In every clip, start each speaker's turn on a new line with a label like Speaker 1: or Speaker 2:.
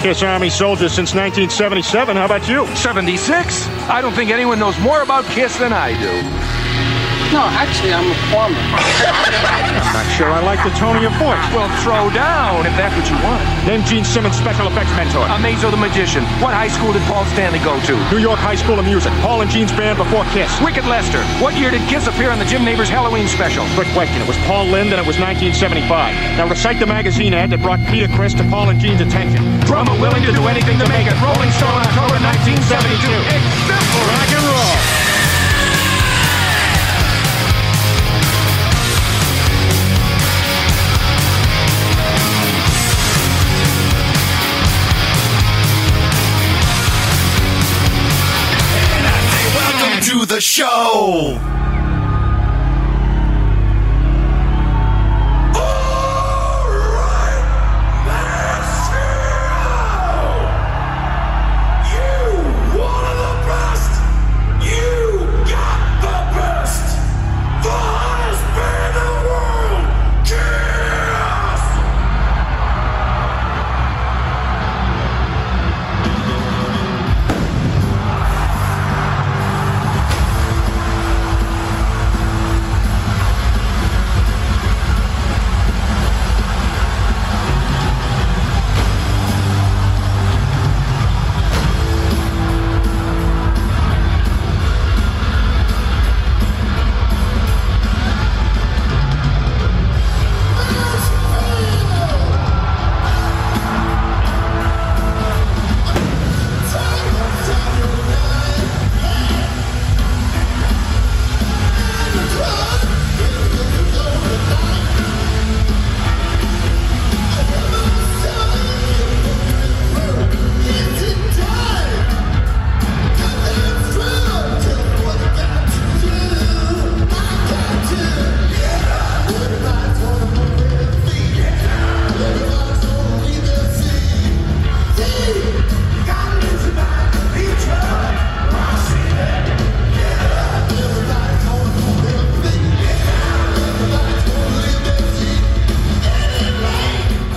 Speaker 1: Kiss Army soldier since 1977. How about you?
Speaker 2: 76? I don't think anyone knows more about Kiss than I do.
Speaker 3: No, actually, I'm a farmer.
Speaker 1: I'm not sure I like the tone of your voice.
Speaker 2: Well, throw down if that's what you want.
Speaker 1: Name Gene Simmons' special effects mentor.
Speaker 2: Amazo the Magician. What high school did Paul Stanley go to?
Speaker 1: New York High School of Music. Paul and Gene's band before Kiss.
Speaker 2: Wicked Lester. What year did Kiss appear on the Jim Neighbors Halloween special?
Speaker 1: Quick question. It was Paul Lynde and it was 1975. Now recite the magazine ad that brought Peter Chris to Paul and Gene's attention.
Speaker 2: Drummer willing to do anything to make it. Rolling Stone, October 1972. It's simple.
Speaker 1: Rock and roll.
Speaker 4: Welcome to the show.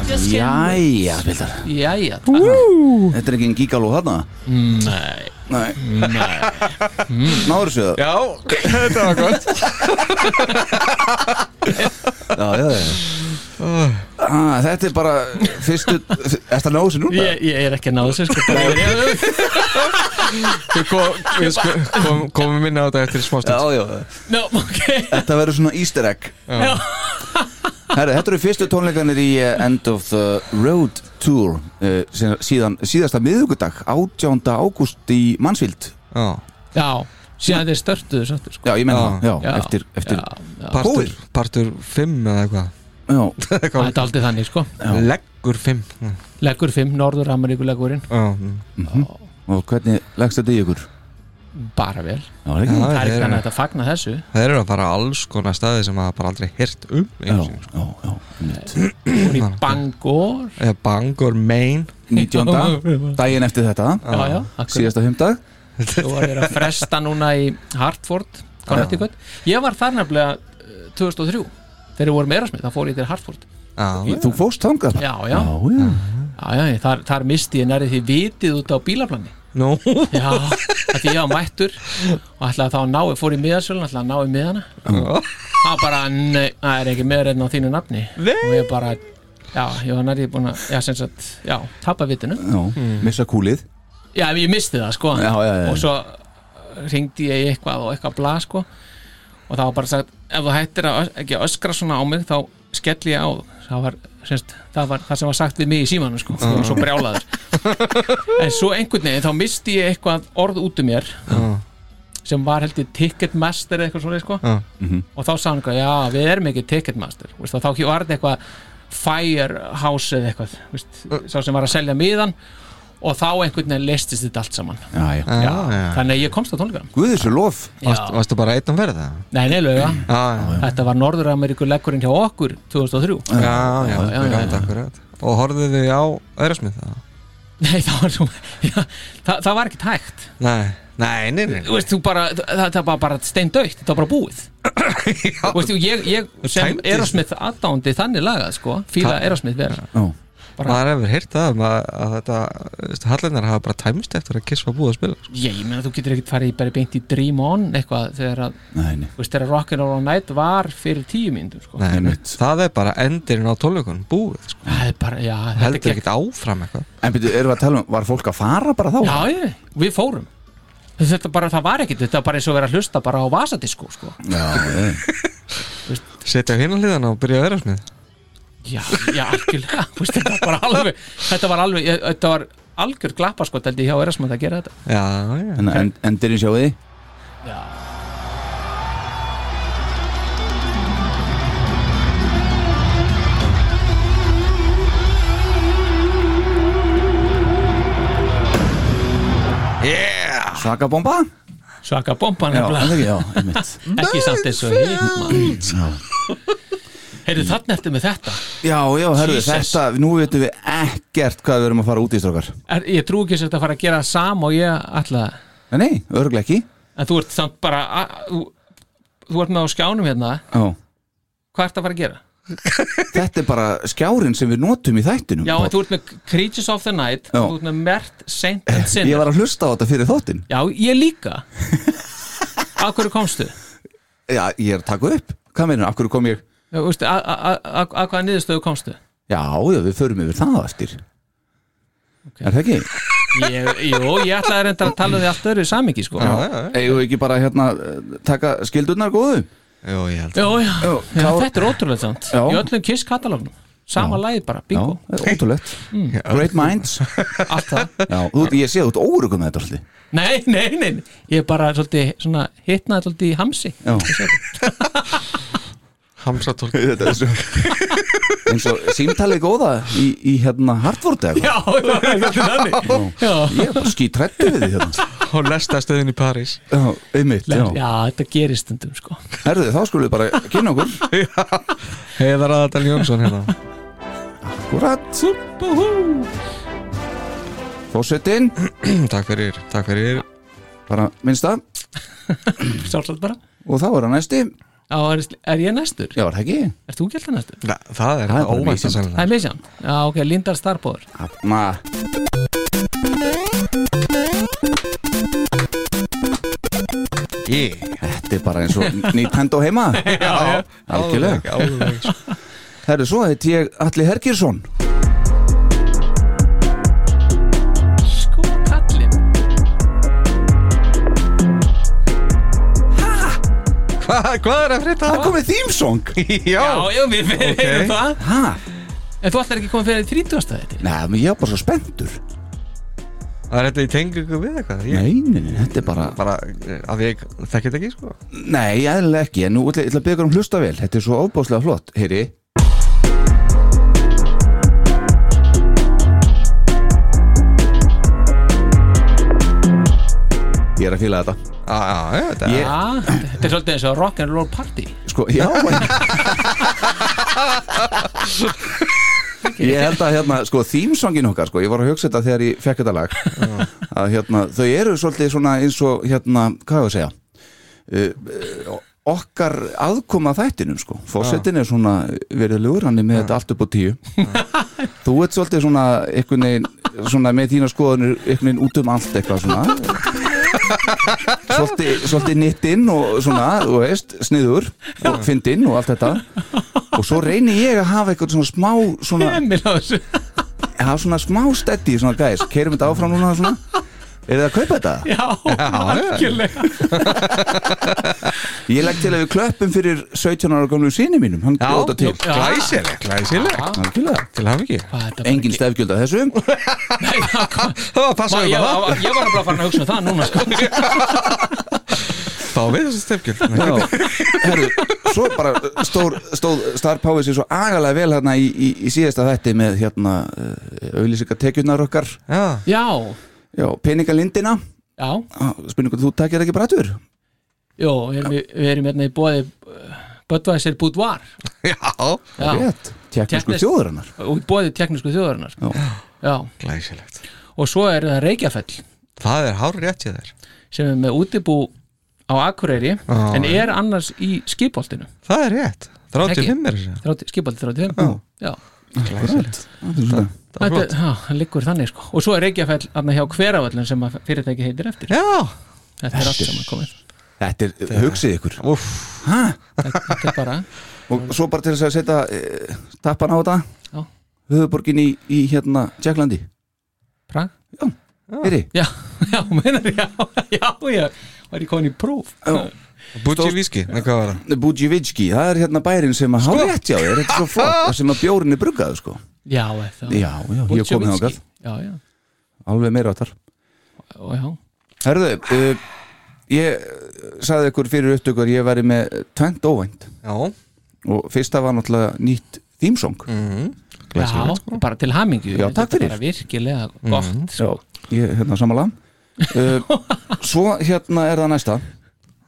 Speaker 5: Jæja, spildar
Speaker 3: Jæja,
Speaker 5: Þetta er ekki en gík alveg þarna
Speaker 6: Nei
Speaker 5: Nei, náður þessu það
Speaker 6: Já, þetta var gott
Speaker 5: já, já, já. Ah, Þetta er bara fyrstu Þetta er náðu sér núna yeah.
Speaker 6: Ég-
Speaker 7: Ég er ekki að ná þessu sko
Speaker 6: Við kom, við sko, kom, komum minna á þetta eftir smástund
Speaker 5: Já, já,
Speaker 7: Nó, ok
Speaker 5: þetta verður svona easter egg
Speaker 7: Já.
Speaker 5: Herra, Þetta eru fyrstu tónleikanir í eh, End of the Road Tour uh, síðan, síðasta miðugudag 18. ágúst í Mansfield
Speaker 6: Já,
Speaker 7: Já, síðan þeir störtuðu sáttur sko
Speaker 5: Já, ég menna það,
Speaker 6: Já.
Speaker 5: já,
Speaker 7: Já,
Speaker 5: eftir, eftir
Speaker 7: já, já.
Speaker 6: partur,
Speaker 5: Góðir.
Speaker 6: partur 5 eða eitthvað
Speaker 5: Já,
Speaker 7: Það er aldrei þannig sko
Speaker 5: já.
Speaker 6: Leggur 5 Já,
Speaker 7: Leggur 5, Norður Ameríku leggurinn
Speaker 6: mm.
Speaker 5: Og hvernig leggst þetta í ykkur?
Speaker 7: Bara vel
Speaker 5: Já, er ekki?
Speaker 6: Já,
Speaker 7: Það er
Speaker 6: þeir
Speaker 7: ekki
Speaker 6: eru-
Speaker 7: þannig að þetta fagna þessu
Speaker 6: Það eru bara alls konar staði sem maður bara aldrei hirt um
Speaker 5: Já,
Speaker 6: einu sinni.
Speaker 5: já, já, einmitt.
Speaker 7: Hún í Bangor
Speaker 6: Eða Bangor, Maine
Speaker 5: 19. daginn eftir þetta
Speaker 7: Já, já, akkur
Speaker 5: síðasta fimmdag
Speaker 7: Þú var þeir að fresta núna í Hartford Connecticut Ég var þar nefnilega eh, 2003 Þegar við vorum erasmið, þá fór ég til Hartford
Speaker 6: Já,
Speaker 5: Þú fórst þangað
Speaker 7: Já, já,
Speaker 5: já, já.
Speaker 7: já, já þar, þar misti ég nærið því vitið út á bílaplani
Speaker 6: nú
Speaker 7: Já, að því ég var mættur og ætlaði þá að ná, fór í miðasölun ætlaði að ná í miðana það var bara, nei, það er ekki miðarinn á þínu nafni og ég bara, já, ég var nærið búin að, já, sem sagt, já tapa vitinu,
Speaker 5: Já, missa kúlið
Speaker 7: já, en ég misti það, sko
Speaker 5: Já, já, já, já.
Speaker 7: og svo ringdi ég í eitthvað og eitthvað blað, sko og það var bara sagt, ef þú hættir að ös- ekki öskra svona á mig, þá skelli ég á þú. það var, semst, það var það sem var sagt við mig í símanum, sko, ég var svo brjálaður en svo einhvern veginn, þá misti ég eitthvað orð út um mér sem var held ég Ticketmaster eða eitthvað svona sko.
Speaker 6: Já.
Speaker 7: og þá sagði hann eitthvað, já við erum ekki Ticketmaster veist, og þá var þetta eitthvað Firehouse eða eitthvað veist, sá sem var að selja miðan og þá einhvern veginn listist þetta allt saman
Speaker 5: Já, já
Speaker 6: Já, já
Speaker 7: þannig að ég komst á tónleikana
Speaker 5: Guðisur lof
Speaker 6: Varst- Varstu bara einn að verða?
Speaker 7: Nei, nei, lauga,
Speaker 6: Já, já
Speaker 7: þetta var Norður-Ameríku leggurinn hjá okkur
Speaker 6: Mm.
Speaker 7: 2003
Speaker 6: Já, já,
Speaker 7: já,
Speaker 6: við
Speaker 7: já,
Speaker 6: gæmum
Speaker 7: já.
Speaker 6: akkurat Og horfðu þið á Erasmith það?
Speaker 7: Nei, það var, svo, já, það, það var ekki hægt
Speaker 6: Nei, nei, nei, nei
Speaker 7: Þú veist, þú bara, það, það var bara steindaukt, þetta var bara búið Þú veist, ég, ég sem
Speaker 6: tæmdist.
Speaker 7: Erosmith aðdándi þannig lagað, sko, fíla
Speaker 6: Það-
Speaker 7: Erosmith verð
Speaker 5: Já,
Speaker 7: bara,
Speaker 6: maður hefur heyrt það um að, að þetta hallennar hafa bara tæmist eftir að Kiss var búið að spila sko.
Speaker 7: ég, ég meina þú getur ekkert farið í bara beint í Dream On eitthvað þegar að,
Speaker 5: Nei, nei,
Speaker 7: þú veist, þegar Rockin' All Night var fyrir tíu myndum, sko
Speaker 6: nei, nei,
Speaker 5: Einmitt.
Speaker 6: það er bara endurinn á tónleikunum búið sko.
Speaker 7: Það er bara, já, þetta
Speaker 6: heldur
Speaker 7: gekk-
Speaker 6: ekkert áfram eitthvað
Speaker 5: En byrju, erum við að tala um, var fólk að fara bara þá?
Speaker 7: Já, já, við fórum Þetta bara, það var ekkert, þetta var bara eins og vera að hlusta bara á vasadisko, sko
Speaker 5: Já, já.
Speaker 6: setja á hinna hliðana og byrja að vera smið
Speaker 7: Já, já, algjörlega, þú veist, þetta var bara alveg Þetta var alveg, þetta var algjör glappa, sko, held ég hjá Erasmus að gera þetta
Speaker 6: já, já,
Speaker 5: En, en, en dyrinn sjáu því?
Speaker 6: yeah.
Speaker 5: Svaka bomba?
Speaker 7: Svaka bomba
Speaker 5: Já,
Speaker 7: nefnilega,
Speaker 5: ekki, já, einmitt
Speaker 7: ekki samt eins og hitt Heyrðu, þarna eftir með þetta
Speaker 5: Já, já, herðu,
Speaker 7: Jesus.
Speaker 5: þetta, nú veitum við ekkert hvað við erum að fara út í strókar
Speaker 7: er, Ég trú ekki sem þetta fara að gera sam og ég ætla
Speaker 5: Nei, nei, örglega ekki
Speaker 7: En þú ert samt bara að, þú, þú ert með á skjánum hérna
Speaker 5: Já.
Speaker 7: Hvað ert að fara að gera?
Speaker 5: Þetta er bara skjárin sem við notum í þættinum
Speaker 7: Já, en þú ert með Creatures of the Night
Speaker 5: Já.
Speaker 7: Þú ert með Mert, Saint and Sinner
Speaker 5: Ég var að hlusta á þetta fyrir þóttin
Speaker 7: Já, ég líka Af hverju komstu?
Speaker 5: Já, ég er að taka upp Hvað meina, af hverju kom ég?
Speaker 7: Já, veistu, a- a- a- a- Af hvaða niðurstöðu komstu?
Speaker 5: Já, já, við förum yfir það á eftir Er það ekki?
Speaker 7: Ég, jú, ég ætlaði reynda að tala um því allt öðru samingi sko
Speaker 6: já, já, já.
Speaker 5: Eigum við ekki bara hérna eh, taka skildurnar góðu?
Speaker 6: Jó, ég held
Speaker 7: já, já.
Speaker 5: Já,
Speaker 7: já
Speaker 5: klár-
Speaker 7: Þetta er ótrúlega samt
Speaker 5: Já.
Speaker 7: Í öllum Kiss katalógnum Sama lagi bara,
Speaker 5: Já,
Speaker 7: bingo,
Speaker 5: eh, ótrúlegt Great minds
Speaker 7: allt það
Speaker 5: Já, þú, ég sé þú út órugum með þetta alltaf
Speaker 7: Nei, nei, nei, nei. ég er bara svolítið svona hitnaði svolítið í hamsi
Speaker 5: Já,
Speaker 6: Hamsatól
Speaker 5: þetta er svo eins og símtalið góða í, í hérna Hartford eða
Speaker 7: Já, já, já, þannig. já.
Speaker 5: eitthvað Ég er bara skítrættu við því hérna
Speaker 6: og lesta stöðin í París
Speaker 5: Já, einmitt, já
Speaker 7: já, þetta gerist stundum sko
Speaker 5: Herðu, þá skulum við bara kynna okkur
Speaker 6: heiðar aðadal Jónsson hérna
Speaker 5: Akkurat Fósettin
Speaker 6: takk fyrir, takk fyrir
Speaker 5: Bara minnsta
Speaker 7: Sjálfsagt bara
Speaker 5: Og þá er hann næsti Já,
Speaker 7: Já, er, er ég næstur?
Speaker 5: var það ekki?
Speaker 7: Er þú gælt að næstur?
Speaker 6: Na, það er
Speaker 5: Það er bara
Speaker 6: óvænt
Speaker 5: vísindi.
Speaker 6: að
Speaker 7: Það
Speaker 6: sannlega
Speaker 7: er misjan Já, ok, Lindar Starbóður
Speaker 5: Hanna
Speaker 6: yeah.
Speaker 5: Þetta er bara eins og Nintendo heima Já, algjörlega
Speaker 6: Alveg, sko.
Speaker 5: Herðu, svo heit ég Alli Hergirsson
Speaker 7: Sko kallinn
Speaker 6: Hva, hvað er að frétta?
Speaker 5: Það komið þýmsong
Speaker 7: Já, já, við við
Speaker 6: Ok.
Speaker 7: heyrum það
Speaker 5: Hæ?
Speaker 7: En þú ætlar ekki komið fyrir 30. þetta
Speaker 5: Nei, menn ég er bara svo spenntur
Speaker 6: Það er þetta í tengingu við eitthvað Ég-
Speaker 5: Nei, nei, nei, þetta er bara
Speaker 6: bara eh, að ég þekki þetta ekki sko
Speaker 5: Nei, eðlilega ekki, en nú ætla ég ætla að byggja um hlusta vel Þetta er svo óbáslega flott, heyri Ég er að fíla þetta
Speaker 6: Já, já, þetta
Speaker 5: Ég-
Speaker 7: Já, þetta er svolítið eins og rock and roll party
Speaker 5: Sko, já Ég held að hérna, sko, þýmsongin okkar, sko Ég var að hugsa þetta þegar ég fekk þetta lag Að hérna, þau eru svolítið svona eins og hérna, hvað ég að segja uh, uh, Okkar aðkoma að þættinum, sko Fósettin er svona veriðlugur, hann er með þetta allt upp á tíu Þú ert svolítið svona einhvern veginn svona með þína skoðanir einhvern veginn út um allt eitthvað svona svolítið, svolítið nittinn og svona, þú veist, sniður og fyndinn og allt þetta og svo reyni ég að hafa eitthvað svona smá svona,
Speaker 7: Emil á þessu
Speaker 5: hafa svona smá steddi, svona gæs, keirum þetta áfram núna svona Er það að kaupa þetta?
Speaker 7: Já, algjörlega
Speaker 5: Ég legg til að við klöppum fyrir 17 ára gamlu síni mínum, hann
Speaker 6: Já,
Speaker 5: gróta til
Speaker 7: Já.
Speaker 6: glæsileg, glæsileg
Speaker 5: Algjörlega.
Speaker 6: Til hafði ekki
Speaker 7: Hvað, þetta bara
Speaker 5: Engin stefgjöld af þessum
Speaker 7: Nei, það kom-
Speaker 6: Það var að passa
Speaker 7: Ma-
Speaker 6: við
Speaker 7: Ég
Speaker 6: um það
Speaker 7: var- ég var bara farin að hugsa um það núna sko.
Speaker 6: Þá við þessu stefkjöld
Speaker 5: Já, herru, svo bara stór, stóð Star Power sér svo agalega vel hérna í, í, í síðasta þætti með hérna auðlýsingatekjurnar okkar
Speaker 6: Já,
Speaker 7: Já,
Speaker 5: Já, peningalindina
Speaker 7: já
Speaker 5: Ah, Spurning hvort þú takir ekki bara aðtur
Speaker 7: Jó, við erum, í- við erum hérna í bóði Böttvæsir Boudoir
Speaker 6: já,
Speaker 7: Já,
Speaker 5: Rétt, tjekknisku
Speaker 7: Tékknesk-
Speaker 5: þjóðurinnar
Speaker 7: og í bóði teknísku þjóðarinnar
Speaker 5: Já.
Speaker 7: Já,
Speaker 6: glæsilegt
Speaker 7: og svo er það Reykjafell
Speaker 6: Það er hár rétt ég þér
Speaker 7: sem er með útibú á Akureyri
Speaker 6: Já,
Speaker 7: en er annars í skipoltinu
Speaker 6: Það er rétt,
Speaker 7: Ekki.
Speaker 6: 35 er þessu
Speaker 7: skipolti 35 Já,
Speaker 5: Rétt. Það er svona.
Speaker 6: það var flott
Speaker 7: Þetta, já, hann liggur þannig sko og svo er Reykjafell aðna hjá hveravöllin sem að fyrirtæki heitir eftir
Speaker 6: Já,
Speaker 7: þetta er allt saman komið
Speaker 5: Þetta er, hugsið ykkur
Speaker 6: úff,
Speaker 7: þetta þetta er bara,
Speaker 5: Og svo bara til þess að setja e, tappan á þetta
Speaker 7: Já.
Speaker 5: Höfuborgin í, í hérna Tjekklandi
Speaker 7: prang
Speaker 5: Heyri,
Speaker 7: já, já, meinar, já, já, já var ég komin í próf
Speaker 5: Já.
Speaker 6: Bucci Víski, nei hvað var það?
Speaker 5: Budjivitski, það er hérna bærin sem
Speaker 7: Sko.
Speaker 5: að hafa rétt hjá þér, þetta er svo flott þar sem að bjórin er bruggaður sko
Speaker 7: já, er það
Speaker 5: Já, já, ég kom hérna ákvæð,
Speaker 7: já, já,
Speaker 5: alveg meira áttar
Speaker 7: og já,
Speaker 5: Herðu, uh, ég eh, sagði ykkur fyrir upptökur ég væri með tvent óvænt
Speaker 6: Já,
Speaker 5: og fyrsta var náttúrulega nýtt þýmsong
Speaker 7: Mm.
Speaker 6: Mhm.
Speaker 7: já bara til hamingju
Speaker 5: sko. Já,
Speaker 7: þetta
Speaker 5: takk fyrir. Mhm.
Speaker 7: er bara virkilega gott sko.
Speaker 5: Já, ég, hérna samanlega uh, Svo hérna er það næsta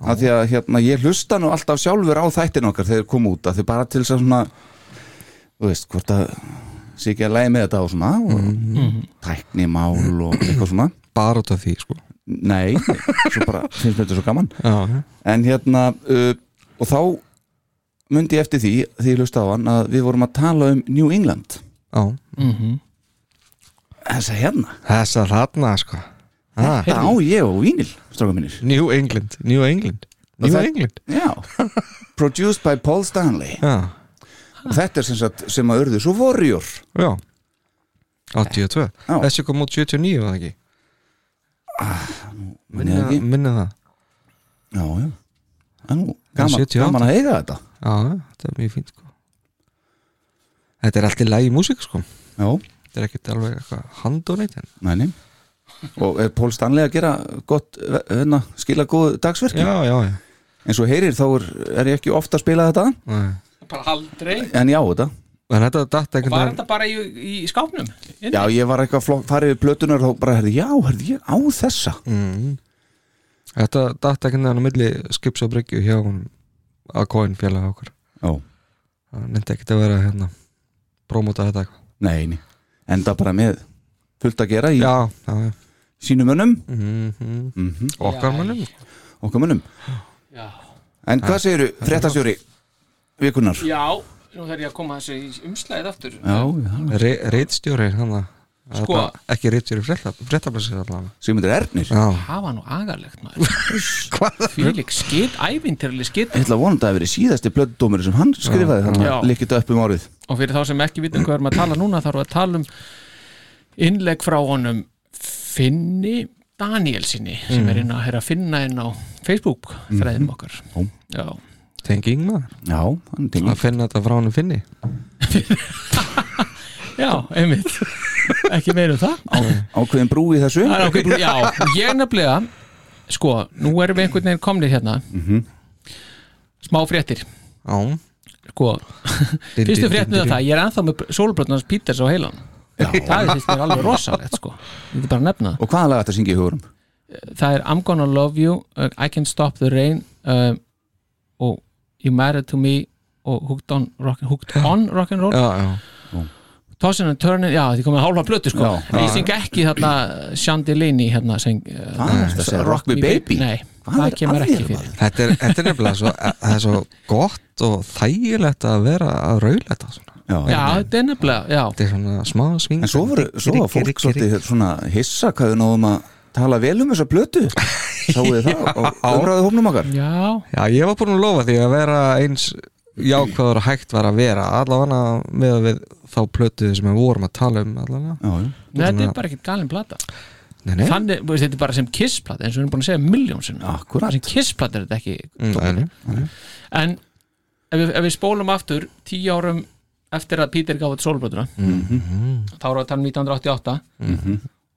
Speaker 5: að því að hérna ég hlusta nú alltaf sjálfur á þættin okkar þegar kom út að því bara til þess að svona þú veist, hvort að sé ekki að lægi með þetta og svona og tæknimál og eitthvað svona
Speaker 6: bara út af því sko
Speaker 5: Nei, svo bara finnst mér þetta svo gaman
Speaker 6: Já,
Speaker 5: En hérna, uh, og þá mundi ég eftir því, því ég hlusta á hann að við vorum að tala um New England
Speaker 6: já
Speaker 5: Þessa hérna,
Speaker 6: Þessa þarna sko ah,
Speaker 5: þetta á ég og vínil, stráka mínir
Speaker 6: New England, New England New
Speaker 5: það-
Speaker 6: England
Speaker 5: Já, produced by Paul Stanley
Speaker 6: Já,
Speaker 5: og þetta er sem, sagt, sem að urðu svo Warrior
Speaker 6: já 82,
Speaker 5: Já.
Speaker 6: þessi kom út 79 var það ekki
Speaker 5: minni það ekki.
Speaker 6: Ah, minna það
Speaker 5: Já, já Það er nú gaman,
Speaker 6: 78.
Speaker 5: gaman að eiga þetta
Speaker 6: Já, þetta er mjög fínt sko Þetta er allt í lagi músík sko
Speaker 5: Já,
Speaker 6: Þetta er ekkert alveg eitthvað handóneitt en
Speaker 5: næni Og er Paul Stanley að gera gott eh, hérna, skila góð dagsverki
Speaker 6: Já, já, já
Speaker 5: eins og heyrir þá er, er ég ekki ofta að spila þetta
Speaker 6: Nei.
Speaker 7: bara aldrei
Speaker 5: en já þetta
Speaker 6: En þetta datt
Speaker 7: og var
Speaker 6: einhvern
Speaker 7: þetta bara í, í skápnum Inni?
Speaker 5: Já, ég var eitthvað flokk, farið við plötunar og bara herði, já, herði, ég á þessa
Speaker 6: mm, Þetta datt einhvern veginn á milli skips og bryggju hjá hún að kóin félaga okkar
Speaker 5: Já,
Speaker 6: Það nefndi ekkert að vera hérna Prómóta þetta eitthvað
Speaker 5: neini, enda bara með fullt að gera í
Speaker 6: Já, já, já
Speaker 5: sínum önum
Speaker 6: mm
Speaker 5: Mhm.
Speaker 6: Okkar mannum
Speaker 5: okkar munum
Speaker 7: já,
Speaker 5: En hvað segiru, fréttastjóri vikunar? Já,
Speaker 7: já nú þarf ég að koma þessu í umslæðið aftur
Speaker 5: já,
Speaker 6: Re Reitstjóri hann að
Speaker 7: Sko.
Speaker 6: þetta- Ekki reitstjóri fréttablasir allavega
Speaker 5: Sigmundur Ernir
Speaker 6: Já,
Speaker 7: það var nú agarlegt maður
Speaker 6: hvað
Speaker 7: fylík skit, ævintirli skit
Speaker 5: Ég ætla að vona að það hafi verið síðasti plötudómur sem hann skrifaði þannig
Speaker 7: Já.
Speaker 5: að líkita upp um árið
Speaker 7: og fyrir þá sem ekki vitum hvað við erum að tala núna þá erum við að tala um innlegg frá honum Finni Danielsinni sem er inn að, er að finna inn á Facebook þræðum okkar
Speaker 5: Ó.
Speaker 7: Já.
Speaker 6: Tenging maður
Speaker 5: Já, hann
Speaker 6: Að
Speaker 5: tengið
Speaker 6: finna þetta frá hann finni
Speaker 7: Já, einmitt ekki meira um það
Speaker 5: ákveðin brú í þessu
Speaker 7: Það er ákveð- Já, ég nefnilega sko, nú erum við einhvern veginn komnir hérna smá fréttir
Speaker 6: Já
Speaker 7: sko, fyrstu
Speaker 6: Din, din, din,
Speaker 7: fréttin
Speaker 6: din.
Speaker 7: að það ég er anþá með sólbrotnans Píters á heilan það er fyrst mér alveg rosalegt sko ég er bara að nefna það
Speaker 5: Og hvaða lag þetta syngi í hugurum?
Speaker 7: það er I'm gonna love you uh, I can stop the rain uh, og You married to me og Hooked on rock, hooked on rock and roll
Speaker 6: Já, já
Speaker 7: Tossin and Turnin, já því komið hálfa plötu sko
Speaker 5: Já,
Speaker 7: en ég syng ekki þarna Shandileini hérna sem uh,
Speaker 5: Hvað er þetta að segja? Rock me baby?
Speaker 7: nei,
Speaker 5: Hvað
Speaker 7: það
Speaker 5: er
Speaker 7: kemur
Speaker 5: að hérna?
Speaker 7: ekki
Speaker 5: þér,
Speaker 7: fyrir
Speaker 5: maður?
Speaker 6: Þetta er, þetta er nefnilega svo, e-, það er svo gott og þægilegt að vera að raula þetta svona.
Speaker 5: Já,
Speaker 7: já, þetta er nefnilega, já
Speaker 6: Þetta er svona smá sving
Speaker 5: En svo voru, svo var fólk svolítið svona hissa hvað við náðum að tala vel um þessa plötu Sáuðu það og umræðu hófnum okkar
Speaker 7: já,
Speaker 6: Já, ég var búin að lofa því að vera eins jákvæður og hægt var að vera allavega með við þá plötuði sem við vorum að tala um allavega
Speaker 5: Já, já,
Speaker 7: Nei, þetta er bara ekki galin plata
Speaker 6: Nei, nei,
Speaker 7: þannig, þú veist, þetta er bara sem kissplata eins og við erum búin að segja miljónsinn
Speaker 5: akkurat
Speaker 7: sem kissplata er þetta ekki
Speaker 6: nei, nei.
Speaker 7: en ef við, ef við spólum aftur tíu árum eftir að Pítur gaf út sólbrotuna þá erum við að tala um 1988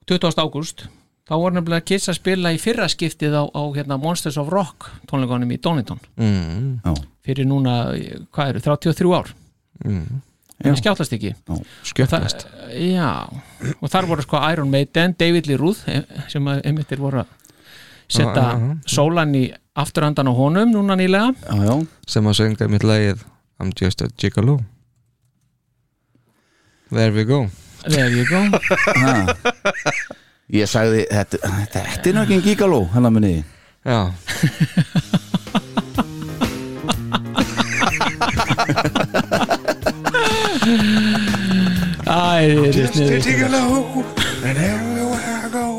Speaker 7: 20. ágúst þá voru nefnilega Kiss að spila í fyrra skiptið á, á hérna, Monsters of Rock tónleikonum í Donington
Speaker 6: Mm,
Speaker 7: fyrir núna, eh, hvað eru, 33 ár en við skjáttast ekki
Speaker 6: Skjöfnast
Speaker 7: já, og þar voru sko Iron Maiden, David Lee Ruth eh, sem að einmittir voru að
Speaker 6: Já,
Speaker 7: setja
Speaker 6: já, já.
Speaker 7: sólan í afturhandan á honum núna nýlega
Speaker 5: Já, já,
Speaker 6: sem að sönga mitt lagið I'm just a gigolo There we go
Speaker 7: there you go
Speaker 5: ég sagði þetta, þetta er náttúrulega gigaló, hennar hérna minni
Speaker 6: Já,
Speaker 7: Æ, Æ,
Speaker 5: já,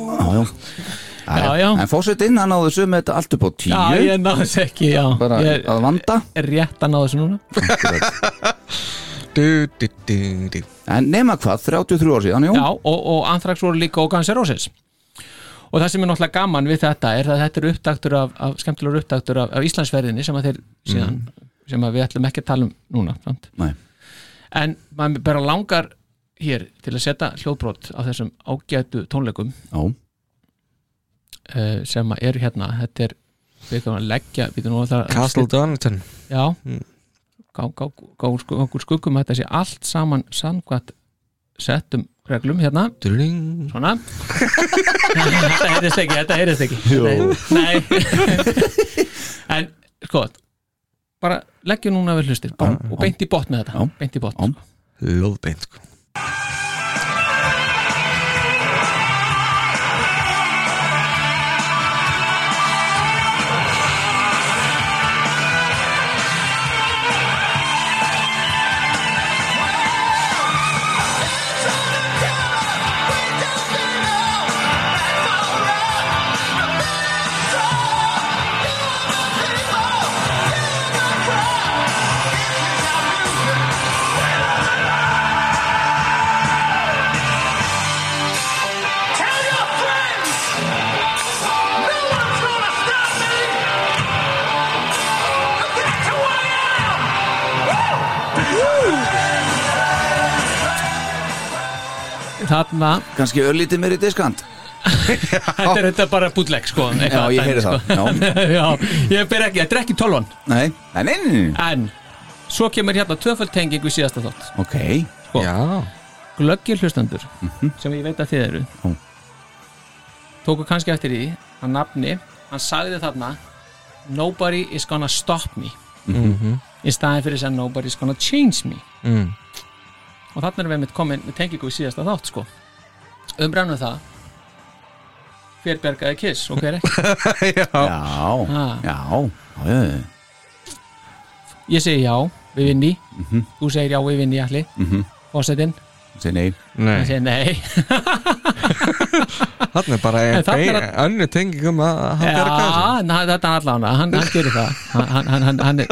Speaker 5: já.
Speaker 7: Já, já.
Speaker 5: En fósettinn, hann náðu þessu með þetta allt upp á tíu
Speaker 7: já, ég náðu þessu ekki já.
Speaker 5: Bara
Speaker 7: Ég
Speaker 5: að vanda
Speaker 7: er rétt að náðu þessu núna
Speaker 6: Du, du, du, du.
Speaker 5: En nema hvað, 33 ár síðan, jú
Speaker 7: Já, og, og Anthrax voru líka og Ganserósis og það sem er náttúrulega gaman við þetta er að þetta er upptaktur af, af skemmtilegur upptaktur af, af Íslandsverðinni sem að þeir síðan sem að við ætlum ekki að tala um núna samt.
Speaker 5: Mm. Nei.
Speaker 7: en maður bara langar hér til að setja hljóðbrot af þessum ágætu tónleikum
Speaker 5: Já,
Speaker 7: uh, sem að eru hérna þetta er við erum að leggja við erum að
Speaker 6: Castle Donington
Speaker 7: já
Speaker 5: Hmm.
Speaker 7: gá- gá- gá- sku- okkur skuggum að þetta sé allt saman samkvæmt settum reglum hérna
Speaker 6: Dling.
Speaker 7: svona þetta heyrðist ekki, þetta heyrðist ekki nei en sko bara leggja núna við hlustir bara, og beint í botn með þetta
Speaker 5: Já.
Speaker 7: beint í botn
Speaker 5: Já.
Speaker 7: sko.
Speaker 6: Lóðbeint sko.
Speaker 8: Tell your friends! No one's gonna stop me! That's who I am!
Speaker 7: þarna,
Speaker 5: kannski örlítið mér í diskant
Speaker 7: þetta er þetta bara bútleg sko,
Speaker 5: Já,
Speaker 7: eitthvað
Speaker 5: ég
Speaker 7: dæmi,
Speaker 5: heyri
Speaker 7: sko.
Speaker 5: það Já,
Speaker 7: já, ég ber ekki, þetta er ekki tólvan
Speaker 5: nei, nei, nei, nei, nei.
Speaker 7: en svo kemur hérna tvöfaldtenging við síðasta þátt
Speaker 5: Ok,
Speaker 7: Sko.
Speaker 6: Já,
Speaker 7: glöggir hlustendur sem ég veit að þið eru
Speaker 5: Já.
Speaker 7: tóku kannski eftir því að nafni, hann sagði þarna nobody is gonna stop me í staðin fyrir þess að nobody is gonna change me
Speaker 6: Mm.
Speaker 7: og þarna erum við með komin með tengingu við síðasta þátt sko umræðum það hver bergaði kiss og hver ekki
Speaker 5: já,
Speaker 7: Ah.
Speaker 5: já, já, já, já.
Speaker 7: ég segi já, við vinni þú segir já, við vinni allir mm -hmm. fósettin,
Speaker 5: Sér nei
Speaker 6: nei
Speaker 7: hann segir nei
Speaker 6: Þarna er bara ein,
Speaker 7: þarna er
Speaker 6: ein,
Speaker 7: að-
Speaker 6: önnu tengingum um að hann
Speaker 7: Já,
Speaker 6: bjarga
Speaker 7: hann-
Speaker 6: þessu.
Speaker 7: hann- þetta er allan hann, hann gerir það hann, hann, hann, hann er,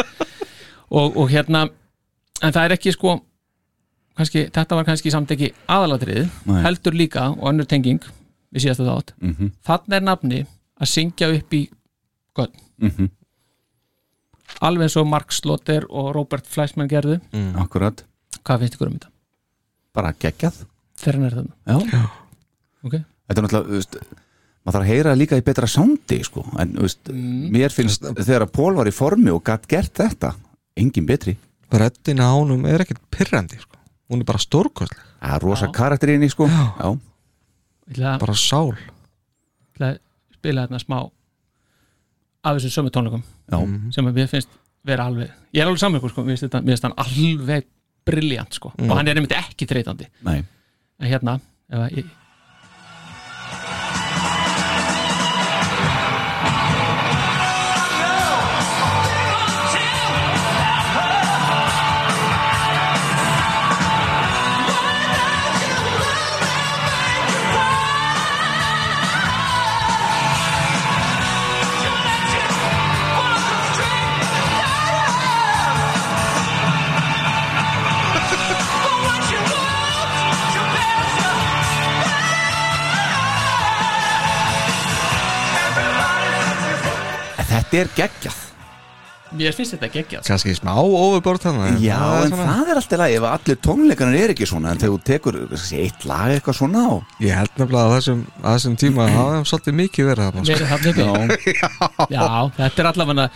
Speaker 7: og, og hérna en það er ekki sko kannski, þetta var kannski samt ekki aðalatriðið,
Speaker 5: Nei.
Speaker 7: heldur líka og önnur tenging við síðasta þátt mm -hmm. þannig er nafni að syngja upp í göll alveg eins og Mark Slotter og Robert Fleischmann gerðu
Speaker 5: Akkurat,
Speaker 7: hvað finnst ykkur um þetta?
Speaker 5: bara geggjað
Speaker 7: þegar hann er þannig
Speaker 5: Já,
Speaker 7: okay.
Speaker 5: þetta er náttúrulega, þú veist maður þarf að heyra líka í betra soundi sko. en þú veist,
Speaker 7: Mm.
Speaker 5: mér finnst þegar Pól var í formi og gatt gert þetta engin betri,
Speaker 6: Röddin á honum er ekkert pirrandi sko. Hún er bara stórkostleg,
Speaker 5: það er rosa karakterinni sko. já,
Speaker 7: ég ætla að-
Speaker 6: bara sál
Speaker 7: ég ætla að spila þarna smá af þessum sömu tónleikum
Speaker 5: já,
Speaker 7: sem að mér finnst vera alveg ég er alveg saman ykkur sko, mér finnst þetta- mér finnst hann alveg briljant sko, og hann er einmitt ekki þreytandi,
Speaker 5: nei
Speaker 7: en hérna ef að ég
Speaker 5: En þetta er geggjað
Speaker 7: mér finnst þetta geggja sko.
Speaker 6: kannski smá overbort hann
Speaker 5: Já, en það er alltaf lagi ef allir tónleikarnir er ekki svona en þegar þú tekur þessi, eitt lag eitthvað svona og...
Speaker 6: Ég held nefnilega að þessum, að þessum tíma það hafði svolítið mikið verið þarna sko.
Speaker 7: mér er það uppi já, þetta er allavega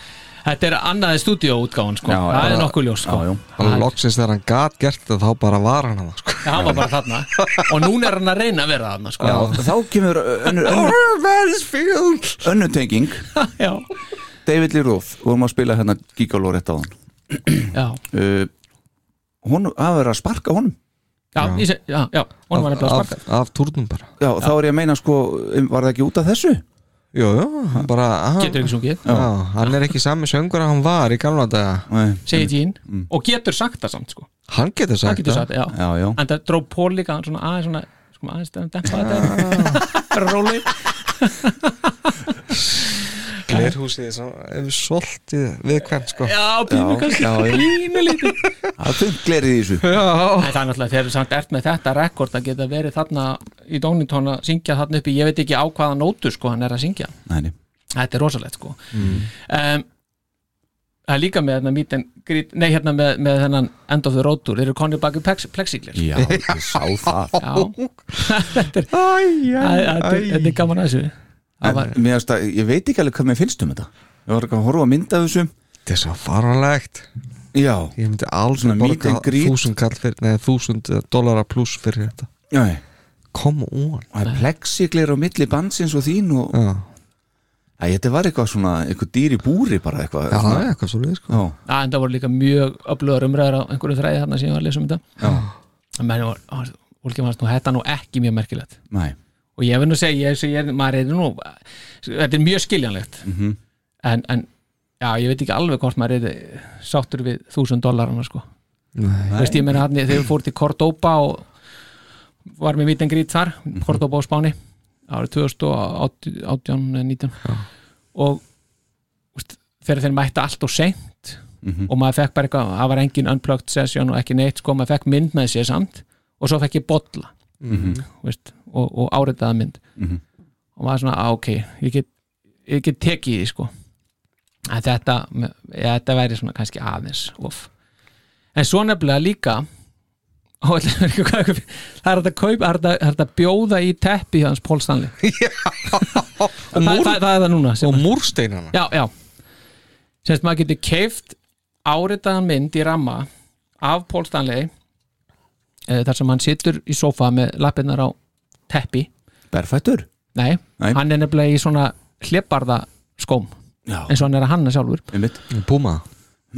Speaker 7: þetta er annaði stúdíóútgáðan sko.
Speaker 5: Já, já,
Speaker 7: það er
Speaker 5: já.
Speaker 7: nokkuð ljós sko.
Speaker 5: Já, já.
Speaker 6: Bara
Speaker 7: Það-
Speaker 6: loksins þegar hann gat gert það þá bara var hann hann sko.
Speaker 7: það var bara þarna og núna er hann að reyna að vera þarna sko.
Speaker 5: Já, þá kemur önnur, önnur,
Speaker 6: Mansfield
Speaker 5: önnur tenging
Speaker 7: já,
Speaker 5: David Lee Roth, við vorum að spila hérna Gigaló rétt á hann
Speaker 7: já,
Speaker 5: uh, Hún, það er að sparka honum
Speaker 7: já, ég seg- já, já hún var nefnilega að
Speaker 6: af,
Speaker 7: sparka
Speaker 6: af turnum bara
Speaker 5: um, Já, þá er ég að meina sko, var það ekki út af þessu?
Speaker 6: Jú, jú, hann bara hann,
Speaker 7: getur ekki sungið,
Speaker 6: já, hann er ekki sami söngur að hann var í gamla daga
Speaker 5: Nei.
Speaker 7: segir Jín og getur sagt það samt sko
Speaker 6: Hann getur
Speaker 7: hann
Speaker 6: sagt
Speaker 7: getur sagt, já.
Speaker 5: Já, já.
Speaker 7: en það dró Pól líka svona aðeins svona sko, aðeins það dempa þetta róli
Speaker 6: Glerhúsið er svo- er svolítið viðkvæmt sko
Speaker 7: já, pínu kannski
Speaker 5: já, já.
Speaker 7: pínu lítið
Speaker 5: Það er þungt glerið í þessu
Speaker 6: Já,
Speaker 7: en það er náttúrulega þegar þú samt ert með þetta rekord að geta verið þarna í Dóningtón að syngja þarna uppi, ég veit ekki á hvaða nótu sko hann er að syngja
Speaker 5: Nei, nei.
Speaker 7: þetta er rosalegt sko
Speaker 5: Mm.
Speaker 7: um, það er líka með hérna, mítin, grít, nei, hérna með, með þennan end of the road tour, þeir eru konir baki plexiglir
Speaker 5: Já, ég sá það
Speaker 7: já þetta er, það- þetta er, þetta er gaman að þessu það var,
Speaker 5: en, mér finnst að, Ég veit ekki alveg hvað mér finnst um þetta Ég var ekki að horfa að mynda þessu
Speaker 6: þetta er svo faralegt
Speaker 5: Já,
Speaker 6: Ég myndi alls
Speaker 5: Svona meet and greet.
Speaker 6: þúsund kall fyrir, neða þúsund eh, dollara pluss fyrir þetta
Speaker 5: já, já.
Speaker 6: Come on
Speaker 5: og það er plexiglir á milli bandsins og þín og
Speaker 6: Já,
Speaker 5: Æ, þetta var eitthvað svona, eitthvað dýr í búri bara eitthvað
Speaker 6: já það
Speaker 5: svona.
Speaker 6: er eitthvað svo sko
Speaker 5: já,
Speaker 7: að, en það voru líka mjög öflugar umræður á einhverju þræði þarna sem ég var að lesa um þetta
Speaker 5: já,
Speaker 7: menn var, á, fólki varst nú þetta nú ekki mjög merkilegt
Speaker 5: næ
Speaker 7: og ég verð nú að segja, ég, ég, maður er nú þetta er mjög skiljanlegt
Speaker 5: Mhm.
Speaker 7: en, en já, ég veit ekki alveg hvort maður er sáttur við þúsund dollarana sko
Speaker 6: Nei.
Speaker 7: Þú veist, ég meina hann, þegar við fórum til Cordoba og var með mítið en grít þar Cordoba á Spáni árið 2018-19 eh, og úst, þegar þeir mættu allt og seint og maður fekk bara eitthvað, það var engin unplugged session og ekki neitt, sko, maður fekk mynd með sér samt og svo fekk ég bolla þú veist, og, og áritaða mynd og maður svona, á, ok ég get, ég get tekið því, sko en þetta, ja, þetta væri svona kannski aðeins of en svo nefnilega líka Ó, ætli ég veit ekki hvað- það er hægt að kaupa það er hægt að- það er hægt að bjóða í teppi hjá hans Pól Stanley
Speaker 6: Og,
Speaker 7: það,
Speaker 6: múr,
Speaker 7: það, það er það núna sem,
Speaker 6: og múrsteinana
Speaker 7: já, já semst maður getur keift áritaðan mynd í ramma af Pól Stanley eh, þar sem hann situr í sófa með lappirnar á teppi
Speaker 5: Berfættur?
Speaker 7: nei,
Speaker 5: Nei.
Speaker 7: hann er nefnilega í svona hlepparða skóm
Speaker 5: Já,
Speaker 7: eins og hann er að hanna sjálfur
Speaker 5: einmitt
Speaker 6: Puma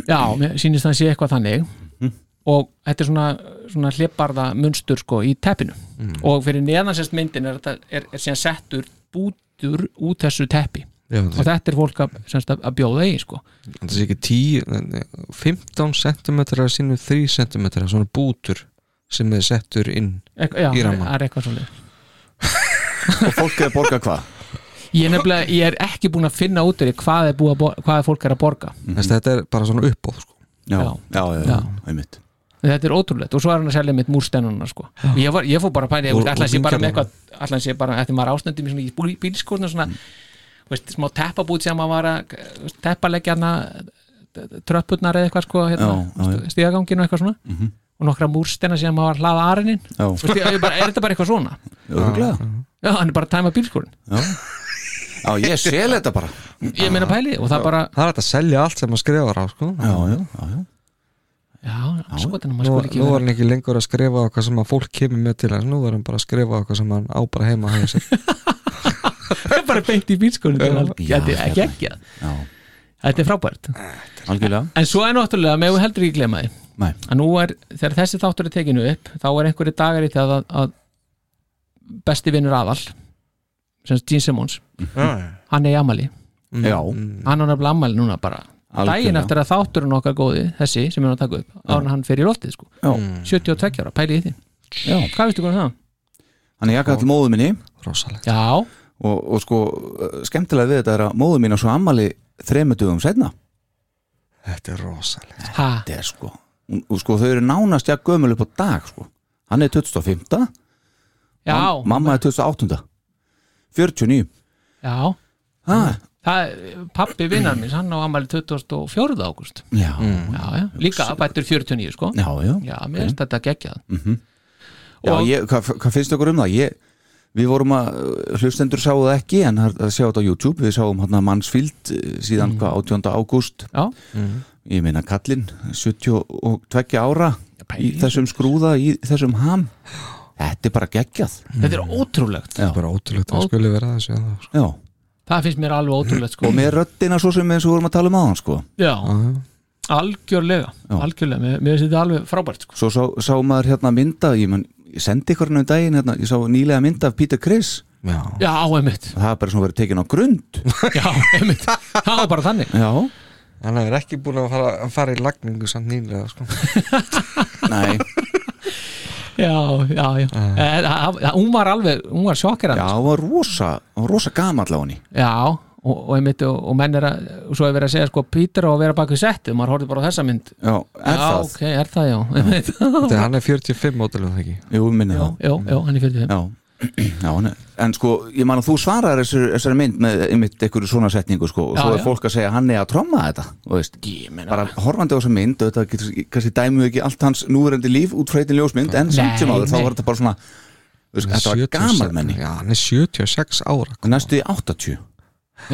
Speaker 7: Já, mér sýnist hann sé eitthvað þannig og þetta er svona, svona hliparða munstur sko í teppinu og fyrir neðan sérst myndin er, þetta- er, er síðan settur bútur út þessu teppi
Speaker 6: Já,
Speaker 7: og þetta er fólk að, semst, að, að bjóða í sko
Speaker 6: það sé ekki eh, 10 nei, 15 cm sínum 3 cm svona bútur sem er settur inn
Speaker 7: Ek, já,
Speaker 6: Í rammann.
Speaker 7: það er eitthvað svolítið
Speaker 5: Og fólk er að borga hvað?
Speaker 7: ég, er nefnilega- ég er ekki búin að finna út úr því hvað, er búið að bor- hvað er fólk er að borga
Speaker 6: Þessi, þetta er bara svona uppóð sko.
Speaker 5: Já,
Speaker 7: Já.
Speaker 5: já, já, já,
Speaker 7: Já.
Speaker 5: einmitt
Speaker 7: En þetta er ótrúlegt og svo er hann að selja mitt múrstennuna sko. ég, var, ég fór bara að pæli
Speaker 6: Og- og
Speaker 7: allan sé bara með
Speaker 6: vingjarnir.
Speaker 7: eitthvað allan sé bara, þetta er maður ástendum í svona í bílskórna svona, veist, smá teppabút sem maður var að veist, teppalegja hana tröppurnar eða eitthvað sko, hérna,
Speaker 5: Já, já, já.
Speaker 7: stíðaganginu og eitthvað svona og nokkra múrstenna sem maður var að hlaða arinin
Speaker 5: Já,
Speaker 7: veist, ég, ég bara, er þetta bara eitthvað svona?
Speaker 5: örgulega
Speaker 7: Já, hann er bara að tæma bílskórin
Speaker 5: Já, ég sel þetta bara
Speaker 7: ég meina pæli og það bara,
Speaker 6: það er hægt að selja allt sem maður skrifar á sko.
Speaker 5: Já, já, já, já
Speaker 7: já, skotina maður
Speaker 6: nú,
Speaker 7: sko ekki
Speaker 6: nú var
Speaker 7: vera-
Speaker 6: hann ekki lengur að skrifa á hvað sem að fólk kemur með til hans nú var hann bara að skrifa á hvað sem hann á bara heima hans.
Speaker 7: bara beint í bílskórin
Speaker 5: Já,
Speaker 7: þetta er
Speaker 5: hérna.
Speaker 7: ekki
Speaker 5: Já,
Speaker 7: þetta er frábært
Speaker 5: algjörlega
Speaker 7: en svo er náttúrulega, með við heldur ekki glema því
Speaker 5: Nei,
Speaker 7: að nú er, þegar þessi þáttur er tekinu upp þá er einhverju dagar í það að, að besti vinnur aðal sem sagt Gene Simmons hann er í amali,
Speaker 6: Mm,
Speaker 5: já,
Speaker 7: hann er nefnilega amali núna bara daginn
Speaker 5: Mm. Algjörlega.
Speaker 7: eftir að þátturinn okkar góði þessi sem er að taka upp, ára hann fyrir í loftið sko.
Speaker 5: Já.
Speaker 7: 72 ára, pæli í því
Speaker 5: Mm. já
Speaker 7: hvað veistu hvernig það?
Speaker 5: Hann er jakka til móðu minni
Speaker 6: rosalegt
Speaker 7: Já,
Speaker 5: og, og sko, uh, skemmtilega við þetta er að móðu mín á svo ammali þremur dugum setna
Speaker 6: þetta er rosalegt
Speaker 7: ha,
Speaker 5: Þetta er sko og, og sko, þau eru nánast jakk gömul upp á dag sko. Hann er 25
Speaker 7: já,
Speaker 5: Mam- Mamma er 28 49
Speaker 7: já
Speaker 5: Ha,
Speaker 7: það, pappi vinnar minns, hann á amali 24. ágúst
Speaker 5: já,
Speaker 7: já, já, líka bættur 49 sko
Speaker 5: já, já
Speaker 7: já, mér finnst þetta geggjað
Speaker 5: Já,
Speaker 7: Og-
Speaker 5: ég, hvað hva finnst ykkur um það? Ég, við vorum að, uh, hlustendur sáu það ekki en það er að sjá þetta á YouTube, við sáum hann að Mansfield uh,
Speaker 7: Mm.
Speaker 5: síðan hvað 18. ágúst
Speaker 7: já,
Speaker 5: ég meina kallinn, 72 ára í
Speaker 7: pæling.
Speaker 5: þessum skrúða, í þessum ham Þetta er bara geggjað
Speaker 7: þetta er ótrúlegt
Speaker 5: Já.
Speaker 6: bara ótrúlegt
Speaker 7: Ó-
Speaker 6: að það skuli vera þessu að það, sko.
Speaker 5: Já,
Speaker 7: það finnst mér alveg ótrúlegt sko.
Speaker 5: og með röddina svo sem eins og við vorum að tala um aðan sko
Speaker 7: já, algjörlega
Speaker 5: Já.
Speaker 7: algjörlega, mér, mér finnst þetta alveg frábært sko.
Speaker 5: Svo sá, sá maður hérna mynda, ég, man, ég sendi ykkur hann um daginn hérna, ég sá nýlega mynd af Peter Criss
Speaker 6: já,
Speaker 7: Já, einmitt
Speaker 5: það er bara svona verið tekin á grund
Speaker 7: Já, einmitt Það var bara þannig
Speaker 5: já,
Speaker 6: hann hefur ekki búin að fara, að fara í lagningu samt nýlega sko.
Speaker 5: nei,
Speaker 7: Já, já, já Eh, það- það- Hún var alveg, hún var sjokkir
Speaker 5: já, hann var rosa hann var rosa gamall á henni
Speaker 7: Já, og, og einmitt og, og menn er að, og svo er verið að segja sko Pítur á að vera bak við settið, maður horfði bara á þessa mynd
Speaker 5: já, er
Speaker 7: Já,
Speaker 5: það,
Speaker 7: ok, er það, já, einmitt
Speaker 6: Þetta er- hann er 45 mótilum það ekki
Speaker 5: jú, minni það
Speaker 7: Já, já, hann er
Speaker 5: já,
Speaker 7: 45
Speaker 5: já hann er, en sko, ég man að þú svarar þessari, þessari mynd með einmitt einhverju svona setningu sko, og
Speaker 7: Já,
Speaker 5: svo er
Speaker 7: já.
Speaker 5: fólk að segja hann er að tromma þetta þú veist, bara horfandi á þessa mynd þetta getur, kannski dæmið ekki allt hans núverandi líf út frá eitthvað ljósmynd, en samt sem
Speaker 7: Nei,
Speaker 5: áður þá
Speaker 7: nei.
Speaker 5: var þetta bara svona þú veist, þetta var
Speaker 6: 76
Speaker 5: gamal menni
Speaker 6: Já, hann er 76 ára
Speaker 5: næstu í 80,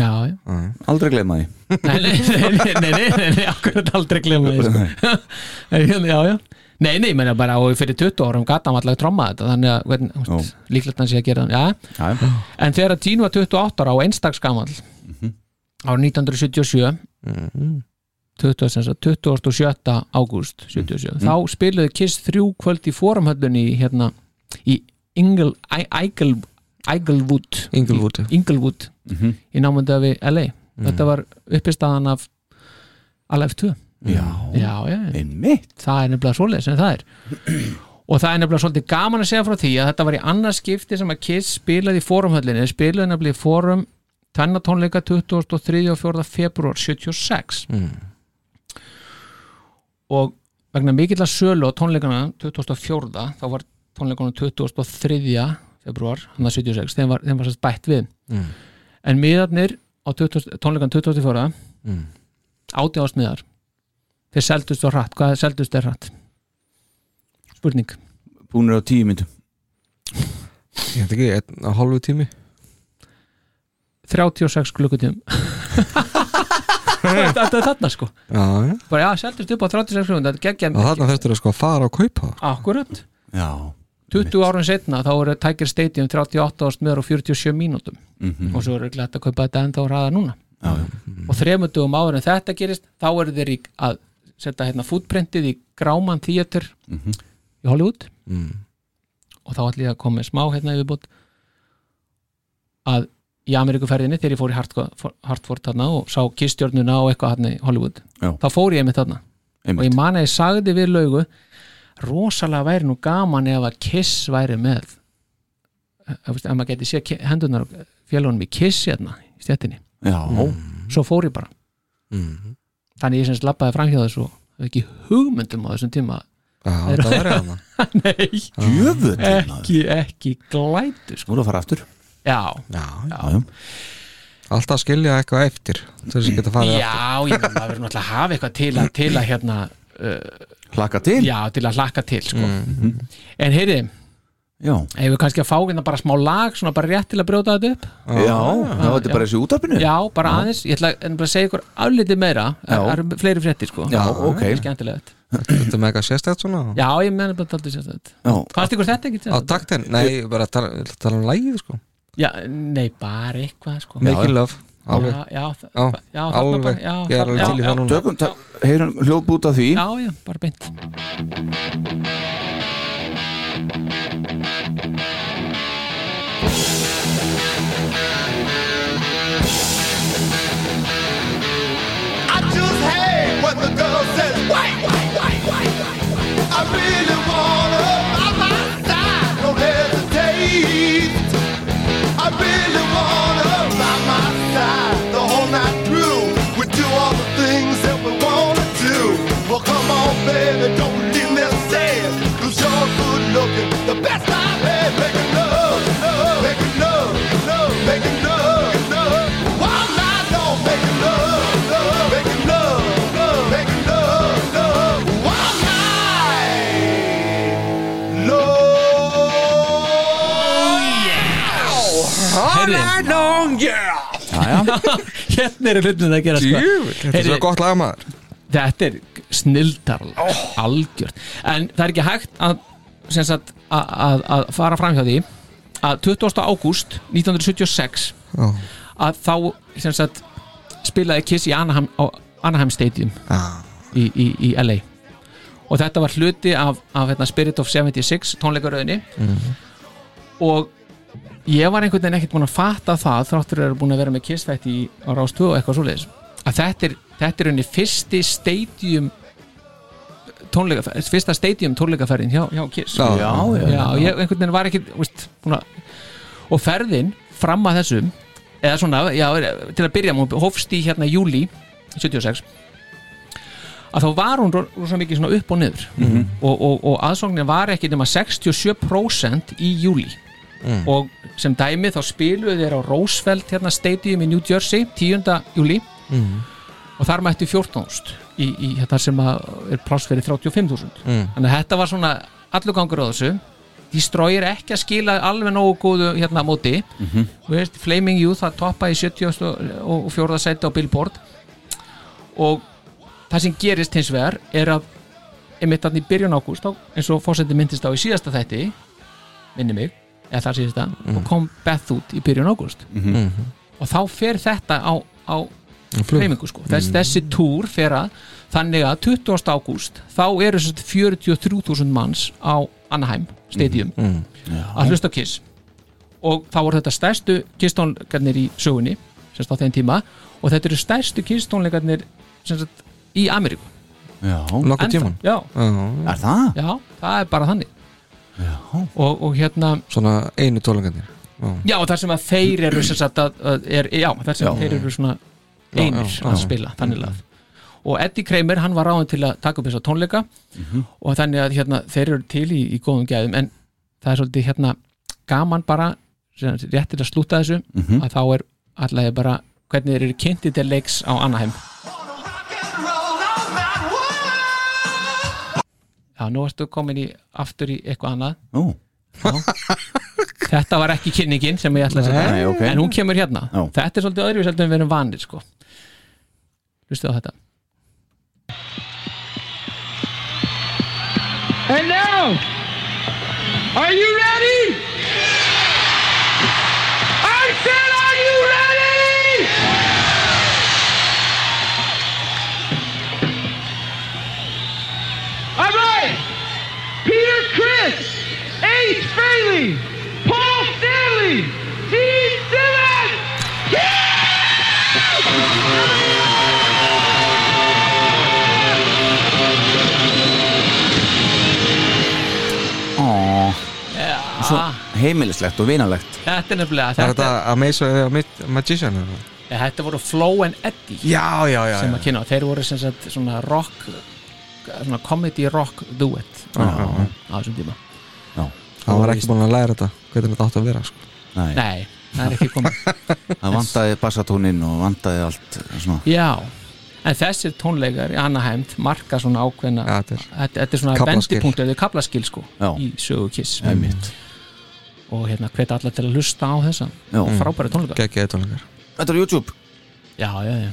Speaker 7: Já, já
Speaker 5: aldrei gleyma því
Speaker 7: Nei, nei, nei, nei, nei, nei, nei, nei akkurat aldrei glemma því sko. Nei, Já, já Nei, nei, menn bara og fyrir 20 árum gata hann allavega tromma þetta þannig að hvern,
Speaker 5: Ó.
Speaker 7: úst, líklegt hann sé að gera hann já.
Speaker 5: já,
Speaker 7: en þegar að Tín var 28 ára og einstaksgamall mm ára 1977 20, sem sagt, 27. ágúst 77, þá spiluðu Kiss þrjú kvöld í forumhöllunni í, hérna, í Ingle, I, Igle, Iglewood
Speaker 6: Inglewood.
Speaker 7: í, Inglewood í námönda við LA þetta var uppistaðan af Alive 2
Speaker 5: já,
Speaker 7: já, já, já.
Speaker 5: einmitt
Speaker 7: Mm. það er nefnilega svoleiðis en það er og það er nefnilega svolítið gaman að segja frá því að þetta var í annars skipti sem að Kiss spilaði í forumhöllinni, þeir spilaði nefnilega í forum tennatónleika 23. og 4. februar 76
Speaker 5: Mm.
Speaker 7: og vegna mikill að sölu á tónleikana 2004, þá var tónleikana 23. februar hann að 76, þeim var, þeim var sérst bætt við en miðarnir á 20, tónleikan 24.
Speaker 6: Mm.
Speaker 7: 18 ást miðar þeir seldust á hratt, hvað seldust er hratt? spurning
Speaker 5: búinir á tíu myndum
Speaker 6: Ég veit ekki, einn og hálfu tími
Speaker 7: 36 klukkutíum þetta er þarna sko
Speaker 6: Já, já
Speaker 7: bara já, seldust upp á 36 klukkutíum þetta geggja
Speaker 6: Og þarna þurftur að sko að fara og kaupa það.
Speaker 7: akkurat
Speaker 5: já,
Speaker 7: 20 árun setna þá eru Tiger Stadium 38 ást miðar og 47 mínútum
Speaker 5: Mhm.
Speaker 7: og svo eru glætt að kaupa þetta ennþá hraða núna
Speaker 5: já, já.
Speaker 7: og þremundum áður en þetta gerist þá eru þeir í að setja hérna fútprintið í Gráman Theater í Hollywood og þá ætlum ég að koma með smá hérna yfirbútt að í Ameríkuferðinni þegar ég fór í Hartford, Hartford þarna og sá kistjörnuna og eitthvað hérna í Hollywood
Speaker 5: Já.
Speaker 7: þá fór ég með þarna og ég
Speaker 5: einmitt
Speaker 7: man að ég sagði við laugu rosalega væri nú gaman ef að Kiss væri með ef, ef maður geti séð ki- hendurnar félagunum í Kiss hérna í stjættinni
Speaker 5: já,
Speaker 7: svo fór ég bara
Speaker 6: Mhm.
Speaker 7: þannig ég sem slappaði framhjá þessu og hafði ekki hugmyndum á þessum tíma
Speaker 6: Já, þetta var ég hana
Speaker 7: nei,
Speaker 5: djöfull maður.
Speaker 7: ekki, ekki glætu sko.
Speaker 5: nú er að fara aftur
Speaker 7: já,
Speaker 6: Já,
Speaker 5: já, já.
Speaker 6: alltaf að skilja eitthvað eftir til þess að geta farið aftur.
Speaker 7: já, ég meina, maður verður náttúrulega að hafa eitthvað til að, til að hérna,
Speaker 5: hlaka til
Speaker 7: já, til að hlakka til sko.
Speaker 6: Mhm.
Speaker 7: en heyri,
Speaker 5: já.
Speaker 7: hefur við kannski að fá hérna bara smá lag, svona bara rétt til að brjóta þetta upp
Speaker 5: Já, það var þetta
Speaker 7: já.
Speaker 5: bara þessi útarpinu
Speaker 7: já, bara aðeins, ég ætla en bara að segja ykkur aflítið meira,
Speaker 5: Já.
Speaker 7: það eru fleiri fréttir sko,
Speaker 5: Já, ok.
Speaker 7: Það er skemmtilegt
Speaker 6: Þetta með eitthvað sérstætt svona
Speaker 7: já, ég meina bara þetta aldrei sérstætt
Speaker 5: Já.
Speaker 7: fannst ykkur þetta ekki
Speaker 6: Á taktin, nei, ég bara að tala, ég ætla að tala um lægið sko
Speaker 7: já, nei, bara eitthvað sko.
Speaker 6: Making love, alveg
Speaker 7: já, já, þa-
Speaker 6: Já,
Speaker 7: já, þarna
Speaker 6: alveg,
Speaker 7: bara- já,
Speaker 6: ég er
Speaker 7: þarna-
Speaker 6: alveg til í
Speaker 7: já,
Speaker 6: það núna
Speaker 5: Tökum, ta- heyrum hljóðbút af því
Speaker 7: já, já, bara beint
Speaker 4: I just hate when the girl says, wait, wait, wait, wait, wait. I really want her by my side. Don't hesitate. I really want her by my side. The whole night through. We do all the things that we want to do. Well, come on, baby, don't leave me sad. Cause you're good looking. The best I've had. Making love, love, making love, love, making love, love. All night long, making love, love, making love, love, making love, love. All night long.
Speaker 7: Heyrðu, Ah, hérna eru hlutin að gera sko.
Speaker 6: Jú, þetta er
Speaker 7: Heyrðu.
Speaker 6: svo gott lag maður
Speaker 7: þetta er snildarl algjört, en það er ekki hægt að, sem sagt, að, að, að fara fram hjá því að 20. ágúst 1976
Speaker 6: Já,
Speaker 7: að þá sem sagt, spilaði Kiss í Anaheim, á Anaheim Stadium
Speaker 6: já,
Speaker 7: í, í, í LA og þetta var hluti af, af hérna, Spirit of 76 tónleikaröðinni og ég var einhvern veginn ekkert búin að fatta það þráttur eru búin að vera með kissfætt í á Rástöð og eitthvað svoleiðis að þetta er, þetta er henni fyrsti stadium tónleika, fyrsta stadium tónleikaferðin hjá, hjá Kiss
Speaker 6: Já, já,
Speaker 7: já, ég einhvern veginn var ekki veist, búna, og ferðin fram að þessum eða svona, já, til að byrja hún hófst í hérna júli 76 að þá var hún ro- rosa mikið svona upp og niður og, og, og aðsóknin var ekki nema 67% í júli og sem dæmi þá spiluðu þeir á Roosevelt hérna stadium í New Jersey 10. júli og þar mættu 14.000 í, í þetta sem að er pláss fyrir 35.000 þannig að þetta var svona allur gangur á þessu Destroyer ekki að skila alveg nógu góðu hérna á móti mm veist, Flaming Youth að toppa í 70 og, og 4. sæti á Billboard og það sem gerist hins vegar er að einmitt þannig í byrjun ágúst þá, eins og fórseti myndist á í síðasta þætti minni mig, eða þar síðasta og kom Beth út í byrjun ágúst og þá fer þetta á, á hreyfingu sko Þess, þessi túr fer að þannig að 20. ágúst þá eru sem sagt 43.000 manns á Anaheim stadium að hlusta á Kiss og þá voru þetta stærstu kistónleikarnir í sögunni sem sagt á þeim tíma og þetta eru stærstu kistónleikarnir sem sagt í Ameríku
Speaker 5: já,
Speaker 6: nokkuð
Speaker 7: Ennþá.
Speaker 6: tíman
Speaker 7: já,
Speaker 5: er það?
Speaker 7: já, það er bara þannig og, og hérna
Speaker 6: svona einu tólengarnir
Speaker 7: Já, þar sem að þeir eru sem sagt að, að er, já, þar sem þeir eru svona einir
Speaker 6: já, já. Mm.
Speaker 7: að spila, þannig að og Eddie Kramer, hann var ráðin til að taka upp þessa tónleika
Speaker 6: Mhm.
Speaker 7: og þannig að hérna, þeir eru til í, í góðum gæðum en það er svolítið hérna gaman bara, sem sagt, rétt til að slúta þessu
Speaker 5: Mhm.
Speaker 7: að þá er allavega bara hvernig þeir eru kynnti til leiks á Anaheim Já, nú ertu komin í aftur í eitthvað annað
Speaker 5: Ó,
Speaker 7: þetta var ekki kynningin sem ég ætla að segja
Speaker 5: Nei, ok.
Speaker 7: en hún kemur hérna
Speaker 5: Já.
Speaker 7: þetta er svolítið öðru heldur en við erum vanir sko. hlustu á þetta
Speaker 2: And now, are you ready? I said, are you ready? All right. Peter Chris, Ace Frehley, Paul Stanley, Gene Simmons.
Speaker 5: svo heimilislegt og vinalegt
Speaker 7: Ah, þetta er nefnilega
Speaker 6: Er
Speaker 7: þetta, Eh,
Speaker 6: þetta Amazo eða Mid- Magician? eða?
Speaker 7: þetta, voru Flow and Eddie
Speaker 6: Já, já, já,
Speaker 7: sem
Speaker 6: já.
Speaker 7: að kynna þeir voru sem sagt svona rock svona comedy rock duet
Speaker 5: Ah,
Speaker 6: Já, já, já.
Speaker 7: á þessum tíma
Speaker 6: Það var ekki búin að læra þetta hvernig þetta átt að vera sko.
Speaker 5: Nei,
Speaker 7: nei, það er ekki komið
Speaker 5: það vantaði bassatónin og vantaði allt svona.
Speaker 7: já, en þessir tónleikar í Anaheim marka svona ákveðna
Speaker 6: Já, þetta er-
Speaker 7: þetta, þetta er svona
Speaker 6: Kaflaskil.
Speaker 7: vendipunkt þetta er kaplaskil sko
Speaker 5: Já.
Speaker 7: í sögu kiss
Speaker 5: Einmitt.
Speaker 7: og hérna hvet alla til að hlusta á þessa
Speaker 5: Já.
Speaker 7: frábæra tónleika
Speaker 6: Gekkið tólengar
Speaker 5: Þetta er YouTube
Speaker 7: já, já, já,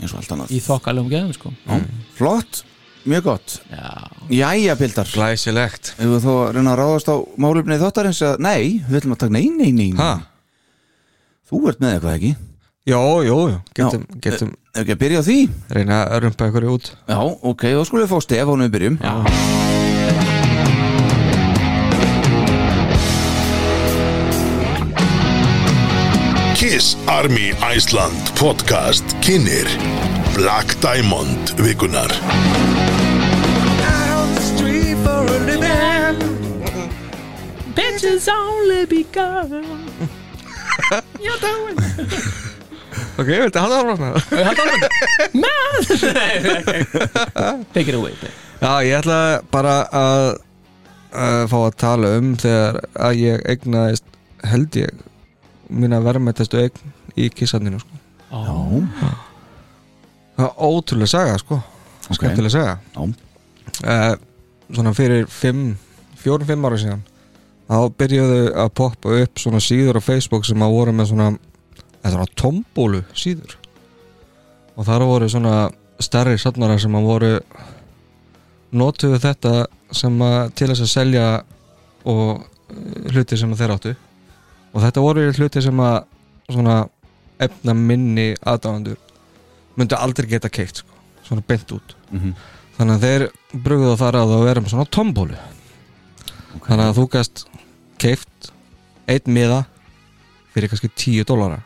Speaker 5: eins og allt annað
Speaker 7: í þokkalum geðum sko
Speaker 5: Já, Flott, mjög gott
Speaker 7: já,
Speaker 5: Jæja, Pildar
Speaker 6: Glæsilegt
Speaker 5: Ef við þó að reyna að ráðast á málefnið þáttarins að nei, við ætlum að taka nei, nei, nei, nei.
Speaker 6: Ha?
Speaker 5: Þú ert með eitthvað ekki
Speaker 6: Jó, jó, jó Getum, getum
Speaker 5: Ef ekki að byrja á því
Speaker 6: reyna að rumpa ykkur út
Speaker 5: Já, ok, þá skulum við fá stef ánum við byrjum Já.
Speaker 9: Kiss Army Iceland podcast kynir Black Diamond vikunar
Speaker 7: Bitches only be gone You're doing
Speaker 6: Ok, viltu að hafa það frá
Speaker 7: Take it away babe.
Speaker 6: Já, ég ætla bara að, að fá að tala um þegar að ég eignaðist held ég mína verðmættastu eign í kissandinu sko.
Speaker 7: Ó,
Speaker 6: Það er ótrúlega saga sko Skemmtilega saga
Speaker 5: Já.
Speaker 6: Eh, Svona fyrir 4-5 ára síðan þá byrjuðu að poppa upp svona síður á Facebook sem að voru með svona eða svona tombólu síður og þar voru svona stærri safnara sem að voru notuðu þetta sem að til þess að selja og eh, hluti sem að þeir áttu og þetta voru hluti sem að svona
Speaker 5: Mhm,
Speaker 6: efna minni aðdáðandur myndi aldrei geta keitt sko, svona bent út þannig að þeir brugðu að fara að það og vera með svona tombólu þannig að þú gæst keift einn miða fyrir kannski 10 dólara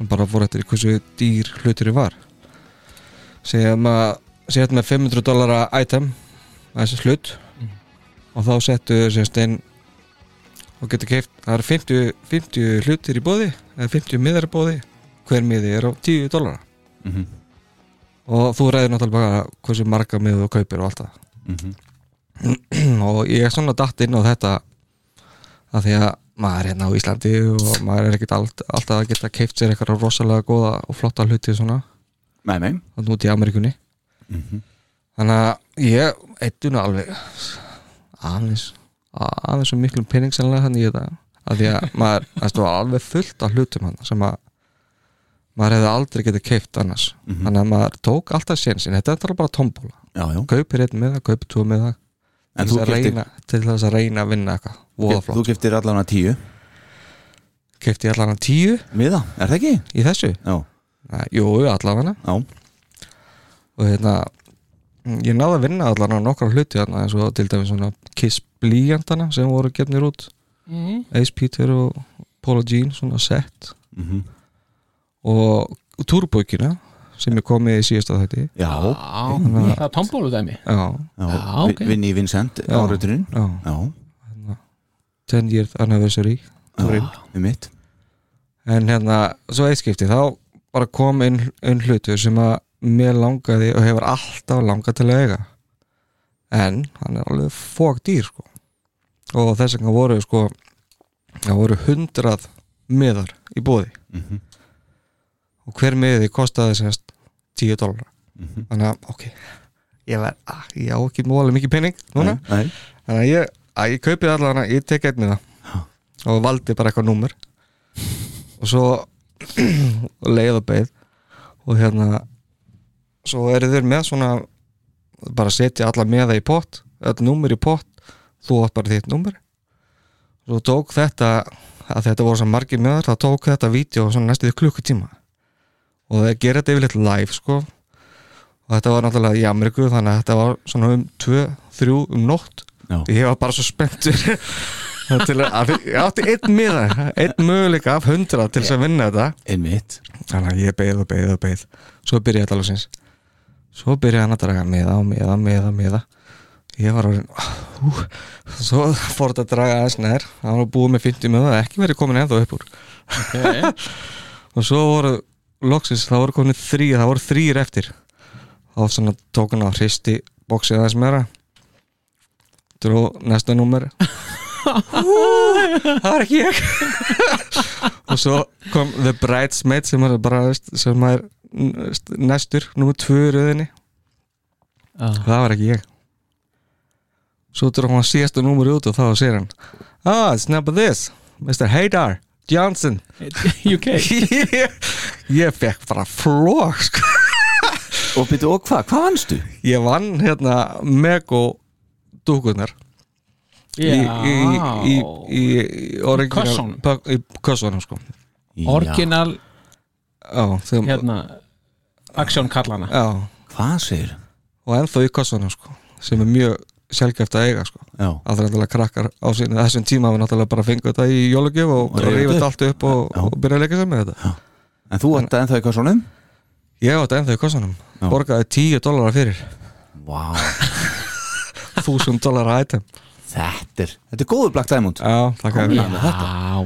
Speaker 6: og bara fór eftir í hversu dýr hlutur var segjum að segjum með 500 dólara item þessi hlut og þá settu sérst einn og getur keift, það eru 50, 50 hlutir í bóði eða 50 miðar í bóði hver miði er á 10 dólara
Speaker 5: mhm,
Speaker 6: og þú reyðir náttúrulega bara hversu marga miðu þú kaupir og allt það
Speaker 5: mhm.
Speaker 6: Hérna, og ég er svona datt inn á þetta að því að maður er hérna á Íslandi og maður er ekkert allt, alltaf að geta keift sér eitthvað rosalega góða og flotta hluti svona
Speaker 5: Nei, nei
Speaker 6: þannig út í Ameríkunni þannig að ég eittu nú alveg aðeins aðeins svo miklu pening sannlega þannig í þetta að því að maður það var alveg fullt af hlutum hann sem að maður hefði aldrei getið keift annars þannig að maður tók alltaf sénsinn þetta er bara tómbóla,
Speaker 5: Já, já
Speaker 6: kaupir einn með það, kaupir tvo með það
Speaker 5: En
Speaker 6: til
Speaker 5: þú
Speaker 6: þess að
Speaker 5: keyptir-
Speaker 6: reyna, til þess að reyna að vinna eitthvað voða
Speaker 5: Þú
Speaker 6: flott,
Speaker 5: keftir allan að tíu
Speaker 6: keipti allan að tíu
Speaker 5: Miða, er það ekki?
Speaker 6: í þessu
Speaker 5: Já,
Speaker 6: Nei, jú, allan hana
Speaker 5: já
Speaker 6: og hérna ég náði að vinna allan á nokkra hluti þarna eins og til dæmis svona Kiss blíjandana sem voru gefnir út Ace Peter og Polo Jean svona sett
Speaker 5: Mhm.
Speaker 6: og turbókina sem ég kom með í síðasta þætti
Speaker 5: Já,
Speaker 7: Á, það er tombólu dæmi
Speaker 6: já,
Speaker 5: já,
Speaker 7: Já, ok.
Speaker 5: Vi- Vinni Vincent
Speaker 6: Já.
Speaker 5: áreiturinn
Speaker 6: já,
Speaker 5: Já,
Speaker 6: 10 year anniversary túrinn.
Speaker 5: við mitt
Speaker 6: en hérna, svo eitt skipti þá bara kom inn, inn hlutur sem að mér langaði og hefur alltaf langað til að eiga en hann er alveg fók dýr sko og þess vegna voru sko það voru hundrað miðar í bóði og hver miði kostaði sérst 10 dólar þannig að ok ég, var, ah, ég á ekki móðalega mikið pening núna
Speaker 5: Nei, nei.
Speaker 6: þannig að ég, að ég kaupið allan að ég tek einn með það og valdi bara eitthvað númer og svo og leið og beið og hérna svo eru þeir með svona bara setja alla með það í pott öll númer í pott, þú átt bara þitt númer svo tók þetta að þetta voru svo margir með það þá tók þetta vídeo svona næstu því klukkutíma og það gera þetta yfirleitt live sko og þetta var náttúrulega í Ameríku þannig að þetta var svona um 2-3 um nótt
Speaker 5: Já.
Speaker 6: ég var bara svo spenntur til að, að ég átti einn miða einn möguleika af 100 til þess að vinna þetta
Speaker 5: Einmitt
Speaker 6: Þannig að ég beið og beið og beið Svo byrjaði þetta alveg sinns Svo byrjaði hann að draga meða og meða, meða, meða Ég var orðin hú, Svo fór þetta að draga aðeins nær Hann var búið með 50 meða Ekki verið komin ennþá upp úr
Speaker 7: okay.
Speaker 6: Og svo voru loksins Það voru komin þrý, það voru þrýr eftir Þá svona tók hann á hristi Boxið aðeins meira Dró næsta númer Það var ekki ég og svo kom The Bridesmaid sem er bara veist, sem er veist, næstur nummer tvö í röðinni
Speaker 7: ah.
Speaker 6: það var ekki ég svo drá hann síðasta númur út og þá segir hann ah, it's not but this Mr. Haydar Johnson
Speaker 7: UK
Speaker 6: ég, ég fekk bara flók sko.
Speaker 5: Og byrju, og hvað, hvað vannstu?
Speaker 6: ég vann hérna Mego dúkunar í, í, í, í, í
Speaker 7: Kössunum.
Speaker 6: orginal- í kössunum sko.
Speaker 7: Orginal
Speaker 6: Já, þeim,
Speaker 7: hérna Aksjón kallana
Speaker 6: já,
Speaker 5: Hvað segir?
Speaker 6: og ennþá í kossunum sko, sem er mjög sjálfgeft að eiga sko.
Speaker 5: Já,
Speaker 6: að það er náttúrulega krakkar á sinni þessum tíma við náttúrulega bara fengið þetta í jólugjöf og,
Speaker 5: Og
Speaker 6: og
Speaker 5: rífa
Speaker 6: rífið
Speaker 5: þetta
Speaker 6: þetta allt upp og,
Speaker 5: Já.
Speaker 6: og byrja að leika sér með þetta
Speaker 5: en þú ætti ennþá í kassunum?
Speaker 6: ég á þetta ennþá í kossunum,
Speaker 5: Já.
Speaker 6: borgaði 10 dólara fyrir
Speaker 5: Vá,
Speaker 6: 1000 dólara item
Speaker 5: þetta er Þetta er góður Black Diamond
Speaker 6: já, það
Speaker 7: Já,
Speaker 6: gæði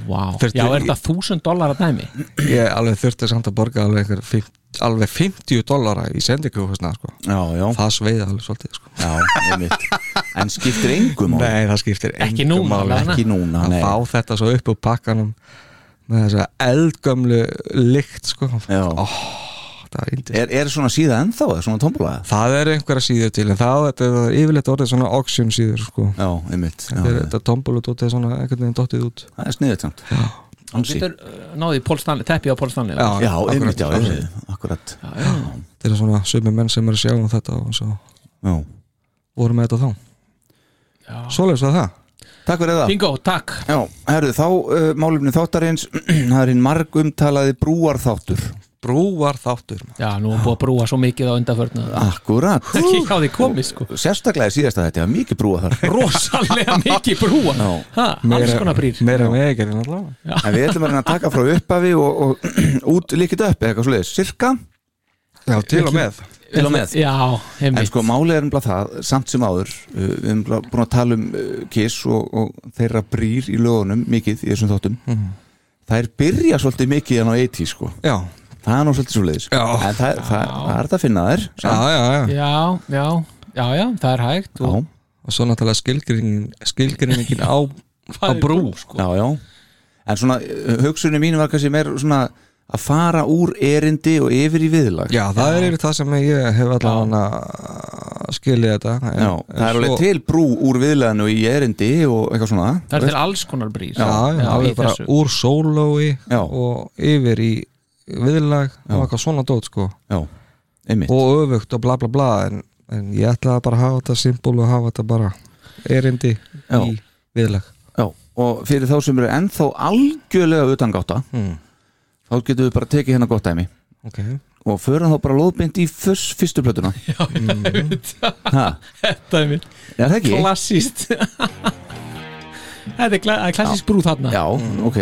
Speaker 7: vá
Speaker 6: Þurfti-
Speaker 7: Já, er þetta þúsund dólar að dæmi?
Speaker 6: ég alveg þurfti samt að borga alveg, einhver fimm- alveg 50 dólara í sendikjófusna sko.
Speaker 5: Já, já,
Speaker 6: það sveiði alveg svolítið sko.
Speaker 5: já, einmitt En skiptir engum á
Speaker 6: nei, það skiptir
Speaker 7: Ekki
Speaker 6: engu
Speaker 7: núna,
Speaker 6: máli.
Speaker 7: allavega.
Speaker 5: Ekki núna,
Speaker 6: að
Speaker 5: nei
Speaker 6: fá þetta svo upp úr pakkanum með þessa eldgömlu lykt sko
Speaker 5: Já.
Speaker 6: það er yndið
Speaker 5: Er, er svona síða ennþá, eða svona tómbulaða?
Speaker 6: það eru einhverja síður til en það þetta er yfirleitt orðið svona auction síður sko
Speaker 5: Já, einmitt já,
Speaker 6: þetta er
Speaker 5: já.
Speaker 6: þetta tomboludótt er svona einhvern veginn dottið út
Speaker 5: Það er sniðut samt Ansi.
Speaker 7: Getur uh, náði í Paul Stanley, teppi á Paul Stanley
Speaker 5: Já, einmitt, já,
Speaker 6: akkurat.
Speaker 5: já, akkurat Já,
Speaker 6: þetta er svona sömu menn sem eru að sjá um þetta og svo voru með þetta þá svoleiðis var það
Speaker 5: Takk fyrir það
Speaker 7: Bingo, takk
Speaker 5: Já, herðu, þá uh, málumni þáttarins Það er hinn margumtalaði brúarþáttur
Speaker 6: brúar þáttur maður.
Speaker 7: Já, nú er búið að brúa svo mikið á undanförna
Speaker 5: Akkurat
Speaker 7: Ekki á því komið sko
Speaker 5: Sérstaklega í síðasta þetta, mikið brúa þar
Speaker 7: Rosalega mikið brúa
Speaker 5: Já.
Speaker 7: ha, Alls konar brýr
Speaker 6: meira meðegjari náttúrulega
Speaker 5: En við ætlum að reyna að taka frá upphafi og, og út líkit upp eða eitthvað svoleiðis, cirka
Speaker 6: já, til og með
Speaker 5: til og með.
Speaker 7: Já,
Speaker 5: En
Speaker 7: einmitt
Speaker 5: sko málið er umlað það, samt sem áður uh, við erum bara búin að tala um uh, Kiss og, og þeirra brýr í lögunum mikið í þessum þóttum
Speaker 6: Mhm.
Speaker 5: Þær byrja svolítið mikið en á 80 sko
Speaker 6: já,
Speaker 5: Það er nú svolítið svoleiðis
Speaker 6: Já.
Speaker 5: En það, það, það er þetta að finna þær
Speaker 6: já, já, já.
Speaker 7: Já, já, já, já, það er hægt
Speaker 5: Já,
Speaker 7: og
Speaker 6: og svo náttúrulega skilgreining, skilgreiningin á, á
Speaker 7: Það er
Speaker 6: brú
Speaker 7: sko
Speaker 5: já, já En svona hugsunni mín var kannski meir svona að fara úr erindi og yfir í viðlag
Speaker 6: já, það er yfir það sem ég hef allavega skilið þetta en,
Speaker 5: Já,
Speaker 6: en
Speaker 5: það er alveg
Speaker 6: svo-
Speaker 5: til brú úr viðleginu í erindi og eitthvað svona
Speaker 7: Það er til alls konar brýr
Speaker 6: já, já,
Speaker 7: í
Speaker 6: alveg bara
Speaker 7: þessu.
Speaker 6: úr sólói
Speaker 5: Já.
Speaker 6: og yfir í viðlag og eitthvað svona dót sko
Speaker 5: Já, einmitt
Speaker 6: og öfugt og bla bla bla en, en ég ætlaði bara að hafa þetta symbol og hafa þetta bara erindi
Speaker 5: Já.
Speaker 6: í viðlag
Speaker 5: Já, og fyrir þá sem eru ennþá algjörlega utangáta
Speaker 6: Mm.
Speaker 5: þá getum við bara tekið hérna gott dæmi
Speaker 6: okay.
Speaker 5: og förum þá bara lóðbind í fyrst, fyrstu plötuna Já,
Speaker 6: Mhm.
Speaker 5: ha,
Speaker 7: Þetta er mér
Speaker 5: er það ekki?
Speaker 7: Klassist Þetta er kla- það er klassísk brú þarna
Speaker 5: Já, ok,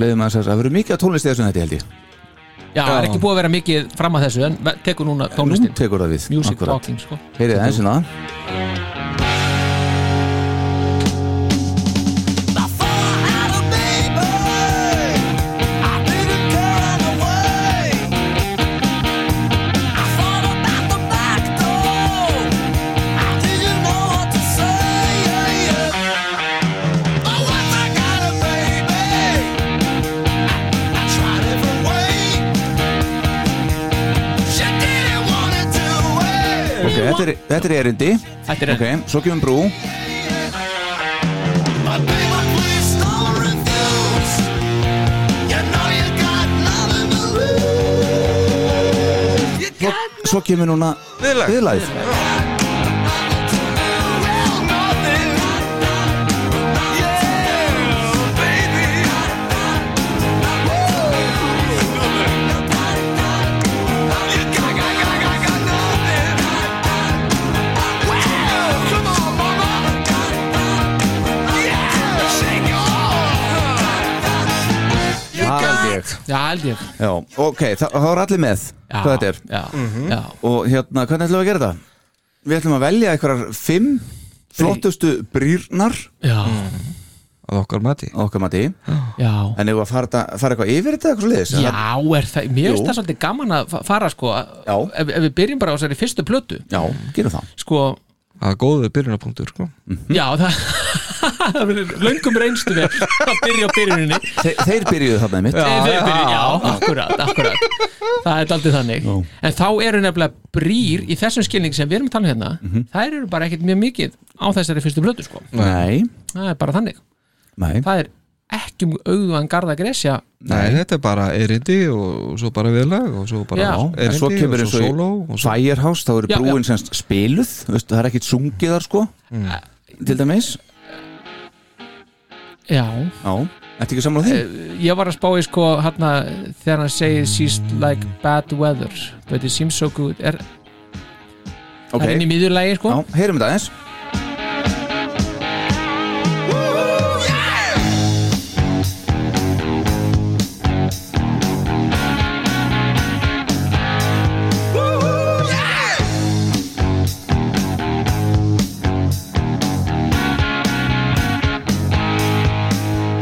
Speaker 5: leiðum að þess að það verður mikið að tónlisti þessum þetta held ég
Speaker 7: Já, það er ekki búið að vera mikið fram að þessu En ve- tekur núna
Speaker 5: Nú
Speaker 7: tónlistin
Speaker 5: tekur það við
Speaker 7: Music
Speaker 5: akkurat.
Speaker 7: talking sko
Speaker 5: Heyrið hérna. það eins og það Ok, þetta er, þetta er erindi
Speaker 7: Þetta er
Speaker 5: Ok, svo kemur brú Svo, svo kemur núna
Speaker 6: Viðlag.
Speaker 5: viðlagið Það held ég
Speaker 7: Já, held ég
Speaker 5: Já, ok, það, það er allir með
Speaker 7: Já,
Speaker 5: hvað þetta er
Speaker 7: Já, já
Speaker 5: og hérna, hvernig ætlum við að gera það? Við ætlum að velja einhverjar fimm flottustu brýrnar
Speaker 7: Já,
Speaker 6: að okkar mati
Speaker 5: á okkar mati Mm. en
Speaker 7: já
Speaker 5: ef við að fara, þetta- fara eitthvað yfir þetta eitthvað sliðis
Speaker 7: Já, er það, mér
Speaker 5: Jú.
Speaker 7: finnst það svolítið gaman að fa- fara sko, að-
Speaker 5: Já.
Speaker 7: ef, ef við byrjum bara á þessari fyrstu plötu
Speaker 5: Já, gerum það
Speaker 7: sko,
Speaker 6: að góðu byrjunapunktur sko.
Speaker 5: Mhm.
Speaker 7: já, það það verður löngum reynstu við að byrja á byrjuninni
Speaker 5: Þe, Þeir byrjuðu þarna einmitt
Speaker 7: já, já, já, akkurat, akkurat það er aldrei þannig en þá eru nefnilega brýr í þessum skilning sem við erum að tala um hérna
Speaker 6: Mhm.
Speaker 7: þær eru bara ekkert mjög mikið á þessari fyrstu plötu sko,
Speaker 5: Nei,
Speaker 7: það er bara þannig
Speaker 5: nei,
Speaker 7: það er ekki um auðan garða gresja
Speaker 6: Nei, þetta er bara erindi og svo bara viðlag og svo bara
Speaker 7: Já.
Speaker 5: en
Speaker 6: erindi
Speaker 5: svo kemur
Speaker 6: og
Speaker 5: eins
Speaker 6: svo
Speaker 5: og
Speaker 6: sóló
Speaker 5: í
Speaker 6: og svo...
Speaker 5: Firehouse, þá eru
Speaker 7: Já,
Speaker 5: brúin semst spiluð veistu, það er ekkit sungið þar sko
Speaker 7: Mm.
Speaker 5: til dæmis,
Speaker 7: já,
Speaker 5: já, ertu ekki samlega því?
Speaker 7: ég var að spá í sko hérna þegar hann segir she's like bad weather but it seems so good er,
Speaker 5: Ok,
Speaker 7: það er inn í miðurlægi sko
Speaker 5: já, heyrum þetta eins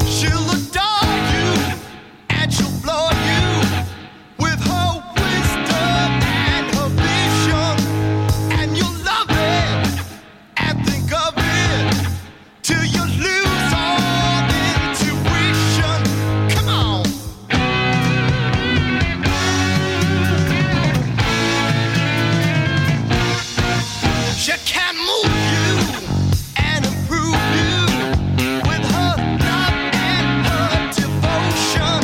Speaker 4: She'll adore you and she'll blow you with her wisdom and her vision. And you'll love it and think of it till you lose all intuition. Come on. She can move you and improve you with her love and her devotion.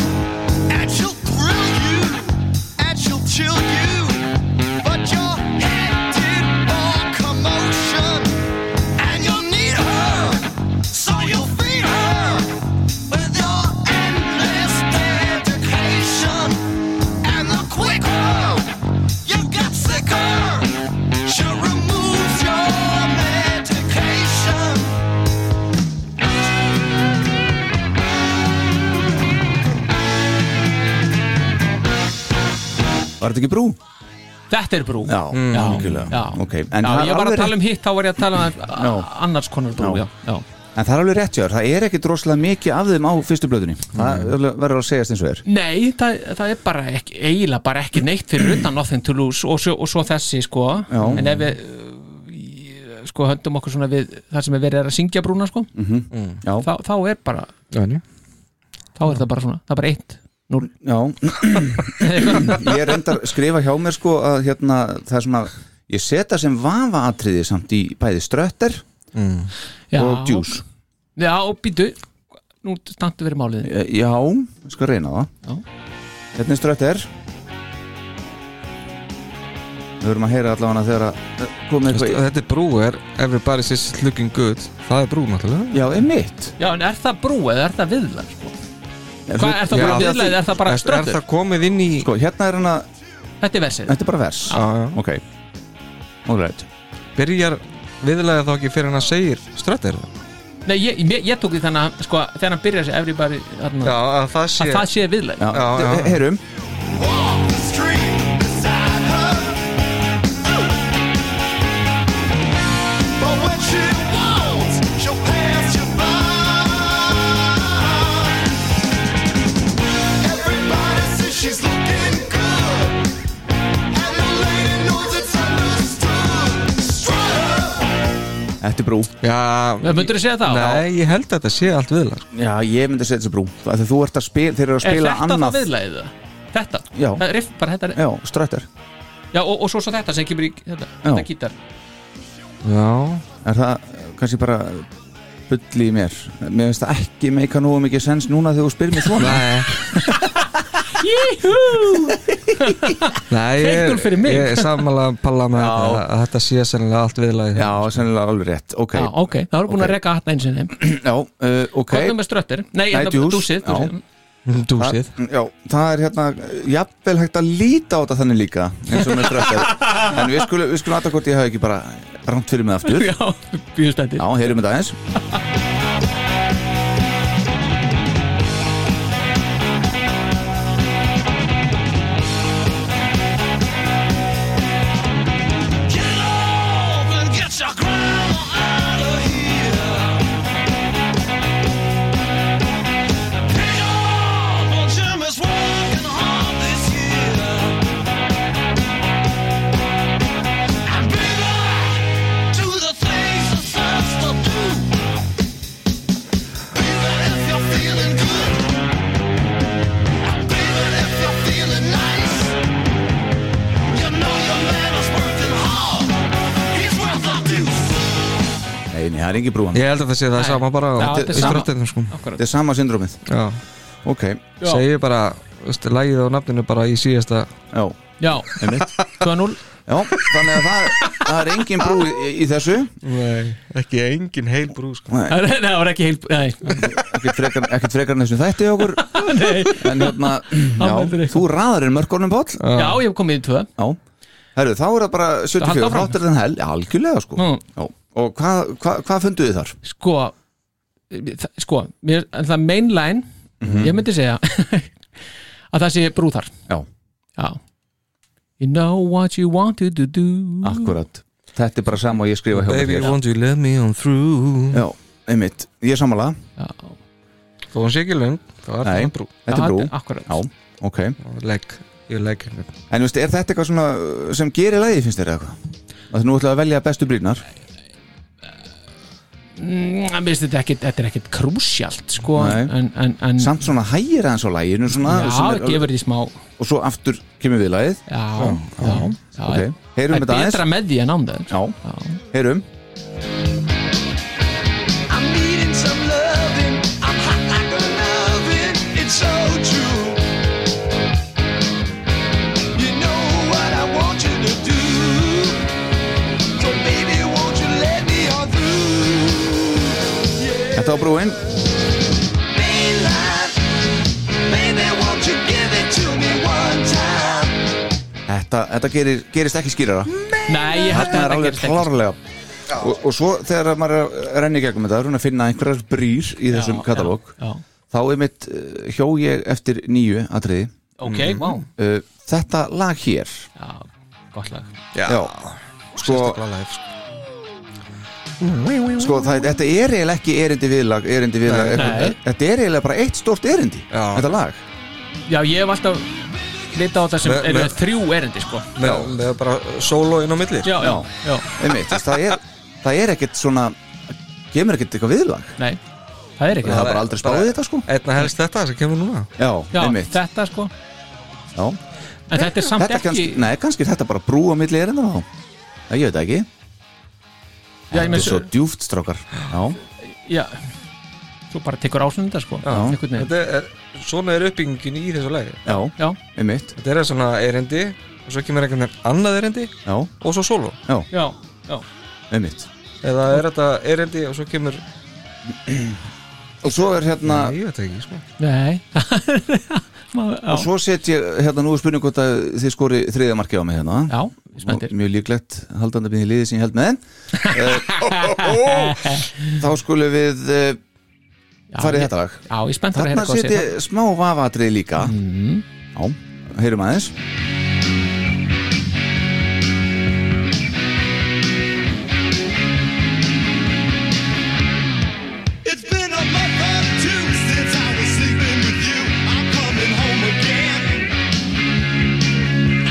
Speaker 4: And she'll thrill you and she'll chill you. But your head did more commotion. And you'll need her, so you'll feed her with your endless dedication. And the quick
Speaker 5: Var þetta ekki brú?
Speaker 7: Þetta er brú
Speaker 5: Já,
Speaker 7: Já,
Speaker 5: Mm. algjörlega.
Speaker 7: já.
Speaker 5: Ok, en
Speaker 7: já,
Speaker 5: það er
Speaker 7: ég var
Speaker 5: alveg
Speaker 7: að tala um hitt, þá var ég að tala um
Speaker 5: Já.
Speaker 7: a- annars konar brú,
Speaker 5: Já.
Speaker 7: já, já.
Speaker 5: En það er alveg rétt hjá þér, það er ekkit rosalega mikið af þeim á fyrstu blöðunni
Speaker 7: Mm.
Speaker 5: Það alveg verður að segjast eins og er
Speaker 7: Nei, það, það er bara ekki, eiginlega bara ekki neitt fyrir utan Nothing to Lose og svo, og svo þessi, sko
Speaker 5: Já.
Speaker 7: en ef við uh, í- sko höndum okkur svona við það sem er verið er að syngja brúna, sko
Speaker 5: Mhm. Já,
Speaker 7: þá, þá er bara,
Speaker 6: Þannig.
Speaker 7: þá er það bara svona, það er bara eitt, núl
Speaker 5: já, ég er reyndar að skrifa hjá mér sko að hérna það er svona Ég seta sem vafaatriði samt í bæði strötter
Speaker 7: já,
Speaker 5: og djús
Speaker 7: Já, og býtu, nú standu verið málið
Speaker 5: Eh, Já, ég skal reyna það
Speaker 7: Já.
Speaker 5: Hérna er strötter Við verum að heyra allavega þegar að eh, komið eitthvað í-
Speaker 6: Þetta er brú er Everybody's is looking good Það er brú náttúrulega
Speaker 5: Já, einmitt
Speaker 7: Já, en er það brú eða er það viðlar, sko Hvað er það
Speaker 6: Já,
Speaker 7: bara
Speaker 6: það-
Speaker 7: viðlar, eða er það bara
Speaker 6: Er, er
Speaker 7: ströndur?
Speaker 6: það komið inn í
Speaker 5: Sko, hérna er hann að
Speaker 7: Þetta er versið
Speaker 5: Þetta er bara vers
Speaker 6: Já, já.
Speaker 5: Ok All right
Speaker 6: Byrjar viðlega þá ekki fyrir hann að segir Ströttir
Speaker 7: Nei, ég, ég, ég tók því þannig að sko, þegar hann byrjar sér everybody þarna,
Speaker 6: Já, að það sé
Speaker 7: að það sé viðlæg
Speaker 5: Já,
Speaker 6: Já, já, já.
Speaker 5: He- heyrum
Speaker 4: Walk the street beside her. But when she walks, she'll pass you by. Everybody says she's looking good. And the lady knows it's understood. Strut her.
Speaker 5: Þetta er brú
Speaker 6: Já,
Speaker 7: Möndurðu segja það?
Speaker 6: Nei, ég held að þetta sé allt sko. viðlega
Speaker 5: Já, ég myndi að setja þessi brú Þegar þú ert að spila Þeir eru að
Speaker 7: Er
Speaker 5: spila
Speaker 7: þetta það
Speaker 5: annað
Speaker 7: viðlægið það? Þetta?
Speaker 5: Já.
Speaker 7: Það er riff bara þetta
Speaker 5: Já, ströttar
Speaker 7: Já, og, og svo svo þetta sem kemur í þetta, þetta gítar
Speaker 6: Já,
Speaker 5: Er það eh, kannski bara Bulli í mér Mér finnst það ekki meika nú mikið sens núna þegar þú spyrir mér svona
Speaker 6: Nei Nei, ég,
Speaker 7: Fengur fyrir mig.
Speaker 6: ég sammála palla með þetta að þetta sé sennilega allt viðlagi
Speaker 5: Já, sennilega alveg rétt Ok,
Speaker 7: Já,
Speaker 5: já,
Speaker 7: ok, það voru búin að reka hatna eins og þeim
Speaker 5: uh, ok
Speaker 7: Komum með ströttir Nei,
Speaker 5: Nei,
Speaker 7: hérna,
Speaker 5: djús.
Speaker 7: dúsið, dúsið.
Speaker 5: Já.
Speaker 6: Dúsið
Speaker 5: Já, það er hérna eh, Jafnvel hægt að líta á þetta þannig líka eins og með ströttar En við skulum, við skulum aðtakort ég hafi ekki bara Rangt fyrir mig aftur
Speaker 7: Já, býðust
Speaker 5: Já,
Speaker 7: þetta
Speaker 5: heyrum þetta aðeins
Speaker 8: Get off and get your ground out of here. Pick up on Jimmy's working hard this year. And be back to the things that serves to do. Baby, if you're feeling good. And baby, if you're feeling nice. You know your man is working hard. He's worth a deuce.
Speaker 5: Nei, nei, það er ekki brúan
Speaker 6: Ég held að það sé það
Speaker 7: Nei.
Speaker 6: sama bara
Speaker 7: Já,
Speaker 6: á-
Speaker 7: þetta er
Speaker 6: í
Speaker 7: sama.
Speaker 6: ströttirnum sko
Speaker 5: Þetta er sama syndrómið
Speaker 6: Já,
Speaker 5: Ok,
Speaker 7: Já.
Speaker 6: segir bara veist, lagið á nafninu bara í síðasta
Speaker 5: já
Speaker 7: Já,
Speaker 5: Einmitt.
Speaker 7: 2-0
Speaker 5: Já, þannig að það, það er engin brú í, í þessu
Speaker 6: Nei, ekki engin heil brú sko
Speaker 5: Nei,
Speaker 7: Nei, það var ekki heil Nei,
Speaker 5: ekkert frekar, ekkert frekar en þessum þætti hjá okkur
Speaker 7: nei
Speaker 5: En hérna,
Speaker 7: heldur
Speaker 5: já,
Speaker 7: eitthvað.
Speaker 5: þú raðar en mörgónum Páll
Speaker 7: Já, ég hef komið í tvö
Speaker 5: Já, herru, þá er það bara
Speaker 7: Halda
Speaker 5: 74,
Speaker 7: áfram.
Speaker 5: þáttir þenn hel Já, algjörlega sko
Speaker 7: Mm.
Speaker 5: já. Og hvað hva, hva funduð þið þar?
Speaker 7: sko það, sko, mér, en það mainline
Speaker 5: Mhm.
Speaker 7: ég myndi segja að það sé brúðar
Speaker 5: Já,
Speaker 7: já. you know what you want to do, do.
Speaker 5: Ah. akkurat Þetta er bara sama og ég skrifa hjá mér
Speaker 6: Baby,
Speaker 5: hér.
Speaker 6: won't you let me on through
Speaker 5: Já, einmitt, ég er sammála
Speaker 7: Já.
Speaker 6: Þó hún sé ekki löng, þá
Speaker 5: Nei,
Speaker 6: er það brú
Speaker 5: þetta er brú
Speaker 7: akkurat.
Speaker 5: Já, ok
Speaker 6: Legg, ég legg hérna. henni
Speaker 5: En veistu, er þetta eitthvað svona uh, sem gerir lagi, finnst þér eða eitthvað? Að nú ætlaðu að velja bestu brýnar
Speaker 7: Mm, mér finnst þetta ekkit, þetta er ekkit krúsjalt sko,
Speaker 5: Nei.
Speaker 7: en, en, en
Speaker 5: Samt svona hægir aðeins á laginu svona,
Speaker 7: já,
Speaker 5: sem er
Speaker 7: það gefur því smá
Speaker 5: og svo aftur kemur við lagið
Speaker 7: já, já, já,
Speaker 5: ok, heyrum
Speaker 7: það er
Speaker 5: þetta aðeins
Speaker 7: betra með því en án það
Speaker 5: já, heyrum
Speaker 4: I'm needing some loving. I'm hot like an oven. It's so true. You know what I want you to do. So baby, won't you let me on through? Yeah.
Speaker 5: þetta var brúinn
Speaker 4: Mainline. Baby, won't you give it to me one time?
Speaker 5: þetta, þetta gerir, gerist ekki skýrara
Speaker 7: nei, ég
Speaker 5: þetta er
Speaker 7: held að þetta
Speaker 5: alveg
Speaker 7: gerist sko. ekki
Speaker 5: klárlega og, og svo þegar maður er að renna í gegnum þetta er hún að finna einhverjar brýr í þessum
Speaker 7: Já,
Speaker 5: katalóg
Speaker 7: já, já.
Speaker 5: eh, þá er mitt hjó ég eftir nýju atriði
Speaker 7: ok, wow
Speaker 5: uh, þetta lag hér
Speaker 7: já, gott lag
Speaker 5: Já. sko,
Speaker 6: Sérstaklega live, sko.
Speaker 5: sko það, þetta er eiginlega ekki erindi viðlag, erindi viðlag
Speaker 6: Nei.
Speaker 5: eitthvað-
Speaker 7: Nei.
Speaker 5: þetta er eiginlega bara eitt stórt erindi
Speaker 6: Já.
Speaker 5: þetta lag
Speaker 7: já, ég hef alltaf lita á þessum
Speaker 6: Me-
Speaker 7: eru
Speaker 6: me-
Speaker 7: þrjú erindi sko
Speaker 6: Með, með bara solo inn á milli sko.
Speaker 7: já, já, já,
Speaker 5: Einmitt, þess, það, er, það er ekkert svona kemur ekkert eitthvað viðlag
Speaker 7: nei það er ekki
Speaker 5: það
Speaker 7: það
Speaker 5: er bara aldrei spáðið þetta sko
Speaker 6: Einna helst þetta sem kemur núna
Speaker 5: já,
Speaker 7: já,
Speaker 5: einmitt
Speaker 7: þetta sko
Speaker 5: já.
Speaker 7: en þetta er samt
Speaker 5: þetta kannski,
Speaker 7: ekki
Speaker 5: nei, kannski þetta bara brú á milli erindan þá Nei, ég veit það ekki
Speaker 7: já, ég
Speaker 5: þetta er
Speaker 7: með
Speaker 5: svo djúft strákar já,
Speaker 7: já, svo bara tekur ásnunda sko
Speaker 5: Já.
Speaker 7: einhvern veginn
Speaker 6: Þetta er, svona er uppbyggingin í þessu lagi
Speaker 5: já,
Speaker 7: já,
Speaker 5: einmitt
Speaker 6: Þetta er svona erindi og svo kemur einhvern veginn annað erindi
Speaker 5: já,
Speaker 6: og svo solo
Speaker 7: já, já
Speaker 5: einmitt
Speaker 6: eða er þetta erindi og svo kemur
Speaker 5: og svo er hérna
Speaker 6: Nei, ég veit það ekki sko.
Speaker 7: nei Maður-
Speaker 5: og
Speaker 7: já,
Speaker 5: svo set ég hérna nú er spurning hvort að þið skori þriðja marki á mig hérna
Speaker 7: já, spenntir
Speaker 5: mjög líklegt haldandi býðin í liði sem ég held með Eh, en uh, þá skulum við uh, farið í þetta lag
Speaker 7: já, ég spenntir að
Speaker 5: þarna
Speaker 7: hérna hvað
Speaker 5: set
Speaker 7: sér
Speaker 5: ég smá vafatrið líka
Speaker 7: Mhm.
Speaker 5: já, heyrum aðeins
Speaker 4: It's been a month or two since I was sleeping with you. I'm coming home again.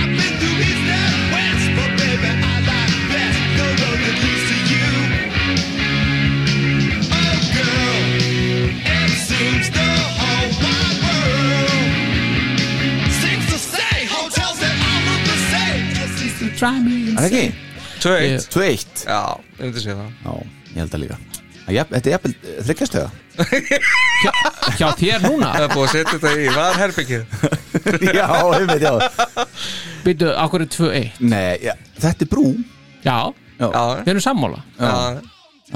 Speaker 4: I've been through east and west, but baby, I like best the road that leads to you. Oh, girl, it seems the whole wide world seems to say hotels that all look the same. Just east and
Speaker 7: try me
Speaker 5: er það ekki?
Speaker 6: Tvö eitt
Speaker 5: 2-1
Speaker 6: Já, ég myndi segja það
Speaker 5: já, ég held það líka Að jafn- þetta er jafnvel þryggjastuða
Speaker 7: hjá þér núna
Speaker 6: Það er búið að setja þetta í varherbyggið
Speaker 5: já, einmitt, já
Speaker 7: byrju, okkur er 2-1
Speaker 5: Nei, já, þetta er brú
Speaker 7: já,
Speaker 6: Já,
Speaker 7: við erum sammála
Speaker 6: já,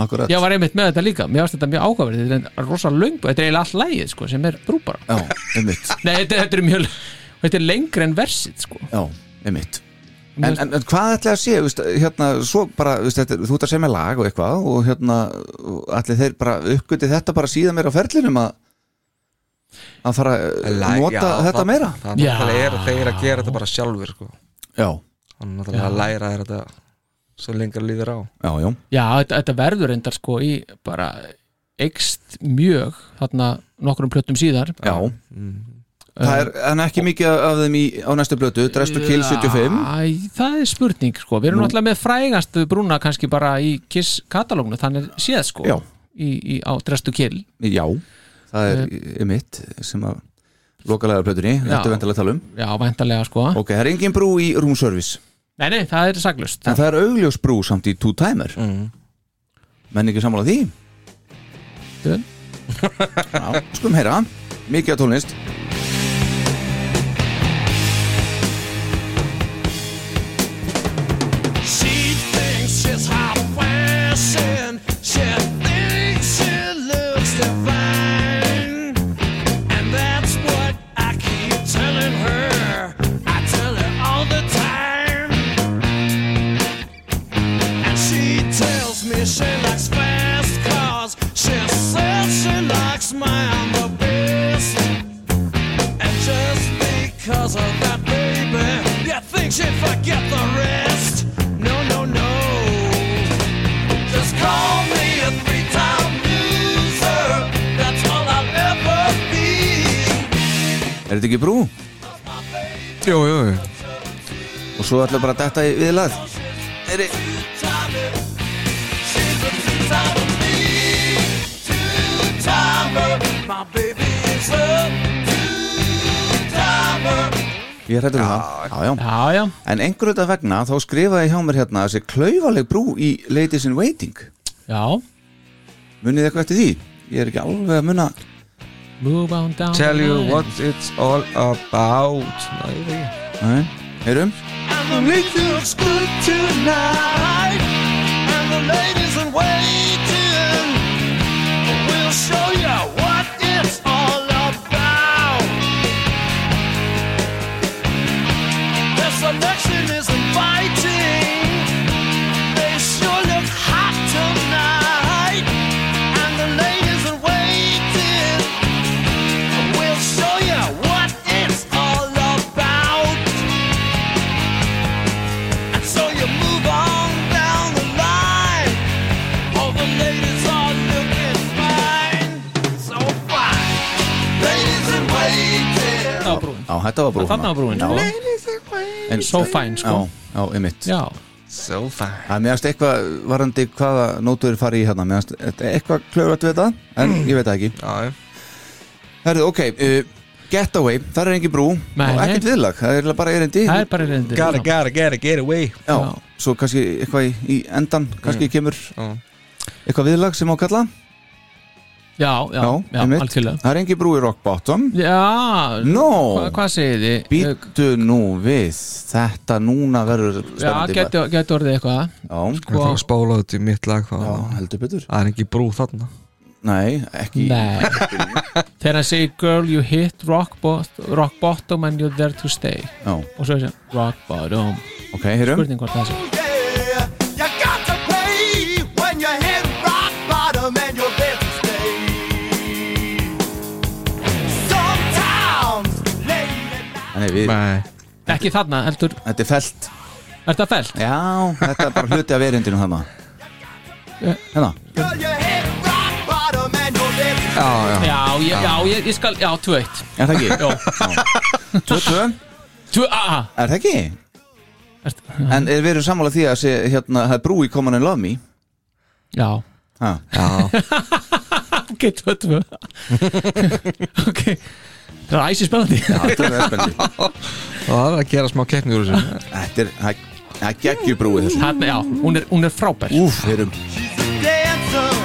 Speaker 5: akkurat
Speaker 7: ég var einmitt með þetta líka, mér varst þetta mjög áhugaverð þetta er rosa löng, þetta er eiginlega allt lægið sko, sem er brúbara
Speaker 5: já, einmitt
Speaker 7: nei, þetta, þetta er mjög þetta er lengri en versið sko.
Speaker 5: já, einmitt En, en, en hvað ætlaði að sé, veist, hérna, svo bara, veist, þetta, þú ert að segja með lag og eitthvað og hérna, og allir þeir bara uppgöti þetta bara síðan meira á ferlinum að að fara að
Speaker 6: Læ-
Speaker 5: nota
Speaker 6: já,
Speaker 5: þetta
Speaker 6: það-
Speaker 5: meira
Speaker 7: Já.
Speaker 6: Það náttúrulega er þeir að gera þetta bara sjálfur sko.
Speaker 5: Já,
Speaker 6: Þannig náttúrulega að læra þeir þetta svo lengra líður á
Speaker 5: já, já,
Speaker 7: já, þetta, þetta verður reyndar sko í bara ekst mjög þarna nokkrum plötum síðar
Speaker 5: já. Það er en ekki mikið af þeim í, á næstu blötu, Drest og Kill 75
Speaker 7: Æ, það er spurning sko, við erum náttúrulega með frægastu brúna kannski bara í Kiss katalógnu, þannig séð sko
Speaker 5: Já.
Speaker 7: í, í, á Dress to Kill
Speaker 5: Já, það er uh, mitt sem að lokalega plötunni,
Speaker 7: Eh. Já.
Speaker 5: þetta er vendalega tala um
Speaker 7: já, væntanlega sko,
Speaker 5: Ok, það er engin brú í Room Service
Speaker 7: nei, nei, það er saglust
Speaker 5: en það er augljós brú samt í Two Timer mm. menn ekki sammála því?
Speaker 7: Dun.
Speaker 5: Já, skulum heyra mikið að tónlist
Speaker 4: She thinks she's hot fashion. She thinks she looks divine. And that's what I keep telling her. I tell her all the time. And she tells me she likes fast cars. She says she likes mine the best. And just because of that, baby, you think she'd forget the rest? No, no, no. Just call me a three-time loser. That's all I'll ever be.
Speaker 5: er þetta ekki brú?
Speaker 6: Jú, jú, jú
Speaker 5: og svo ætla bara að detta í viðlað ég er hættur um það já, já.
Speaker 7: já, já,
Speaker 5: en einhverjum þetta vegna þá skrifaði hjá mér hérna þessi klaufaleg brú í Ladies in Waiting
Speaker 7: já
Speaker 5: munið þið eitthvað eftir því? ég er ekki alveg að muna
Speaker 7: Move on down
Speaker 6: Tell
Speaker 7: the
Speaker 6: you
Speaker 7: line.
Speaker 6: what it's all about Nei, ég veit ekki
Speaker 5: Nei, heyrum
Speaker 4: And the meat looks good tonight. And the ladies in waiting will show you what it's all about. The selection is inviting. They sure look hot tonight. And the ladies in waiting will show you what it's all about.
Speaker 5: þetta var brúin
Speaker 7: Þarna var brúin, sko.
Speaker 5: En-
Speaker 7: So fine, sko.
Speaker 5: Já, já, einmitt
Speaker 7: Já,
Speaker 6: So fine
Speaker 5: Það er meðast eitthvað varandi hvaða nótur fari í hérna meðast eitthvað klörat við þetta en ég veit það ekki
Speaker 6: Já, já.
Speaker 5: Herðu, ok, uh, Getaway, þar er engin brú
Speaker 7: Nei.
Speaker 5: og ekkert viðlag, það er eiginlega bara erindi
Speaker 7: það er bara sko. reyndir
Speaker 6: gotta, gotta, gotta get away
Speaker 5: já,
Speaker 7: já.
Speaker 5: svo kannski eitthvað í, í endan kannski kemur
Speaker 6: Já.
Speaker 5: eitthvað viðlag sem á að kalla
Speaker 7: Já, já,
Speaker 5: Já,
Speaker 7: já,
Speaker 5: einmitt.
Speaker 7: algjörlega
Speaker 5: Það er engin brú í Rock Bottom
Speaker 7: Já,
Speaker 5: No.
Speaker 7: hva, hvað segir þið?
Speaker 5: Býtu nú við Þetta núna verður
Speaker 7: Já, Sko,
Speaker 5: spennandi
Speaker 7: getur get orðið eitthvað
Speaker 5: Já,
Speaker 6: Ég þarf að spála þetta í mitt lag hvað
Speaker 5: já,
Speaker 6: var það?
Speaker 5: heldur betur
Speaker 6: Það er ekki brú þarna
Speaker 5: Nei, ekki
Speaker 7: Nei Þegar hann segir Girl, you hit rock, bot rock bottom and you're there to stay
Speaker 5: Já,
Speaker 7: Og svo er þessi Rock bottom
Speaker 5: ok, heyrum
Speaker 7: Spurning hvort það sé
Speaker 4: Oh, Yeah, you got to pay when you hit rock bottom and you're there to stay. Sometimes late at night.
Speaker 5: Nei, við,
Speaker 6: Nei
Speaker 7: Ekki þarna, heldur,
Speaker 5: Þetta er felt
Speaker 7: er það felt?
Speaker 5: Já, þetta er bara hluti af erindinu þarna
Speaker 7: Eh.
Speaker 5: Hérna,
Speaker 4: Girl, you hit rock bottom and you're there to
Speaker 6: Já, já
Speaker 7: Já, ég, já, ég, ég skal, já, 2-1
Speaker 5: er það ekki?
Speaker 7: Jó,
Speaker 5: Tvö, tvö,
Speaker 7: 2-a
Speaker 5: er það ekki?
Speaker 7: Ert-
Speaker 5: En er við erum sammála því að sé, hérna, það er brú í Common and Love Me
Speaker 7: Já,
Speaker 5: ha.
Speaker 6: Já,
Speaker 7: ok, 2-2 Ok Það er æsi spennandi
Speaker 5: Þetta er spennandi
Speaker 6: og það er að gera smá keppni úr þessu
Speaker 5: Þetta er, það- það geggju brú í þessu
Speaker 7: Þarna, já, hún er, hún er frábær
Speaker 5: Úf, heyrum
Speaker 4: She's a dancer,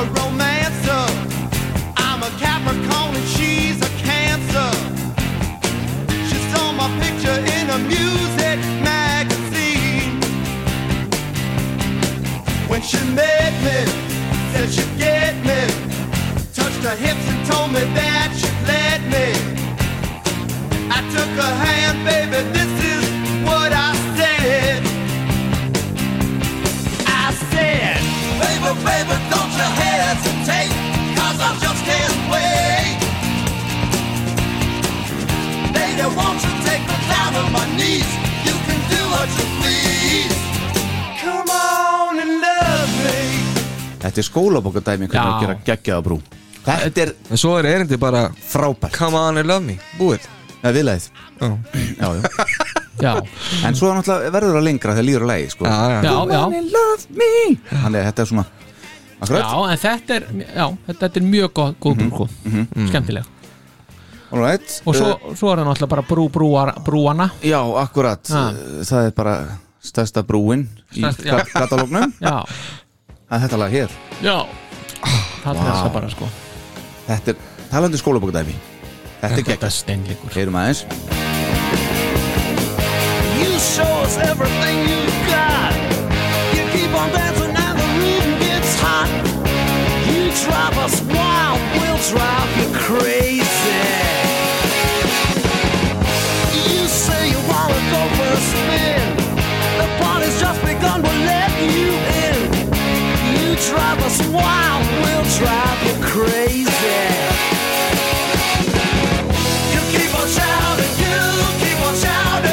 Speaker 4: a romancer. I'm a Capricorn and she's a Cancer. She saw my picture in a music magazine. When she met me, said she'd get me. Touched her hips and told me that she'd let me. I took her hand, baby, this is what I said. I said, Baby, baby, don't you hesitate, cause I just can't wait. Lady, won't you take me down on my knees? You can do what you please. Come on and love me.
Speaker 5: Þetta er skólabokadæmi hvernig
Speaker 7: Já.
Speaker 5: að gera geggjaða brú Þetta er
Speaker 6: En svo er erindi bara
Speaker 5: frábært
Speaker 6: Come on and love me Búið
Speaker 5: Það er viðlæðið
Speaker 6: Já,
Speaker 5: já, já.
Speaker 7: Já,
Speaker 5: En svo náttúrulega verður það lengra þegar líður að lægi sko.
Speaker 6: já, já.
Speaker 7: já, já
Speaker 5: love me Þannig að þetta er svona Akkurat,
Speaker 7: Já, en þetta er, já, þetta, þetta er mjög góð, góð brú, sko, skemmtileg
Speaker 5: alright Eh,
Speaker 7: og svo, svo er það náttúrulega bara brú, brúar, brúana
Speaker 5: Já, akkurat Eh,
Speaker 7: Ha.
Speaker 5: Það er bara stærsta brúin í
Speaker 7: Stærsta- já.
Speaker 5: ka- katalógnum
Speaker 7: já,
Speaker 5: Það er þetta lag hér
Speaker 7: já það er þess að bara, sko
Speaker 5: Þetta er talandi skólabokadæmi Þetta er
Speaker 7: þetta
Speaker 5: geggjast
Speaker 7: er steinleikur
Speaker 5: Heyrum aðeins
Speaker 4: You show us everything you've got. You keep on dancing and the room gets hot. You drive us wild, we'll drive you crazy. You say you wanna go for a spin. The party's just begun, we'll let you in. You drive us wild, we'll drive you crazy. You keep on shouting, you keep on shouting.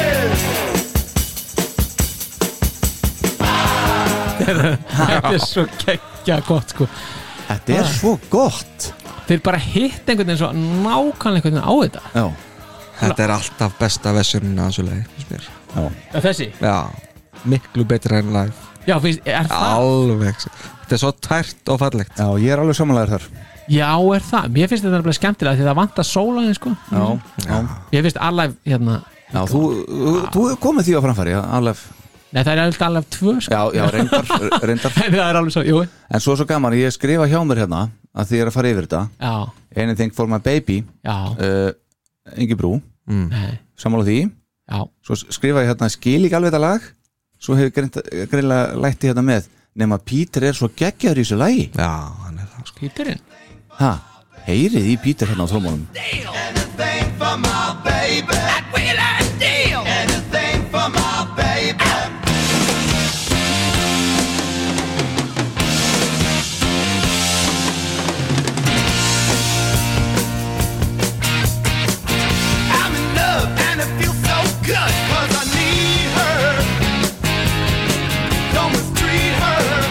Speaker 7: þetta er svo geggja gott, sko
Speaker 5: Þetta er svo gott
Speaker 7: þeir bara hitt einhvern veginn svo nákvæmlega einhvern veginn á þetta
Speaker 5: Já,
Speaker 6: Þetta er alltaf besta versjónin að þessu lagi finnst mér.
Speaker 5: já,
Speaker 7: já, þessi,
Speaker 6: Já Miklu betra en live
Speaker 7: já, finnst, er það
Speaker 6: Alveg Þetta er svo tært og fallegt
Speaker 5: já ég er alveg samanlegar þar
Speaker 7: já, er það, mér finnst þetta nefnilega skemmtilega því það vantar sólaðin, sko
Speaker 5: Já, já, Ah.
Speaker 7: ég finnst alveg, hérna
Speaker 5: já þú, þú hefur komið því á framfæri já, alveg,
Speaker 7: nei, það er alveg tvö, sko
Speaker 5: já, já, reyndar, reyndar
Speaker 7: en það er alveg svo, jú,
Speaker 5: En svo er svo gaman, ég skrifa hjá mér hérna að því ég er að fara yfir þetta
Speaker 7: já,
Speaker 5: Anything for my baby
Speaker 7: já,
Speaker 5: uh, Ingi Brú,
Speaker 6: Mm.
Speaker 7: nei,
Speaker 5: sammála því
Speaker 7: já
Speaker 5: Svo skrifa ég hérna skil ekki alveg þetta lag Svo hefur greint- greinlega lætti hérna með Nefn að Pítur er svo geggjaður í þessu lagi
Speaker 6: Já, hann er það sko
Speaker 7: Píturinn,
Speaker 5: Ha, heyrið í Pítur hérna á þrómónum
Speaker 4: Anything for my baby. That wheel and deal. Anything for my baby. I'm in love and it feels so good 'cause I need her. Don't mistreat her.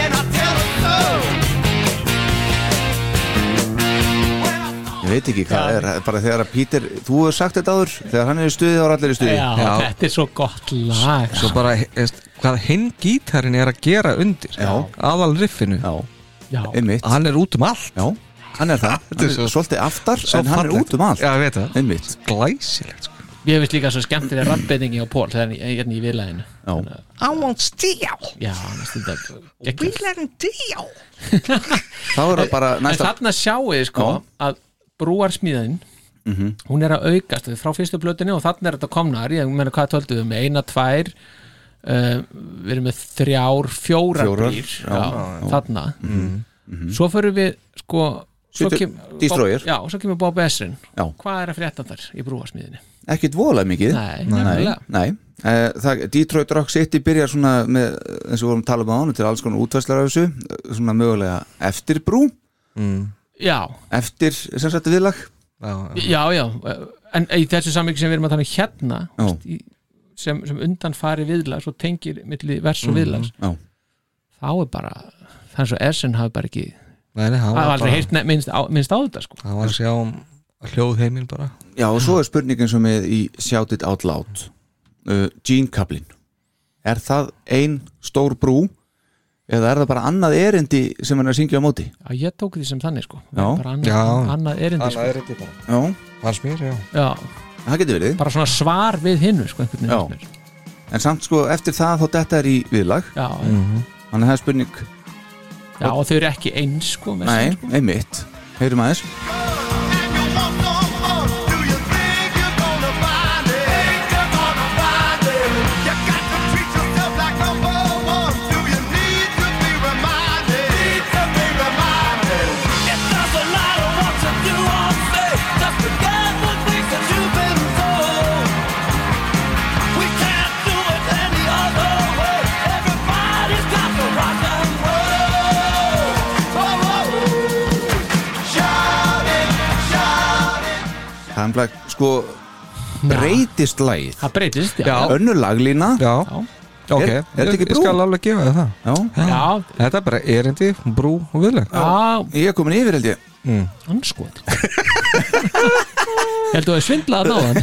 Speaker 4: And I tell her so.
Speaker 5: Ég veit veit ekki hvað
Speaker 7: Já.
Speaker 5: er bara þegar að Pítur, þú hefur sagt þetta áður þegar hann er í stuði þá er allir í stuði
Speaker 7: já,
Speaker 6: Já.
Speaker 7: þetta er svo gott lag
Speaker 6: Svo bara, veist, hvað hinn gítarinn er að gera undir
Speaker 5: Já.
Speaker 6: Aðal riffinu
Speaker 5: Já,
Speaker 7: já,
Speaker 5: einmitt
Speaker 6: Hann er út um allt
Speaker 5: Já, hann er það Hann er
Speaker 6: svo-
Speaker 5: svolítið aftar
Speaker 6: Svo
Speaker 5: en hann er
Speaker 6: fallegt.
Speaker 5: út um allt
Speaker 6: Já, ég veit það
Speaker 5: Einmitt
Speaker 6: Glæsilegt sko.
Speaker 7: ég finnst líka svo skemmtilega rappbeitingi á Pól þegar hann- hérna í viðlæðinu
Speaker 5: Já,
Speaker 6: I won't steal
Speaker 7: já, hann er stundar geggjað.
Speaker 6: him deal
Speaker 5: þá er það bara
Speaker 7: en
Speaker 5: næsta
Speaker 7: þarna sjáu þið sko
Speaker 5: Já. Mhm.
Speaker 7: að brúarsmíðin hún er að aukast frá fyrstu blötunni og þarna er þetta komnar ég meina hvað töldu við með eina, tvær uh, við erum með þrjár, fjórar,
Speaker 5: Fjórar,
Speaker 7: brýr
Speaker 5: já, Mhm,
Speaker 7: þarna svo förum við sko svo
Speaker 5: Sýttu-
Speaker 7: kem-
Speaker 5: Destroyer.
Speaker 7: já, svo kemur Bob Esrin
Speaker 5: Já.
Speaker 7: hvað er að frétta þar í brúarsmíðinni?
Speaker 5: Ekkit voðalega mikið
Speaker 7: Nei,
Speaker 5: Nei,
Speaker 7: nefnilega
Speaker 5: nei. Eh, Það, Detroit Rock City byrjar svona með, eins og við vorum að tala um á hann til alls konar útvæslar af þessu, eh, svona mögulega eftir brú,
Speaker 7: já,
Speaker 5: eftir sem sagt viðlag
Speaker 7: já, já en í þessu samvík sem við erum að tala um hérna
Speaker 5: Já.
Speaker 7: veist, í- sem, sem undan fari viðlags og tengir milli vers og viðlags
Speaker 5: Mm, Já.
Speaker 7: þá er bara það er svo Ersen hafi bara ekki
Speaker 6: Nei, nei, hann
Speaker 7: hafi
Speaker 6: var
Speaker 7: aldrei
Speaker 6: bara
Speaker 7: heyrt neitt minnst, á- minnst á þetta sko.
Speaker 6: Hann var að sjá um hljóðheiminn bara
Speaker 5: Já, og svo er spurningin sem er í Shout It Out Loud uh, Gene Kaplin Er það ein stór brú eða er það bara annað erindi sem hann er að syngja á móti?
Speaker 7: já, ég tók því sem þannig sko.
Speaker 5: Já.
Speaker 7: bara annað,
Speaker 6: Já.
Speaker 7: annað erindi sko.
Speaker 6: er þetta bara
Speaker 5: Já,
Speaker 6: Hans mér, já
Speaker 7: já,
Speaker 5: það getur verið
Speaker 7: bara svona svar við hinnu sko, einhvern
Speaker 5: Já.
Speaker 7: veginn, finnst mér.
Speaker 5: En samt sko, eftir það þá detta er í viðlag
Speaker 7: já,
Speaker 5: Mm. Þannig að það er spurning,
Speaker 7: já, og þau eru ekki eins sko, með
Speaker 5: nei,
Speaker 7: sér, sko.
Speaker 5: einmitt Heyrum aðeins Það er umlega, sko, breytist lagið
Speaker 7: það breytist já,
Speaker 6: Já.
Speaker 5: Önnur laglína
Speaker 6: Já,
Speaker 7: já.
Speaker 6: ok
Speaker 5: Er- er þetta ekki
Speaker 6: Ég-
Speaker 5: brú?
Speaker 6: Ég skal alveg gefa þér það
Speaker 5: Já,
Speaker 7: Já,
Speaker 6: Þetta er bara erindi, brú og viðleg
Speaker 7: já,
Speaker 5: ég er komin yfir held ég
Speaker 7: anskot heldur að svindla að náðan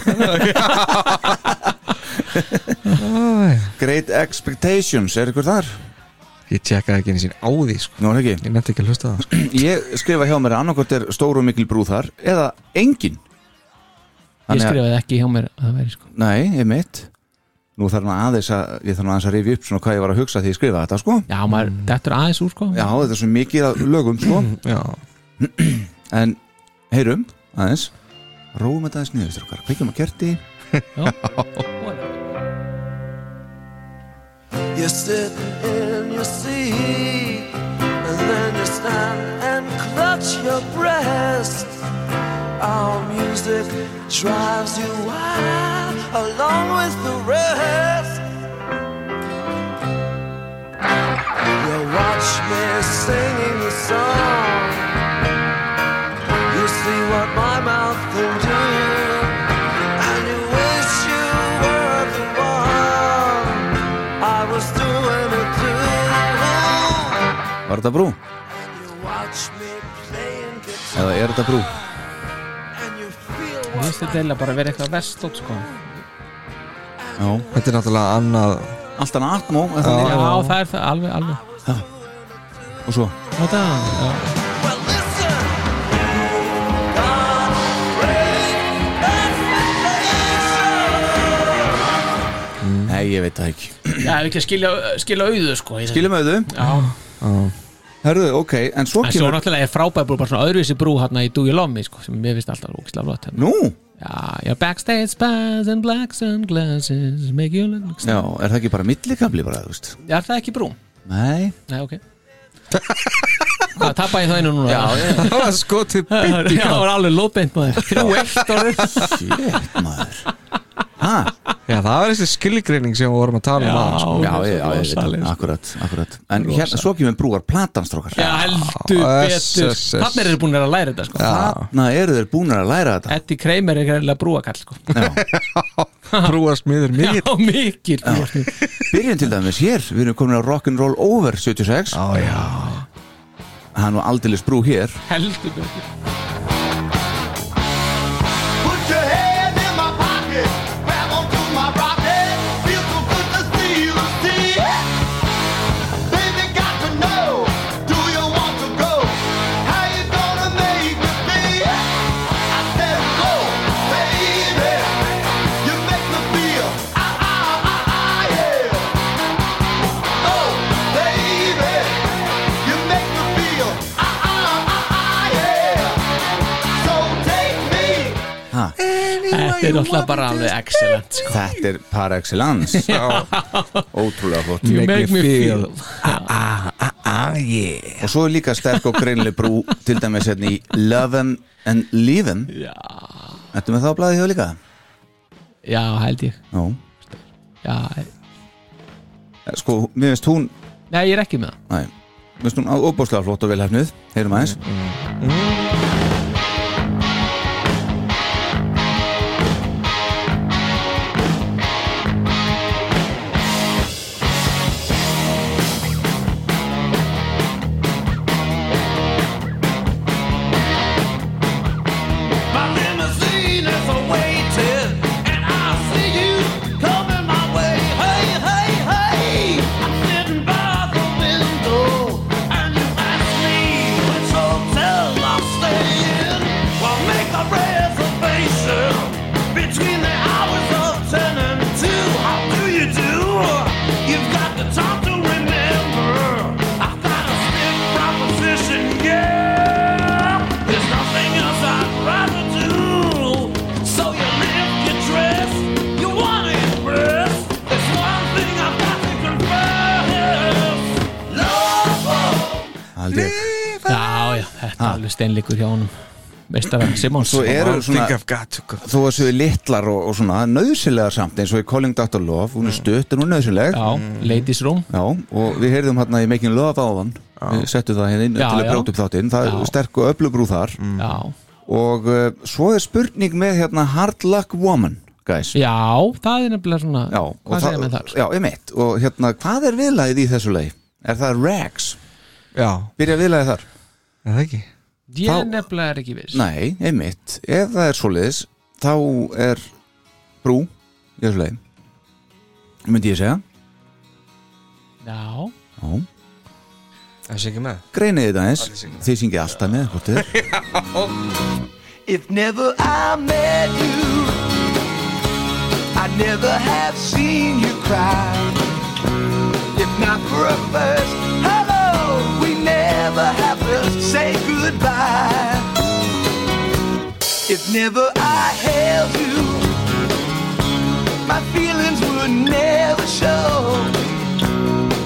Speaker 5: Great Expectations, er ykkur þar?
Speaker 6: Ég tjekkaði ekki einu sín á því sko.
Speaker 5: Nú er ekki
Speaker 6: Ég nefndi ekki að hlusta á það sko.
Speaker 5: Ég skrifa hjá mér að annarkort er stór og mikil brú þar eða engin
Speaker 7: ég
Speaker 5: Þannig að-
Speaker 7: skrifaði ekki hjá mér að það væri sko
Speaker 5: Nei, ég mitt Nú þarf maður aðeins að, ég þarf maður aðeins að rifja upp svona hvað ég var að hugsa því ég skrifa þetta sko
Speaker 7: Já, maður, mm. þetta er aðeins úr sko
Speaker 5: Já, þetta er svo mikið að lögum sko
Speaker 6: Já,
Speaker 5: En, heyrum, aðeins Róum þetta aðeins niður strókar Kveikjum að kerti
Speaker 4: You sit in your seat, and then you stand and clutch your breast. Our music drives you wild, along with the rest. You watch me singing the song. You see what my mouth can do, and you wish you were the one. I was doing it too.
Speaker 5: Var þetta brú?
Speaker 4: You watch me playing guitar
Speaker 5: Eða er þetta brú?
Speaker 4: and you feel
Speaker 7: Mér
Speaker 4: what
Speaker 7: finnst þetta eiginlega bara að vera eitthvað vestlót sko Já,
Speaker 5: Já,
Speaker 6: þetta er náttúrulega annað
Speaker 5: allt annað atmó er það
Speaker 6: Já.
Speaker 5: ekki?
Speaker 7: það er það, alveg, alveg
Speaker 5: Og svo
Speaker 7: Þetta, já
Speaker 4: well listen. God break expectations.
Speaker 5: Mm. Nei, ég veit það ekki
Speaker 7: Já, ef ekki að skilja, skilja auðu sko í þessu.
Speaker 5: Skiljum auðu
Speaker 7: Já,
Speaker 5: Herðu, ok, en svo
Speaker 7: en svo
Speaker 5: kemur
Speaker 7: náttúrulega er frábæð brú bara svona öðruvísi brú hérna í Do You Love Me sko sem mér finnst alltaf ógislega flott hérna.
Speaker 5: Nú,
Speaker 7: Já, já, backstage pads and black sunglasses make you look
Speaker 5: já, er það ekki bara millikabli bara, þú veist
Speaker 7: Já, er það ekki brú?
Speaker 5: Nei,
Speaker 7: Nei, ok Hvað, tappa ég það einu núna? Já,
Speaker 6: Það var skotið
Speaker 7: það
Speaker 6: bytt í gang
Speaker 7: var alveg lóðbeint maður Þrjú eitt orðið
Speaker 5: shit maður Hæ?
Speaker 6: Já, það var þessi skilgreining sem við vorum að tala um aðeins, sko.
Speaker 7: Já,
Speaker 5: já, já, já, ég veit það,
Speaker 7: rosaleg, sko.
Speaker 5: akkurat, akkurat en hérna, svo kemur brúar platanstrókar
Speaker 7: Já, heldur
Speaker 6: Já,
Speaker 7: betur
Speaker 6: SSS.
Speaker 7: Þannig eru búin að læra þetta sko
Speaker 5: þarna eru þeir búin að læra þetta
Speaker 7: Eddie Kramer er greinlega brúakall sko.
Speaker 6: sko. Brúast miður
Speaker 7: Já,
Speaker 6: mikið
Speaker 7: mikil brúakall.
Speaker 5: byrjun til dæmis hér, við erum komin á Rock'n'Roll Over 76
Speaker 6: Já, já
Speaker 5: það er nú aldeilis brú hér
Speaker 7: Heldur betur
Speaker 4: ah, ah,
Speaker 7: þetta er náttúrulega bara alveg excellent sko.
Speaker 5: Þetta er par excellence Ótrúlega flott
Speaker 7: You make me feel Ah,
Speaker 5: Og svo er líka sterk og greinlega brú Til dæmis hérna í Love 'em and Leave 'em
Speaker 7: Já.
Speaker 5: Ertu með það á blaði hjá líka?
Speaker 7: Já, held ég
Speaker 5: Já
Speaker 7: Já,
Speaker 5: Sko, mér finnst hún
Speaker 7: nei, ég er ekki með það
Speaker 5: Nei Mér finnst hún á óbúslega flott og velhæfnuð Heyrum aðeins
Speaker 8: My limousine is awaiting, and I see you coming my way. Hey, hey, hey! I'm sitting by the window, and you ask me which hotel I'm staying. Well, make a reservation between the hours of ten and two. How do you do? You've got the time to remember. I've got a stiff proposition, yeah. There's nothing else I'd rather do. So you live, you dress, you wanna impress. There's one thing I've got to confess. Love.
Speaker 5: Haldi ég
Speaker 7: Já, já, þetta er alveg steinleikur hjá honum Meistara Simons
Speaker 5: Svo eru svona
Speaker 6: I've got to go
Speaker 5: Þó að séu litlar og, og svona Nauðsilegar samt eins og í Calling Dr. Love Hún er stutt en hún er nauðsileg
Speaker 7: Mm. Já, ladies room
Speaker 5: Já, og við heyrðum hérna í Making Love áðan Við settum það hérna inn
Speaker 7: Já,
Speaker 5: til að
Speaker 7: já.
Speaker 5: brjóta upp þáttinn Það er
Speaker 7: Já. Mm.
Speaker 5: sterk og öflubrú þar
Speaker 7: Já,
Speaker 5: Og uh, svo er spurning með hérna Hard Luck Woman, guys
Speaker 7: já, það er nefnilega svona
Speaker 5: Já, og
Speaker 7: Hvað segja með þar?
Speaker 5: Já, einmitt Og hérna, hvað er viðlagið í þessu leið? Er það Rags?
Speaker 6: Já,
Speaker 5: Byrja viðlagið þar?
Speaker 6: er það ekki
Speaker 7: Ég
Speaker 5: þá-
Speaker 7: nefnilega er ekki viss
Speaker 5: Nei, einmitt Ef það er svoleiðis, þá er brú í þessu leið Myndi ég segja
Speaker 7: Já,
Speaker 5: Já
Speaker 6: Það sé ekki með
Speaker 5: Greinið þetta eins, þið syngið alltaf með hvort þið er
Speaker 8: If never I met you, I'd never have seen you cry. If not for a first hello, we never have to say goodbye. If never I held you, my feelings would never show.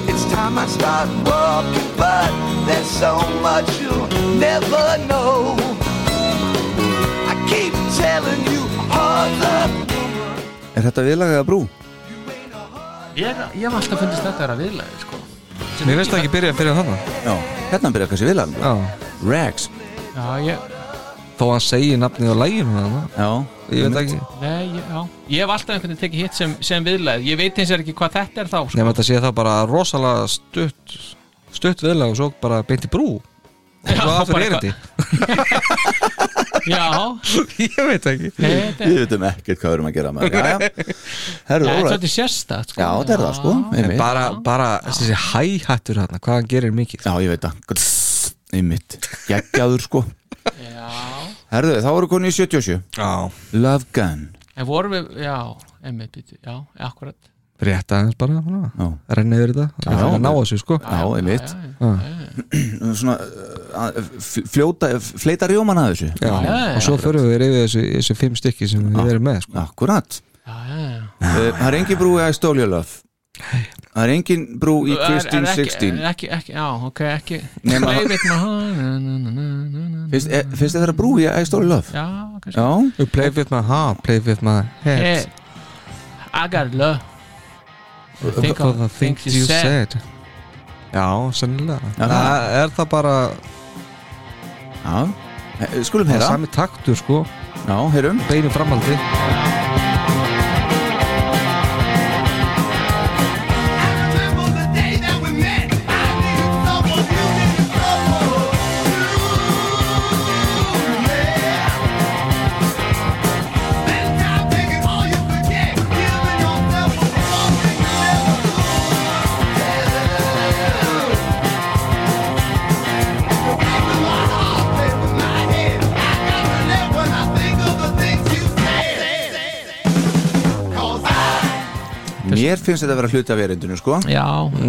Speaker 8: It's time I start walking, but there's so much you'll never know. I keep telling you hard luck.
Speaker 5: Er þetta viðlagið að brú?
Speaker 7: ég, ég hef alltaf fundist þetta að vera viðlega sko.
Speaker 6: Mér veist það ekki byrja að byrja þarna
Speaker 5: Já Hérna byrja kannski viðlagið
Speaker 6: Já
Speaker 5: Rags
Speaker 7: Já, ég,
Speaker 6: Þó að hann segi nafnið á læginu þarna
Speaker 5: Já
Speaker 6: Ég veit ekki
Speaker 7: nei, ég, já Ég hef alltaf einhvern veginn tekið hitt sem, sem viðlega Ég veit eins og ekki hvað þetta er þá sko.
Speaker 6: Nefnum þetta sé það bara rosalega stutt stutt viðlag og svo bara beint í brú
Speaker 7: Já,
Speaker 6: og svo aftur
Speaker 7: bara
Speaker 6: erindi
Speaker 7: Já,
Speaker 6: Ég veit ekki
Speaker 7: nei, þetta er
Speaker 5: Við veitum um ekkert hvað við erum að gera maður Jæja Herru,
Speaker 7: Já, þetta er
Speaker 5: órætt
Speaker 7: svolítið sérstætt sko.
Speaker 5: Já, þetta er það sko
Speaker 6: En
Speaker 5: einmitt.
Speaker 6: bara, bara þessi hæhættur hérna hvað hann gerir mikið
Speaker 5: Já, ég veit það Einmitt Gekkjaður sko
Speaker 7: Já,
Speaker 5: Herðu, þá eru konu í 77
Speaker 6: Já
Speaker 5: Love Gun
Speaker 7: en vorum við, já, emmi, býtu, já, akkurat
Speaker 6: Rétt aðeins bara
Speaker 5: Já.
Speaker 6: svona. renna yfir þetta Það er að ná þessu sko
Speaker 5: Já, einmitt
Speaker 7: Já, já,
Speaker 5: Svona uh, f- fljóta, fleita rjóman að þessu
Speaker 6: Já,
Speaker 7: Já, já,
Speaker 6: og svo förum við yfir þessi, þessi fimm stykki sem við erum með sko.
Speaker 5: Akkurat
Speaker 7: já, já, já.
Speaker 5: Uh, Það er engin brú í I Stole Your Love Það er engin brú í
Speaker 7: Er- er
Speaker 5: Christine
Speaker 7: ekki-
Speaker 5: 16
Speaker 7: er ekki, ekki, já, ok, ekki
Speaker 5: Nema-
Speaker 7: Play with my heart na, na, na, na, na, na.
Speaker 5: Finnst er- finnst þið það að brú í I Stole Your Love?
Speaker 7: já, kannski
Speaker 5: Já,
Speaker 6: You play with my heart, play with my
Speaker 7: hey,
Speaker 6: head
Speaker 7: Eh, I got love
Speaker 6: Think of the things you said Já, sennilega
Speaker 5: Já.
Speaker 6: Það er það bara
Speaker 5: já Eh, Skulum heyra
Speaker 6: sami taktur sko
Speaker 5: Já, heyrum
Speaker 6: beinu framhaldi
Speaker 8: Remember the day that we met. I needed someone you didn't trouble. Spend time taking all you could get, giving yourself to something you never do. You're breaking my heart, breaking my head. I gotta laugh when I think of the things you said. 'Cause I
Speaker 5: Mér finnst þetta að vera hluti af erindinu sko
Speaker 7: já,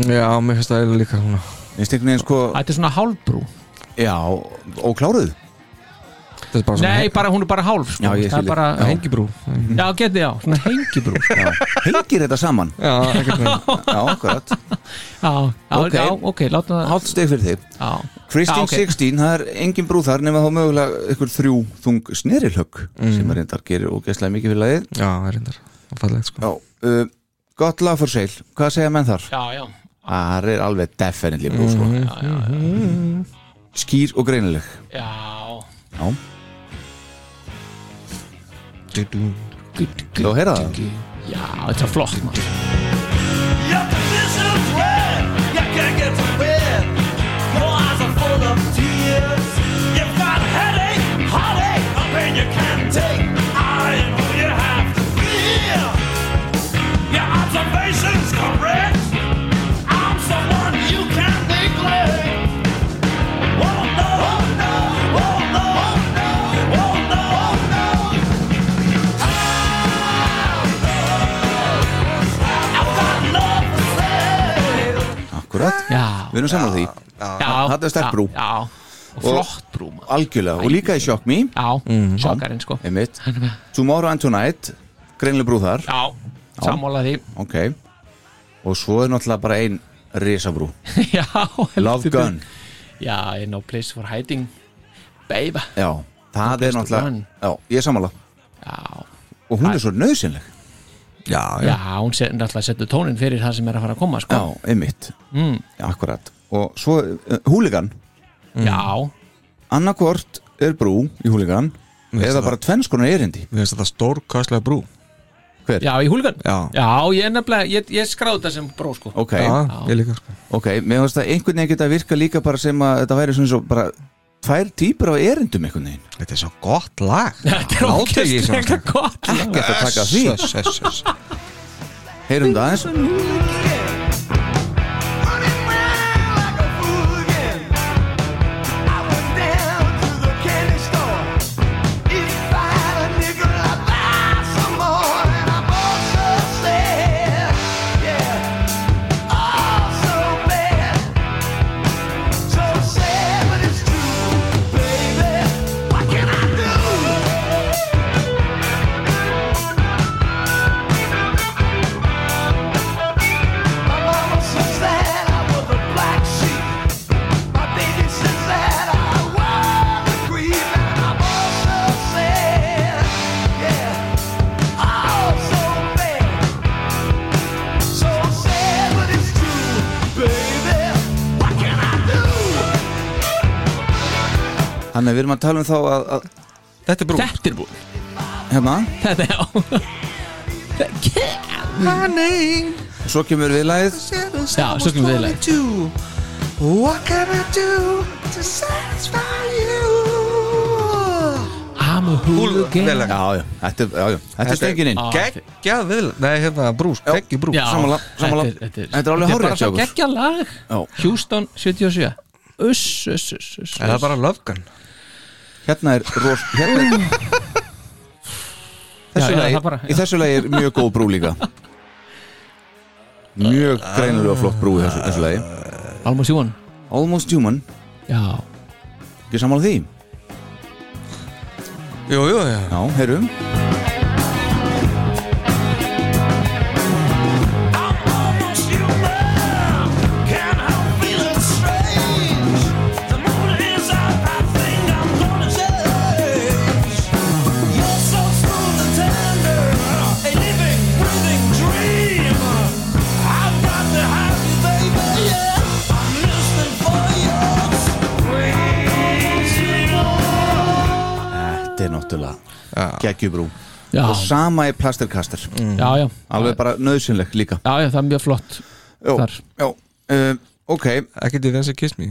Speaker 6: Já, mér finnst það eiginlega líka svona
Speaker 5: Finnst einhvern veginn sko
Speaker 7: þetta er svona hálfbrú
Speaker 5: Já, og kláruð
Speaker 6: Þetta er bara svona
Speaker 7: Nei, bara, hún er bara hálf sko.
Speaker 5: Já, ég
Speaker 7: Það er
Speaker 5: skil.
Speaker 7: bara,
Speaker 6: he- hengibrú
Speaker 7: já, getið já, svona hengibrú
Speaker 5: Já. Hengir þetta saman
Speaker 6: Já, ekkert veginn
Speaker 5: Já, akkurat
Speaker 7: Já, já,
Speaker 5: Ok.
Speaker 7: já, ok, látum það
Speaker 5: Hátt steg fyrir þig
Speaker 7: Já,
Speaker 5: Kristín
Speaker 7: Já, Ah, ok.
Speaker 5: 16, það er engin brú þar nema þá mögulega ykkur þrjú þung snerilhögg
Speaker 7: Mm.
Speaker 5: sem að reyndar gerir og gæstlega mikið fyrir lagið
Speaker 6: Já, það er reyndar Það er fallegt sko
Speaker 5: Já, uh, gott lag for sale, hvað segja menn þar?
Speaker 7: já, já,
Speaker 5: Það er alveg definitely brú
Speaker 7: Mhm.
Speaker 5: sko Skýr og greinileg
Speaker 7: já.
Speaker 5: Já,
Speaker 6: Du-dú.
Speaker 5: þú að heyra það?
Speaker 7: Já, þetta er flott maður.
Speaker 8: Your position's red, you can't get to bed. Your eyes are full of tears. You've got headache, heartache, a pain you can't take. I know you have to feel. Your observation's correct. I'm someone you can't neglect. Oh no, oh no, oh no, oh no, oh no, oh no. I've got love to say.
Speaker 5: Akkurat,
Speaker 7: Já,
Speaker 5: við erum saman á því
Speaker 7: já
Speaker 5: þarna er sterk
Speaker 7: já,
Speaker 5: brú.
Speaker 7: Já, og flott brú maður.
Speaker 5: Algjörlega, og líka í Shock Me
Speaker 7: Já, sjokkarinn sko
Speaker 5: einmitt. Tomorrow and Tonight greinileg brú þar
Speaker 7: Já, sammála því
Speaker 5: ok og svo er náttúrulega bara ein risabrú
Speaker 7: Já,
Speaker 5: Love
Speaker 7: heldur
Speaker 5: Gun
Speaker 7: betur. Já, in no place for hiding Baby
Speaker 5: já, það er náttúrulega
Speaker 7: Gun.
Speaker 5: já, ég er sammála
Speaker 7: Já,
Speaker 5: og hún er svo nöðsynleg
Speaker 6: Já, já
Speaker 7: já hún set, náttúrulega setur tónin fyrir það sem er að fara að koma sko
Speaker 5: já, einmitt,
Speaker 7: mm,
Speaker 5: akkurat og svo uh, húligan
Speaker 7: Já,
Speaker 5: annarkvort er brú í húligan
Speaker 6: Veist
Speaker 5: eða
Speaker 6: það.
Speaker 5: bara tvenns konar erindi
Speaker 6: Mér finnst þetta stórkastlega brú
Speaker 7: já, í húlgan
Speaker 6: Já.
Speaker 7: ég er nefnilega, ég, ég skráði þetta sem bró sko
Speaker 5: ok,
Speaker 6: Já, ég líka sko
Speaker 5: ok, mér finnst það einhvern veginn geta virka líka bara sem að þetta væri svona svo bara tvær týpur af erindum einhvern veginn
Speaker 6: Þetta er svo gott lag
Speaker 7: Þetta er ókjastlega gott
Speaker 5: ekki eftir að taka því,
Speaker 6: því
Speaker 5: heyrum það aðeins
Speaker 8: Running round like a fool again. I went down to the candy store. If I had a nickel, I'd buy some more. And I'm also sad, yeah, oh so bad, so sad, but it's true, baby. What can I do? My mama says that I was a black sheep. My baby says that I was a creep, and I'm also sad, yeah, oh so bad, so sad, but it's true, baby. What can I do?
Speaker 5: þannig að við erum að tala um þá að, að
Speaker 6: Þetta er brú
Speaker 7: Þetta er brú
Speaker 5: hérna,
Speaker 7: Þetta er, já
Speaker 5: svo kemur við lagið
Speaker 7: Já, svo kemur við leið
Speaker 6: What can I do to satisfy you
Speaker 7: I'm a hooligan
Speaker 6: Vel lag.
Speaker 5: já, já, þetta, er- já, já, þetta er stengin inn
Speaker 7: Já,
Speaker 6: Geggjað vil Nei, hérna brú, sko, geggju brú
Speaker 7: Já,
Speaker 5: Sammála, sammála.
Speaker 7: Þetta er,
Speaker 5: Þetta er alveg hárrétt
Speaker 7: bara
Speaker 5: hjá
Speaker 7: svo
Speaker 5: okkur.
Speaker 7: geggja lag
Speaker 5: Já.
Speaker 7: Houston 77 Uss, uss, uss, uss
Speaker 6: Er það bara Love Gun?
Speaker 5: hérna er ros, hérna er þessu
Speaker 7: Já, já,
Speaker 5: lagi,
Speaker 7: það bara, já.
Speaker 5: í þessu lagi er mjög góð brú líka mjög greinilega flott brú í þessu, þessu lagi
Speaker 7: Almost Jón
Speaker 5: Almost Human,
Speaker 7: Já,
Speaker 5: ekki sammála því
Speaker 6: Jú, jú, já
Speaker 5: já, heyrum þetta er náttúrulega geggjubrú
Speaker 7: já, Mm.
Speaker 5: og sama er plastirkastar
Speaker 7: já, já
Speaker 5: alveg bara nöðsynleg líka
Speaker 7: Já, já, það er mjög flott
Speaker 5: Jó,
Speaker 7: Þar.
Speaker 5: já, um, ok
Speaker 6: Ekki til þess að kiss me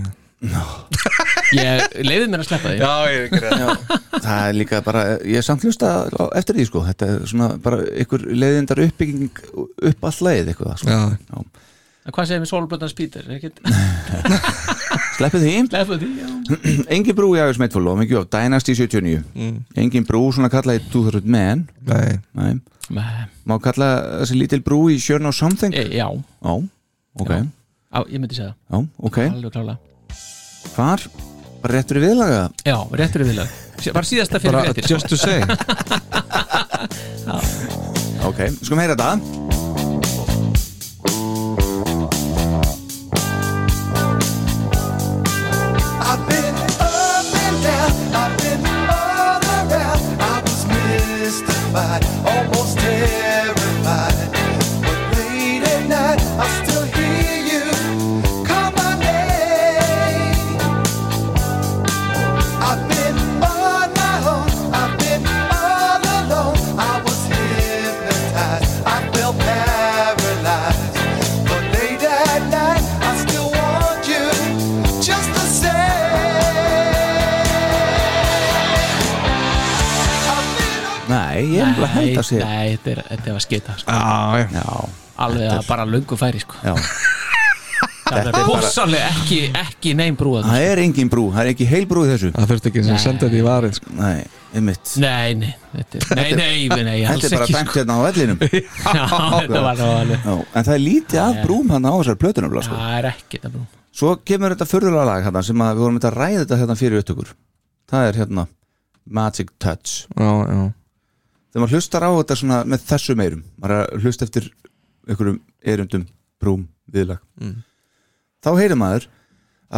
Speaker 7: Ég leiði mér að sleppa því
Speaker 6: ég er ekki reyð
Speaker 5: það er líka bara, ég er samt hlusta á- eftir því sko, þetta er svona bara ykkur leiðindar uppbygging upp all leið eitthvað, sko.
Speaker 6: Já,
Speaker 7: En Hvað segir við Solblöndans Pítur?
Speaker 5: sleppið því
Speaker 7: Sleppa því, já
Speaker 5: engin brú í August Meitfól og mikið á Dynasty 79
Speaker 6: Mm.
Speaker 5: engin brú svona kallaði 2000 menn
Speaker 6: nei
Speaker 5: Nei.
Speaker 7: Me-
Speaker 5: má kalla þessi lítil brú í Sjörn og Something
Speaker 7: e, Já, á,
Speaker 5: já, ok, já.
Speaker 7: ég myndi segja það
Speaker 5: ok
Speaker 7: Alveg klálega
Speaker 5: hvar bara réttur í viðlaga
Speaker 7: Já, réttur í viðlag Var síðasta fyrir
Speaker 6: bara
Speaker 7: fréttir
Speaker 6: just to say
Speaker 5: ok, skulum heyra þetta
Speaker 4: I've been up and down, I've been all around. I was mystified, almost terrified. But late at night, I still hear you call my name. I've been on my own, I've been all alone. I was hypnotized, I felt paralyzed. But late at night, I still want you just the same.
Speaker 5: nei, ég er bara að
Speaker 7: Nei,
Speaker 5: held að sé
Speaker 7: nei, þetta er- þetta var skita sko.
Speaker 6: ah, já.
Speaker 5: já,
Speaker 7: Alveg að bara löngu færi sko.
Speaker 5: já
Speaker 7: Það er bóssalega ekki, ekki neim brúa þarna,
Speaker 5: það er engin brú, það er ekki heil brú í þessu
Speaker 6: það þurfti ekki sem senda þetta í varið sko.
Speaker 5: nei, einmitt
Speaker 7: sko. Nei, nei, þetta er Nei, nei, nei, nei
Speaker 5: þetta
Speaker 7: alls
Speaker 5: er bara
Speaker 7: ekki
Speaker 5: dæmt
Speaker 7: sko.
Speaker 5: hérna á vellinum já,
Speaker 7: Já, þetta var það alveg
Speaker 5: en það er lítið af brúm hann á þessar plötunum sko.
Speaker 7: Það er ekki þetta brú
Speaker 5: svo kemur þetta furðulega lag hérna sem að við vorum að ræða þetta hérna fyrir upptökur það er hérna Magic Touch
Speaker 6: já, já.
Speaker 5: þegar maður hlustar á þetta svona með þessum eirum maður er að hlusta eftir einhverjum erundum, brúm, viðlag þá heyrir maður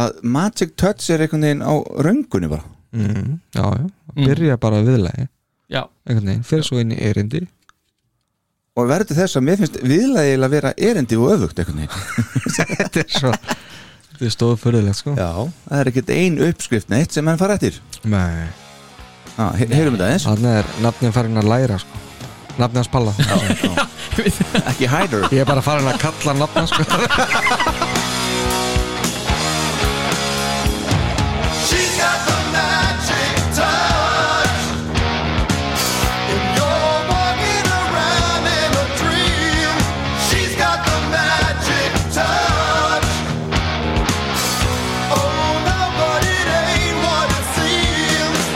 Speaker 5: að Magic Touch er einhvern veginn á röngunni bara
Speaker 6: Mm, já, já. byrja bara viðlagi
Speaker 7: Já,
Speaker 6: einhvern veginn, fyrir svo inn í erindi
Speaker 5: og verður þess að mér finnst viðlagi eiginlega vera erindi og öfugt einhvern veginn
Speaker 6: þetta er svo þetta er stóð fyrirlegt sko
Speaker 5: já, það er ekkert ein uppskrift neitt sem hann fara eftir
Speaker 6: nei
Speaker 5: ah, he heyrum þetta eins,
Speaker 6: Þannig er nafnin farin að læra sko. Nafnin hans Palla
Speaker 5: ekki Hyder
Speaker 6: Ég er bara farin að kalla nafna sko.
Speaker 4: She's got the magic touch. When you're walking around in a dream, she's got the magic touch. Oh no, but it ain't what it seems.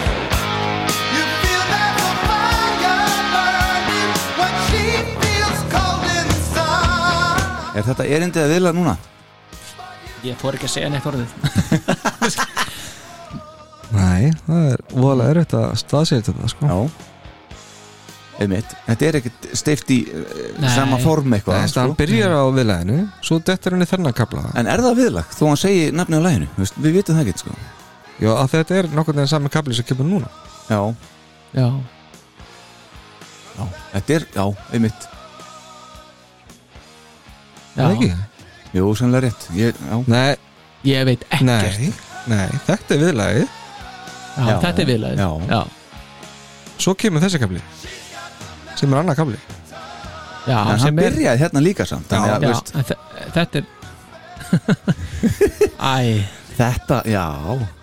Speaker 4: You feel that the fire burning when she feels cold inside.
Speaker 5: er þetta erindi að viðla núna?
Speaker 7: ég fór ekki að segja neitt orðið
Speaker 6: Nei, það er voðalega erfitt að staðsetja þetta sko.
Speaker 5: já einmitt, þetta er ekkert steift í Nei.
Speaker 7: Nei.
Speaker 5: sama form
Speaker 6: Nei,
Speaker 5: eitthvað
Speaker 6: sko. hann byrjar á viðlæðinu Svo dettur henni þennan kapla
Speaker 5: en er það viðlag, þó hann segi nafni á læginu þú veist, við vitum það ekki sko
Speaker 6: Já, að þetta er nokkurn veginn sami kapli sem kemur núna
Speaker 5: já,
Speaker 7: Já,
Speaker 5: Já, þetta er, já, einmitt
Speaker 6: Er
Speaker 7: já
Speaker 6: það ekki?
Speaker 5: Jú, sannlega rétt ég, já.
Speaker 6: Nei,
Speaker 7: Ég veit ekkert
Speaker 6: nei, nei, þetta er viðlæði
Speaker 7: já,
Speaker 5: Já.
Speaker 7: Þetta er viðlaðið
Speaker 5: Já.
Speaker 7: Já.
Speaker 6: Svo kemur þessi kapli Sem er annar kapli
Speaker 7: Já,
Speaker 5: En hann
Speaker 7: sem er-
Speaker 5: byrjaði hérna líka samt þannig að,
Speaker 7: Já,
Speaker 5: veist,
Speaker 7: en þe- þetta er Æ,
Speaker 5: Þetta, já,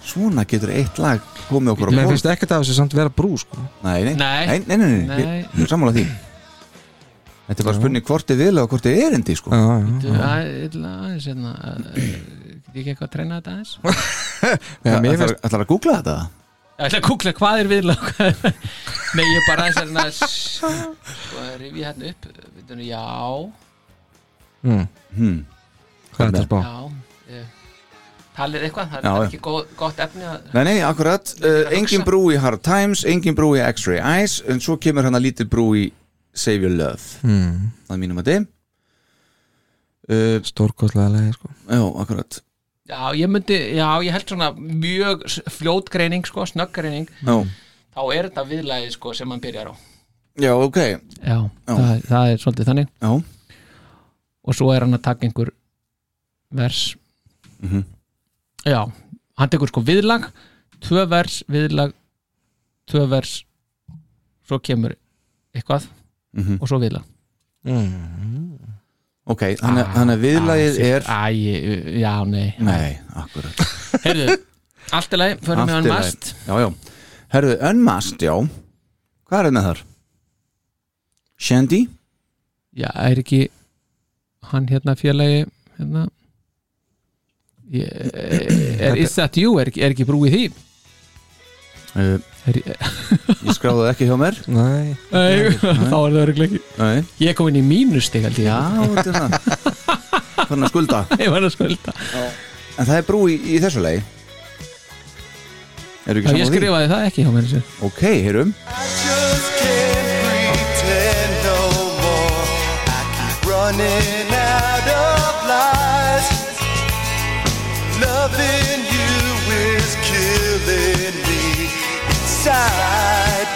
Speaker 5: svona getur eitt lag komið okkur á
Speaker 6: Mér
Speaker 5: borð.
Speaker 6: finnst ekkert af þessu samt vera brú sko.
Speaker 5: Nei, nei,
Speaker 7: Nei.
Speaker 5: nei, nei, nei, nei.
Speaker 7: Nei.
Speaker 5: Ég, Sammála því Þetta er bara
Speaker 6: Já.
Speaker 5: spurning hvort er vilja og hvort er erindi sko.
Speaker 6: já, já,
Speaker 7: Þú, að, illa, aðeins, hérna, að, get ég ekki eitthvað að treyna þetta aðeins?
Speaker 6: já,
Speaker 5: Það
Speaker 6: mér
Speaker 5: ætlar
Speaker 6: finnst
Speaker 5: ætlar að googla þetta
Speaker 7: Ég ætla að kúkla hvað er viðlag Nei, ég bara aðeins hérna sko, rifja hérna upp veitum, já,
Speaker 6: mm,
Speaker 5: hmm.
Speaker 6: Hvað er þetta spá?
Speaker 7: já ég, Talið eitthvað, það er
Speaker 5: Já, já.
Speaker 7: ekki góð, gott efni að
Speaker 5: Nei, nei, akkurat uh, Engin brú í Hard Times, engin brú í X-Ray Eyes En svo kemur hann að lítið brú í Save Your Love
Speaker 6: Mm,
Speaker 5: Það er mínum að þeim uh,
Speaker 6: Stórkostlega lagi sko.
Speaker 5: Já, akkurat
Speaker 7: Já, ég myndi, já, ég held svona mjög s- fljótgreining, sko, snögggreining
Speaker 5: Já,
Speaker 7: þá er þetta viðlagið, sko, sem hann byrjar á
Speaker 5: já ok
Speaker 7: Já, Það, er- það er svolítið þannig
Speaker 5: Já,
Speaker 7: og svo er hann að taka einhver vers
Speaker 5: Mhm.
Speaker 7: já, hann tekur sko viðlag tvö vers, viðlag tvö vers svo kemur eitthvað
Speaker 5: Mhm.
Speaker 7: og svo viðlag
Speaker 6: Hmm.
Speaker 5: ok, þannig að- þannig að viðlagið er
Speaker 7: Æ, ég- já, nei,
Speaker 5: Nei, akkurat
Speaker 7: heyrðu allt í lagi, förum við
Speaker 5: Allt
Speaker 7: hann
Speaker 5: í lagi.
Speaker 7: mast
Speaker 5: Já, já Herðu, Unmasked, já Hvað er með þar? Shandy?
Speaker 7: já, er ekki hann hérna félagi hérna ég, eh, er, is that you, er, ekki- er ekki brúið því
Speaker 5: Uh,
Speaker 7: er,
Speaker 5: ég skráði það ekki hjá mér
Speaker 6: Nei,
Speaker 7: nei, þá er það örugglega ekki
Speaker 5: Nei
Speaker 7: ég kom inn í mínustig aldrei
Speaker 5: Já, þetta er það Þannig að skulda
Speaker 7: ég var að skulda
Speaker 5: En það er brú í, í þessu lei Eru
Speaker 7: Já,
Speaker 5: ekki saman
Speaker 7: ég
Speaker 5: því?
Speaker 7: skrifaði það ekki hjá mér þessu.
Speaker 5: Ok, heyrum
Speaker 4: just can't pretend no more. I keep running out of lies. Loving you is killing me inside.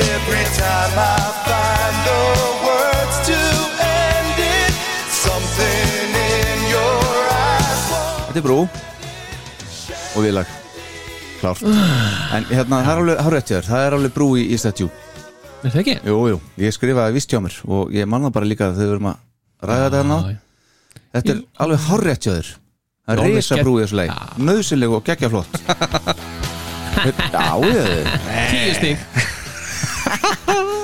Speaker 4: Every time I find the words to end it, something in your eyes. won't
Speaker 5: Þetta er brú Og við lag Klárt En hérna, það er alveg, það er rétt hjá þér Það er alveg brú í, í statjú
Speaker 7: Er það ekki?
Speaker 5: Jú, jú, ég skrifaði vist hjá mér og ég manna bara líka þegar við erum að ræða þetta hérna
Speaker 7: já.
Speaker 5: Þetta er alveg hárrétt hjá þér Það
Speaker 7: Alveg
Speaker 5: er reysa brú í þessu leið Nauðsynleg og geggja flott Já, ég
Speaker 7: Tíu stík.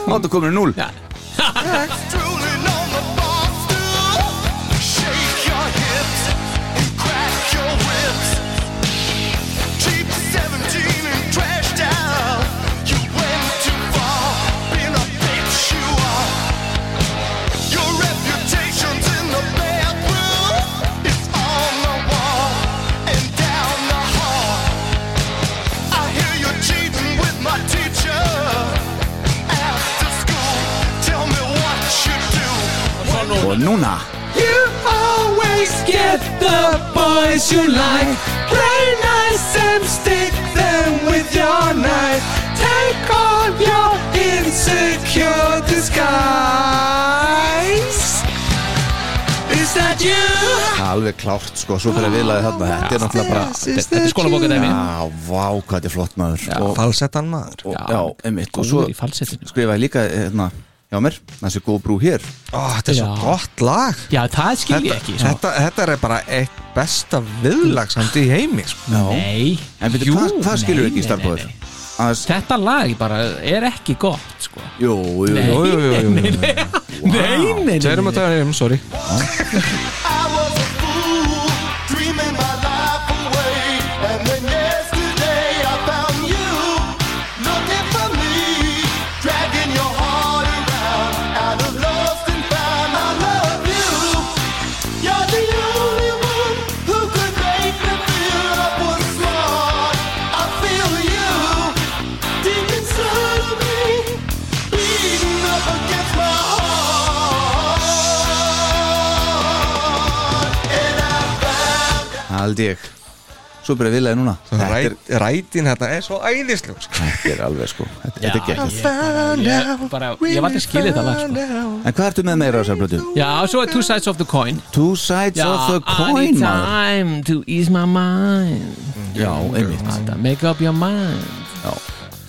Speaker 5: Máttu komin í núl
Speaker 7: Já.
Speaker 4: Drooling on the bar stool. Shake your hips and crack your whips. Cheap 17 and trash down. You went too far, been a bitch you are. Your reputation's in the bathroom. It's on the wall and down the hall. I hear you cheating with my teacher. After school, tell me what you do.
Speaker 5: Og núna
Speaker 4: You always get the boys you like. Play nice and stick them with your knife. Take all your insecure disguise. Is that you?
Speaker 5: Alveg klárt sko, svo fyrir viðlaði þarna Þetta er náttúrulega bara
Speaker 4: Is
Speaker 7: Þetta er skólabókadæmi.
Speaker 5: Já, vá, hvað þetta er flott maður og,
Speaker 6: Falsettan maður
Speaker 5: og, Já, einmitt Og svo
Speaker 7: Góður í falsettinu.
Speaker 5: skrifaði líka hérna hjá mér Þessi góð brú hér
Speaker 6: Ó, Þetta er svo
Speaker 7: Já.
Speaker 6: gott lag
Speaker 7: Já, það skil ég
Speaker 6: Þetta,
Speaker 7: ekki. sko. Svo.
Speaker 6: þetta, þetta er bara eitt besta viðlag samt í heimi sko.
Speaker 5: Já
Speaker 7: Nei.
Speaker 5: En veitir,
Speaker 7: Jú,
Speaker 5: hvað, hvað
Speaker 7: nei,
Speaker 5: skilur ekki í
Speaker 7: nei, nei,
Speaker 5: starfbóður?
Speaker 7: nei. Þetta lag bara er ekki gott, sko.
Speaker 5: Jú, jú, jú
Speaker 6: Jú, jú, jú, jú, jú.
Speaker 7: Nei, nei,
Speaker 6: Tverum að tæra heim, sorry
Speaker 4: I was a fool, dreaming my life away. And then yesterday I found you, looking for me, dragging your heart around. Out of lost and found, I love you. You're the only one who could make me feel I was smart. I feel you deep inside of me, beating up against my heart. And I found
Speaker 5: Haldi ég Svo byrja viðlaði núna Þetta er,
Speaker 6: Ræt, Rætin hérna er svo æðislu sko.
Speaker 5: þetta er alveg sko Þetta, þetta er
Speaker 7: Já,
Speaker 5: gegn
Speaker 7: ég, ég, bara, ég var til að skilja þetta lag, sko.
Speaker 5: En hvað ertu með meira á þessar blötu?
Speaker 7: Já, svo er Two Sides of the Coin.
Speaker 5: Two sides
Speaker 7: Já,
Speaker 5: of the
Speaker 7: I need
Speaker 5: coin maður
Speaker 7: time to ease my mind.
Speaker 5: Já, einmitt
Speaker 7: Þetta, Make up your mind.
Speaker 5: Já.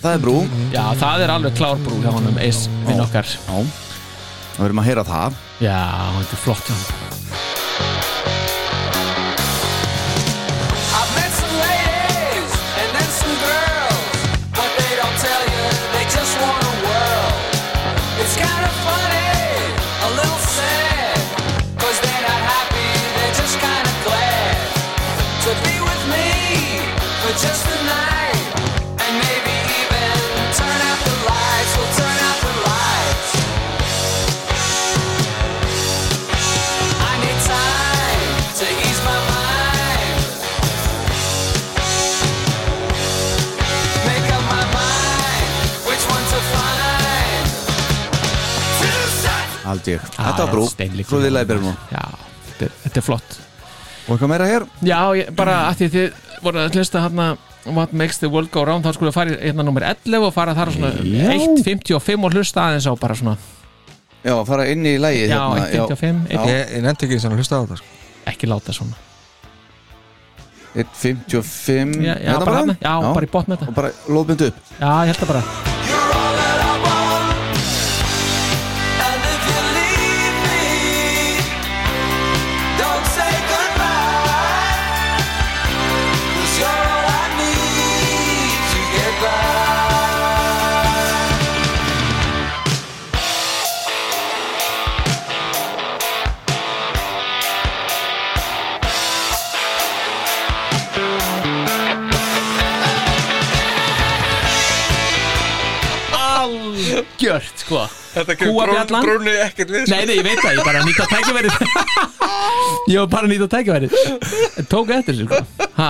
Speaker 5: Það er brú
Speaker 7: Já, það er alveg klárbrú hjá honum Ace minn okkar
Speaker 5: Já Það verðum að heyra það
Speaker 7: Já, þetta er flott hjá honum
Speaker 2: I've met some ladies and then some girls, but they don't tell you they just want a world. It's kind of funny, a little sad, cause they're not happy, they're just kind of glad to be with me for just the night, and maybe even turn out the lights. We'll turn out the lights. I need time to ease my mind. Make up my mind which one to find.
Speaker 4: two sides.
Speaker 5: Haldi ég Þetta var brú
Speaker 7: steinleikur.
Speaker 5: Svo viðlaði byrja núna
Speaker 7: Já, þetta er, þetta er flott
Speaker 5: Og eitthvað meira hér?
Speaker 7: Já, ég, bara að því þið voru að hlusta hérna What makes the world go round þá skulle við fara í hérna nummer 11 og fara þar á svona 1.55 og hlusta aðeins á bara svona
Speaker 5: Já, fara inn í lægið
Speaker 7: Já,
Speaker 5: hérna,
Speaker 7: 1.55,
Speaker 5: Já.
Speaker 6: Ég, ég nefndi ekki þess að hlusta á þetta sko.
Speaker 7: ekki láta svona
Speaker 5: 1.55
Speaker 7: Já, já,
Speaker 5: Hérna
Speaker 7: bara, þarna. já, bara í bótt með
Speaker 5: Og
Speaker 7: þetta
Speaker 5: bara lóðbundu upp
Speaker 7: Já, ég held það bara
Speaker 2: And if you leave me, don't say goodbye. Cause you're all I need to get by.
Speaker 4: I
Speaker 7: sko
Speaker 6: Þetta kemur brún,
Speaker 7: Kúabjallan?
Speaker 6: brúnni ekkert við sko.
Speaker 7: Nei, nei, ég veit það, ég bara nýta tækifærið Ég var bara að nýta tækifærið En Tók eftir sér, sko ha,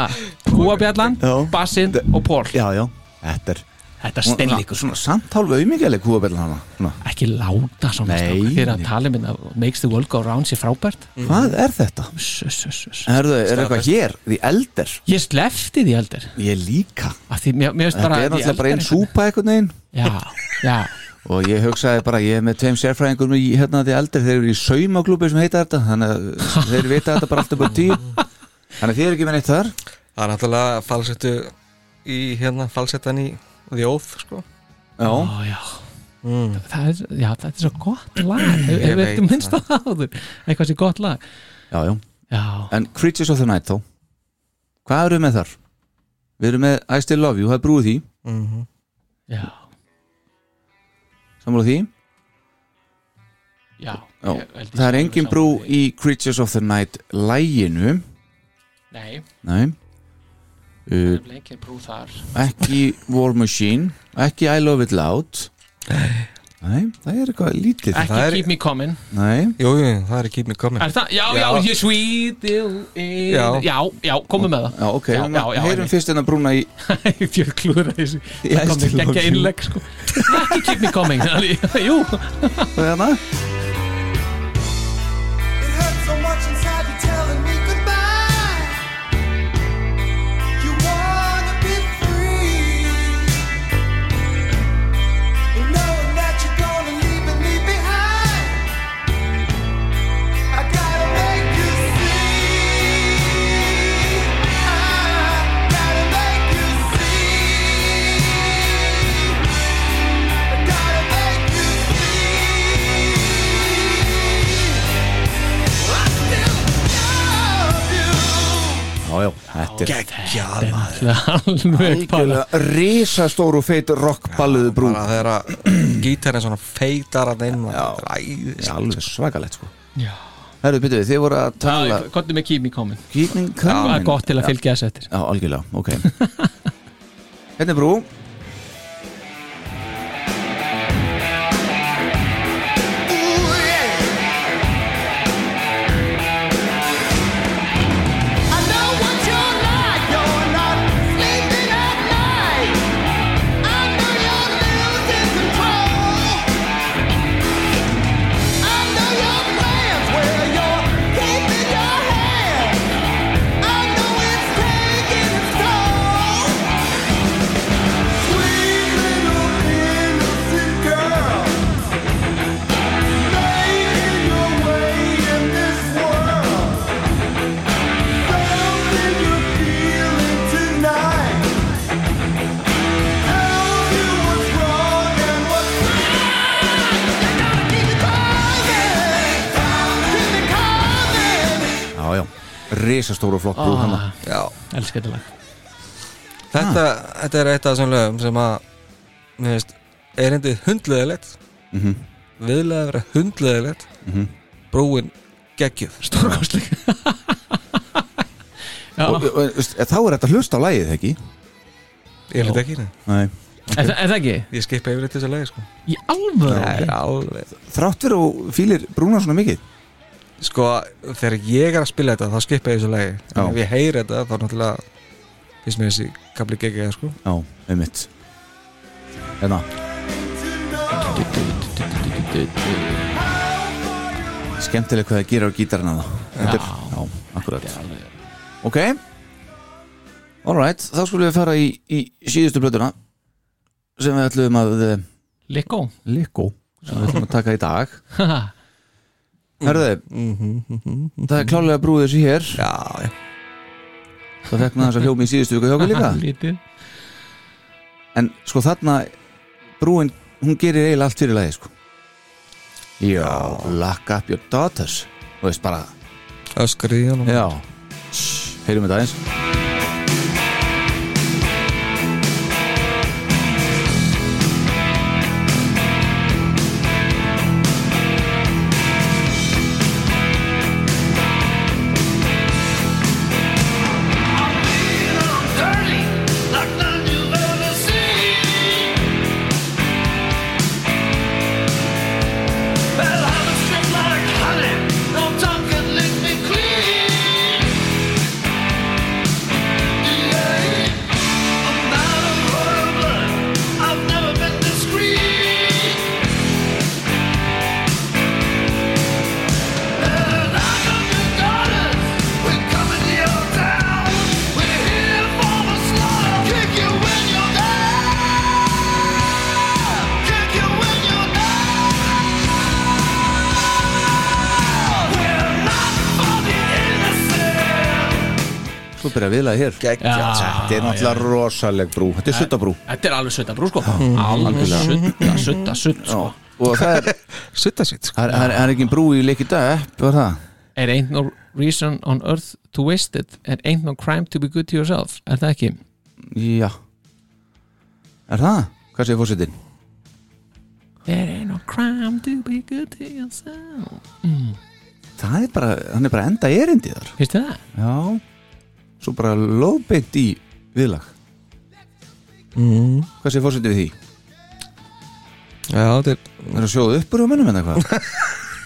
Speaker 7: Kúabjallan,
Speaker 5: Já.
Speaker 7: bassinn og pól
Speaker 5: já, já, þetta er
Speaker 7: Þetta steinleikur,
Speaker 5: Svona samt hálfa auðmikjæleg kúabellan hana svona.
Speaker 7: ekki láta svona
Speaker 5: Nei,
Speaker 7: strákar. Þið er að
Speaker 5: nei.
Speaker 7: tala minna Makes the world go round sér frábært
Speaker 5: Hvað er þetta?
Speaker 7: Uss, uss, uss, uss.
Speaker 5: Herðu, Mhm. er eitthvað hér? Því elder?
Speaker 7: Ég slefti því heldur
Speaker 5: Ég líka
Speaker 7: Af því mér, mér finnst
Speaker 5: Þetta
Speaker 7: bara
Speaker 5: er
Speaker 7: því
Speaker 5: náttúrulega bara
Speaker 7: eldar
Speaker 5: einn
Speaker 7: einhvern-
Speaker 5: súpa einhvern veginn
Speaker 7: Já, já
Speaker 5: Og ég hugsaði bara, ég er með tveim sérfræðingum í hérna því eldir, þeir eru í saumaglúpi sem heita þetta, þannig að þeir vita þetta bara alltaf bara tíu Þannig að þið eru ekki með neitt þar
Speaker 6: Það er náttúrulega falsettu í hérna, falsettan í þjóð sko.
Speaker 5: Já,
Speaker 7: Ó, já Það er, já, þetta er svo gott lag Ef ef við
Speaker 6: Mm. veit
Speaker 7: ertum minnst á það áður Eitthvað sé gott lag
Speaker 5: já, já
Speaker 7: Já,
Speaker 5: En Creatures of the Night þá Hvað eru með þar? Við erum með I Still Love You, það er brúið því Mhm.
Speaker 7: já,
Speaker 5: Sammála því?
Speaker 7: já
Speaker 5: Já,
Speaker 7: Ég held ég
Speaker 5: það er
Speaker 7: sé
Speaker 5: engin
Speaker 7: alveg
Speaker 5: brú
Speaker 7: sammála því.
Speaker 5: í Creatures of the Night læginu
Speaker 7: Nei,
Speaker 5: Nei
Speaker 7: það
Speaker 5: uh,
Speaker 7: er engin brú þar
Speaker 5: Ekki War Machine Ekki I Love It Loud Nei, það er eitthvað lítið
Speaker 7: Ekki
Speaker 6: það er-
Speaker 7: Keep Me Coming
Speaker 5: Nei,
Speaker 6: Jú, jú, það er ekki mér komin
Speaker 7: Er það? Já, já,
Speaker 6: Já.
Speaker 7: you sweet you in-
Speaker 6: Já.
Speaker 7: Já, já, komum með það
Speaker 5: já ok
Speaker 7: Já, já, já,
Speaker 5: Heyrum fyrst en að brúna í
Speaker 7: Ég klúður þessu
Speaker 5: Ég
Speaker 7: Það kom
Speaker 5: elska
Speaker 7: ekki
Speaker 5: lokin.
Speaker 7: ekki einleg sko Ekki Keep Me Coming alveg, Jú,
Speaker 5: Það er hana
Speaker 4: It hurts so much inside you telling me goodbye. You wanna be free. And knowing that you're gonna leave me behind. I gotta make you see. I gotta make you see. I gotta make you see. I still love you.
Speaker 5: Já, já, þetta er
Speaker 6: Geggjað maður.
Speaker 7: alveg bara
Speaker 5: Algjörlega risastór og feit rockballuðu brú
Speaker 6: Bara þegar að gítarinn svona feitar að inn og þetta er æðis
Speaker 5: Alveg svakalegt sko
Speaker 7: Já.
Speaker 5: Herru, byrju, þið voru að tala
Speaker 7: Kottum með Keep Me Coming
Speaker 5: Kýtning
Speaker 7: Það
Speaker 5: kannin
Speaker 7: er gott til að fylgja þessu eftir
Speaker 5: Já, algjörlega, ok Hérna er brú
Speaker 4: Ooh, yeah. I know what you're like. You're not sleeping at night. I know you're losing control. I know your plans where you're keeping your head. I know it's taking its toll. Sweet little innocent girl.
Speaker 5: Já, já, risastór og flott brú
Speaker 7: Ah.
Speaker 5: hana
Speaker 6: Já,
Speaker 7: Elskar þetta lag
Speaker 6: þetta, þetta er eitt af þessum lögum sem að mér veist, er endið hundleðilegt mm
Speaker 5: Mhm.
Speaker 6: -hmm. viðlega að vera hundleðilegt mm -hmm. brúin geggjuð
Speaker 7: Stórkostleg Já,
Speaker 5: og, og, veist, Þá er þetta hlust á lagið, ekki?
Speaker 6: ég hlut ekki, nei.
Speaker 5: Nei
Speaker 7: er það- er það ekki?
Speaker 6: ég skipa yfir þetta lögi sko.
Speaker 7: Í alvöru?
Speaker 6: alveg
Speaker 5: Þrátt fyrir og fýlir brúna svona mikið
Speaker 6: sko, þegar ég er að spila þetta þá skipa ég þessu lagi
Speaker 5: Já.
Speaker 6: en ef ég heyri þetta þá náttúrulega finnst mér þessi kapli geggjað sko.
Speaker 5: Já, einmitt Hérna Skemmtileg hvað það gerir á gítarinn að það Þetta er-
Speaker 7: Já.
Speaker 5: Já, akkurat Ok Alright, þá skulum við fara í, í síðustu blöðuna sem við ætlum að eh,
Speaker 7: Likko
Speaker 5: Likko sem við ætlum að taka í dag
Speaker 7: Haha.
Speaker 5: Herðu, það er klálega brúið þessu hér
Speaker 6: já, já.
Speaker 5: Það fekk með þess að hljómi í síðustu viku hjá okkur líka
Speaker 7: Lítið
Speaker 5: En sko þarna brúin, hún gerir eiginlega allt fyrir lagi sko. Já, lock up your daughters Þú veist bara
Speaker 6: öskrið í hann
Speaker 5: Já, heyrum við það eins
Speaker 8: Like none you've ever seen.
Speaker 5: að byrja að viðlaði hér
Speaker 10: Gekkja
Speaker 7: Já.
Speaker 5: Þetta er náttúrulega rosaleg brú Þetta er suttabrú
Speaker 7: Þetta er alveg sutta brú sko Alveg sutta, sutta, sutta sko.
Speaker 5: Og það er,
Speaker 6: Sitta sitt sko.
Speaker 5: það er, það er, það er ekki brú í leik í dag Epp var það
Speaker 7: Er ain't no reason on earth to waste it And ain't no crime to be good to yourself Er það ekki?
Speaker 5: Já Er það? Hvað segir fórsetin?
Speaker 7: There ain't no crime to be good to yourself
Speaker 5: Það er bara, hann er bara að enda erindi þar
Speaker 7: Finnst þið það?
Speaker 5: Já Svo bara lóðbeint í viðlag Hvað segir fórsetin við því?
Speaker 6: Já, þetta er
Speaker 5: Það er að sjóða uppur á mönnum en eitthvað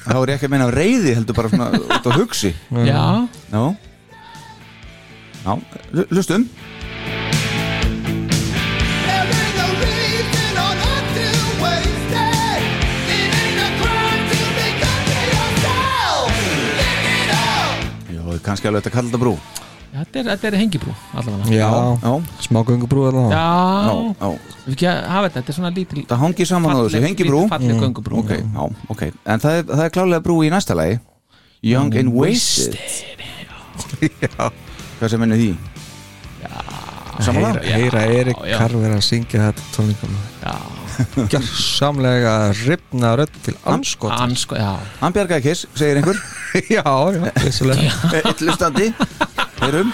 Speaker 5: Þá er ég ekki að meina af reyði heldur bara svona út á hugsi
Speaker 7: Já,
Speaker 5: Já Já, lu- hlustum Já, það er kannski alveg þetta kalla þetta brú
Speaker 7: þetta er, þetta er hengibrú allavega
Speaker 6: Já,
Speaker 5: Já,
Speaker 6: smá göngubrú allavega
Speaker 5: já,
Speaker 7: Já,
Speaker 5: já
Speaker 7: við ekki að hafa þetta, þetta er svona lítil
Speaker 5: Það hangi saman á þessu, hengi brú
Speaker 7: Falleg göngubrú
Speaker 5: Ok, já, ok En það er, það er klálega brú í næsta lagi Young and Wasted Hvað sem ennir því? Samanlega?
Speaker 6: Heyra, heyra Erik
Speaker 7: já.
Speaker 6: Karver að syngja þetta tónlingum Gjörsamlega ripna rödd til anskot
Speaker 7: Ansko, sko, já
Speaker 5: Hann bjargaði kiss, segir einhver
Speaker 6: Já, já, vissulega
Speaker 5: Eh, Eitt hlustandi Heyrum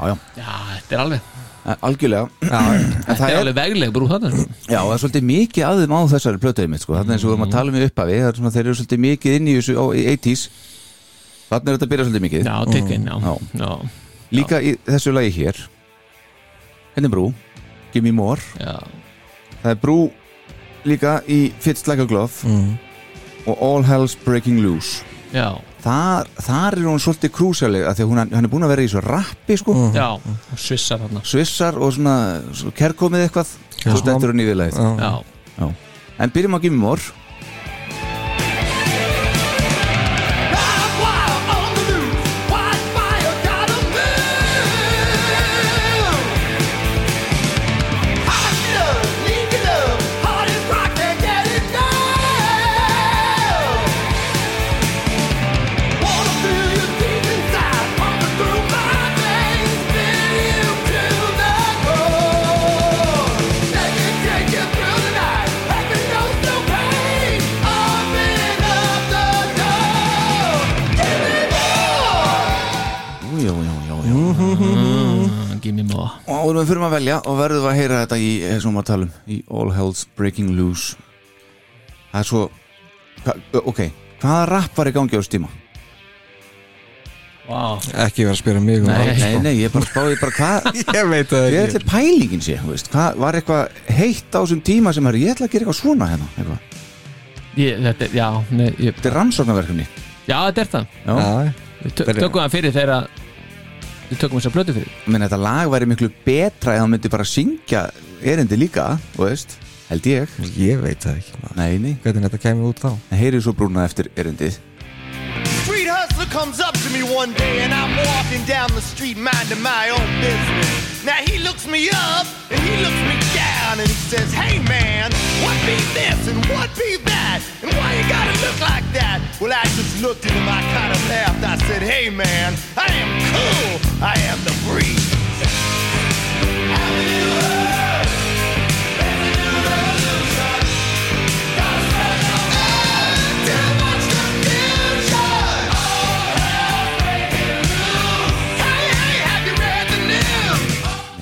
Speaker 5: Já, já,
Speaker 7: Já, þetta er alveg,
Speaker 5: Eh, algjörlega En
Speaker 7: þetta
Speaker 5: það
Speaker 7: er
Speaker 5: er
Speaker 7: alveg vegleg brú þarna sko.
Speaker 5: Já, það er svolítið mikið að þeim á þessari plötuði mitt sko. Þannig eins og við erum að tala um í upphafi það er svona, Þeir eru svolítið mikið inn í þessu á, í 80s Þannig er þetta að byrja svolítið mikið
Speaker 7: Já, tikkin, já,
Speaker 5: Já.
Speaker 7: já,
Speaker 5: Líka í þessu lagi hér Henni brú Gimme more
Speaker 7: já.
Speaker 5: Það er brú líka í Fits like a glove
Speaker 7: Mm.
Speaker 5: Og all hell's breaking loose
Speaker 7: já.
Speaker 5: Þar, þar er hún svolítið krúsaleg af Því að hún, hann er búin að vera í svo rappi sko.
Speaker 7: Já, og svissar þarna sko.
Speaker 5: Svissar og svona, svona kerkomið eitthvað Svo
Speaker 6: smá-
Speaker 5: stendur hún í viðlagið
Speaker 6: Já,
Speaker 7: Já,
Speaker 5: Já. En byrjum á Gimme more Jú, jú, jú, jú, jú
Speaker 7: gimme more
Speaker 5: Mm. Og áður en við fyrir að velja og verðum að heyra þetta í þessum að tala um Í All Hells Breaking Loose Það er svo hva, ö, Ok, hvaða rapp var í gangi á þessu tíma?
Speaker 7: Wow,
Speaker 6: ekki vera að spyrja mig um það,
Speaker 5: nei,
Speaker 6: sko.
Speaker 5: nei, ég er bara að spáði bara hvað
Speaker 6: Ég veit
Speaker 5: Ég
Speaker 6: það
Speaker 5: er
Speaker 6: ekki
Speaker 5: allir pælingin sé, þú veist Hvað var eitthvað heitt á þessum tíma sem er Ég ætla að gera eitthvað svona hérna eitthvað.
Speaker 7: ég, þetta, er- já, nei, ég,
Speaker 5: Þetta er rannsóknarverkefni
Speaker 7: já, þetta er það
Speaker 5: Já,
Speaker 6: Já,
Speaker 7: Við tö- tökum það fyrir þegar að- Við tökum þess að blötu fyrir
Speaker 5: menn þetta lag væri miklu betra ef hann myndi bara syngja erindi líka, þú veist Held ég
Speaker 6: Ég veit það ekki maður.
Speaker 5: Nei, nei,
Speaker 6: Hvernig þetta kemur út þá
Speaker 5: heyrið svo brúna eftir erindið
Speaker 4: Street hustler comes up to me one day and I'm walking down the street minding my own business. Now he looks me up and he looks me down and he says, Hey man, what be this and what be that? And why you gotta look like that? Well, I just looked at him, I kind of laughed. I said, Hey man, I am cool, I am the breeze.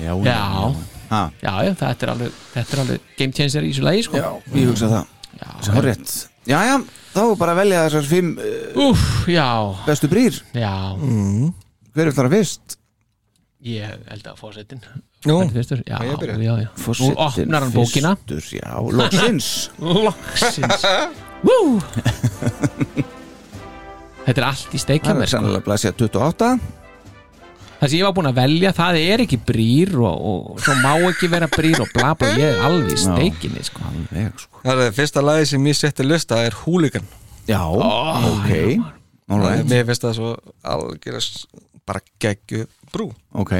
Speaker 5: Já,
Speaker 7: Já,
Speaker 5: Ha,
Speaker 7: já, já, þetta er alveg Þetta er alveg game changer í þessu lagi, sko
Speaker 5: já, ég hugsa það
Speaker 7: já,
Speaker 5: Hárrétt, Jæja, þá er bara að velja þessar fimm uh,
Speaker 7: Úf, já,
Speaker 5: bestu brýr
Speaker 7: já
Speaker 5: Hver er þar að fyrst?
Speaker 7: Ég held að fósettin
Speaker 6: Jú,
Speaker 7: Fyrstur, já,
Speaker 6: ég byrja?
Speaker 7: já, já Nú opnar hann bókina
Speaker 5: Mm. fyrstur, Já, loksins
Speaker 7: Loksins Woo! Þetta er allt í steikja
Speaker 5: Það
Speaker 7: mér
Speaker 5: er
Speaker 7: sko.
Speaker 5: sannlega blæsja 28
Speaker 7: Það sem ég var búinn að velja, það er ekki brýr og, og svo má ekki vera brýr og bla bla, ég er alveg í steikinni sko.
Speaker 5: Alveg, sko.
Speaker 6: það er fyrsta lagi sem ég setti lista er Hooligan
Speaker 5: Já, ok All right,
Speaker 6: Mér finnst það svo algjörst bara geggju brú
Speaker 5: ok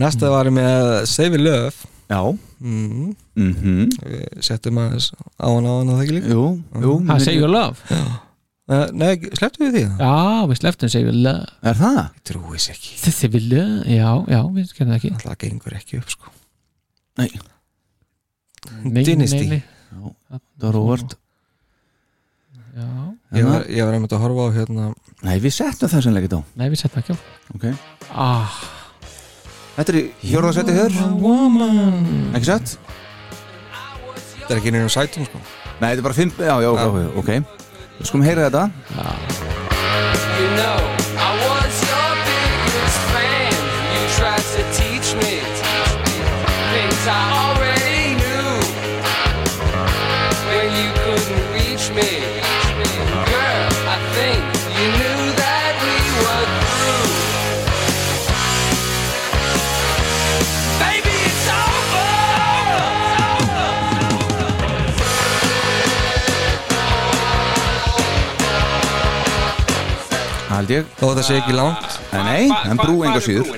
Speaker 6: Næsta var ég með Save Your Love
Speaker 5: Já Mhm,
Speaker 6: Við settum aðeins á hann á hann og það ekki líka
Speaker 5: Jú, jú
Speaker 7: Það segjum við love
Speaker 6: Eh, Nei, slepptu við því það?
Speaker 7: Já, við sleftum segjum við love
Speaker 5: Er það?
Speaker 6: Trúis ekki
Speaker 7: Þessi við love, já, já, við skemmum það ekki
Speaker 6: Það gengur ekki upp sko
Speaker 5: Nei,
Speaker 7: Nei,
Speaker 6: Dynasty.
Speaker 7: nei, nei.
Speaker 5: það var óvart
Speaker 7: Já,
Speaker 6: Ég var, ég var einmitt að horfa á hérna
Speaker 5: Nei, við settum það sannlega ekki þá
Speaker 7: nei, við settum ekki á
Speaker 5: Ok
Speaker 7: ah,
Speaker 5: Þetta er í fjórðarsætti hér Ekki satt?
Speaker 6: Þetta er ekki nýjum sætum sko
Speaker 5: Nei, þetta er bara fimm Já, já, já, já, ok Við skulum heyra þetta
Speaker 2: You know, I was your biggest fan. You tried to teach me things I already knew. When you couldn't reach me, girl, I think you knew that we were through. Baby, it's over.
Speaker 5: Hald ég
Speaker 6: Þó þetta sé ekki langt
Speaker 5: Nei, nei, en brú enga síður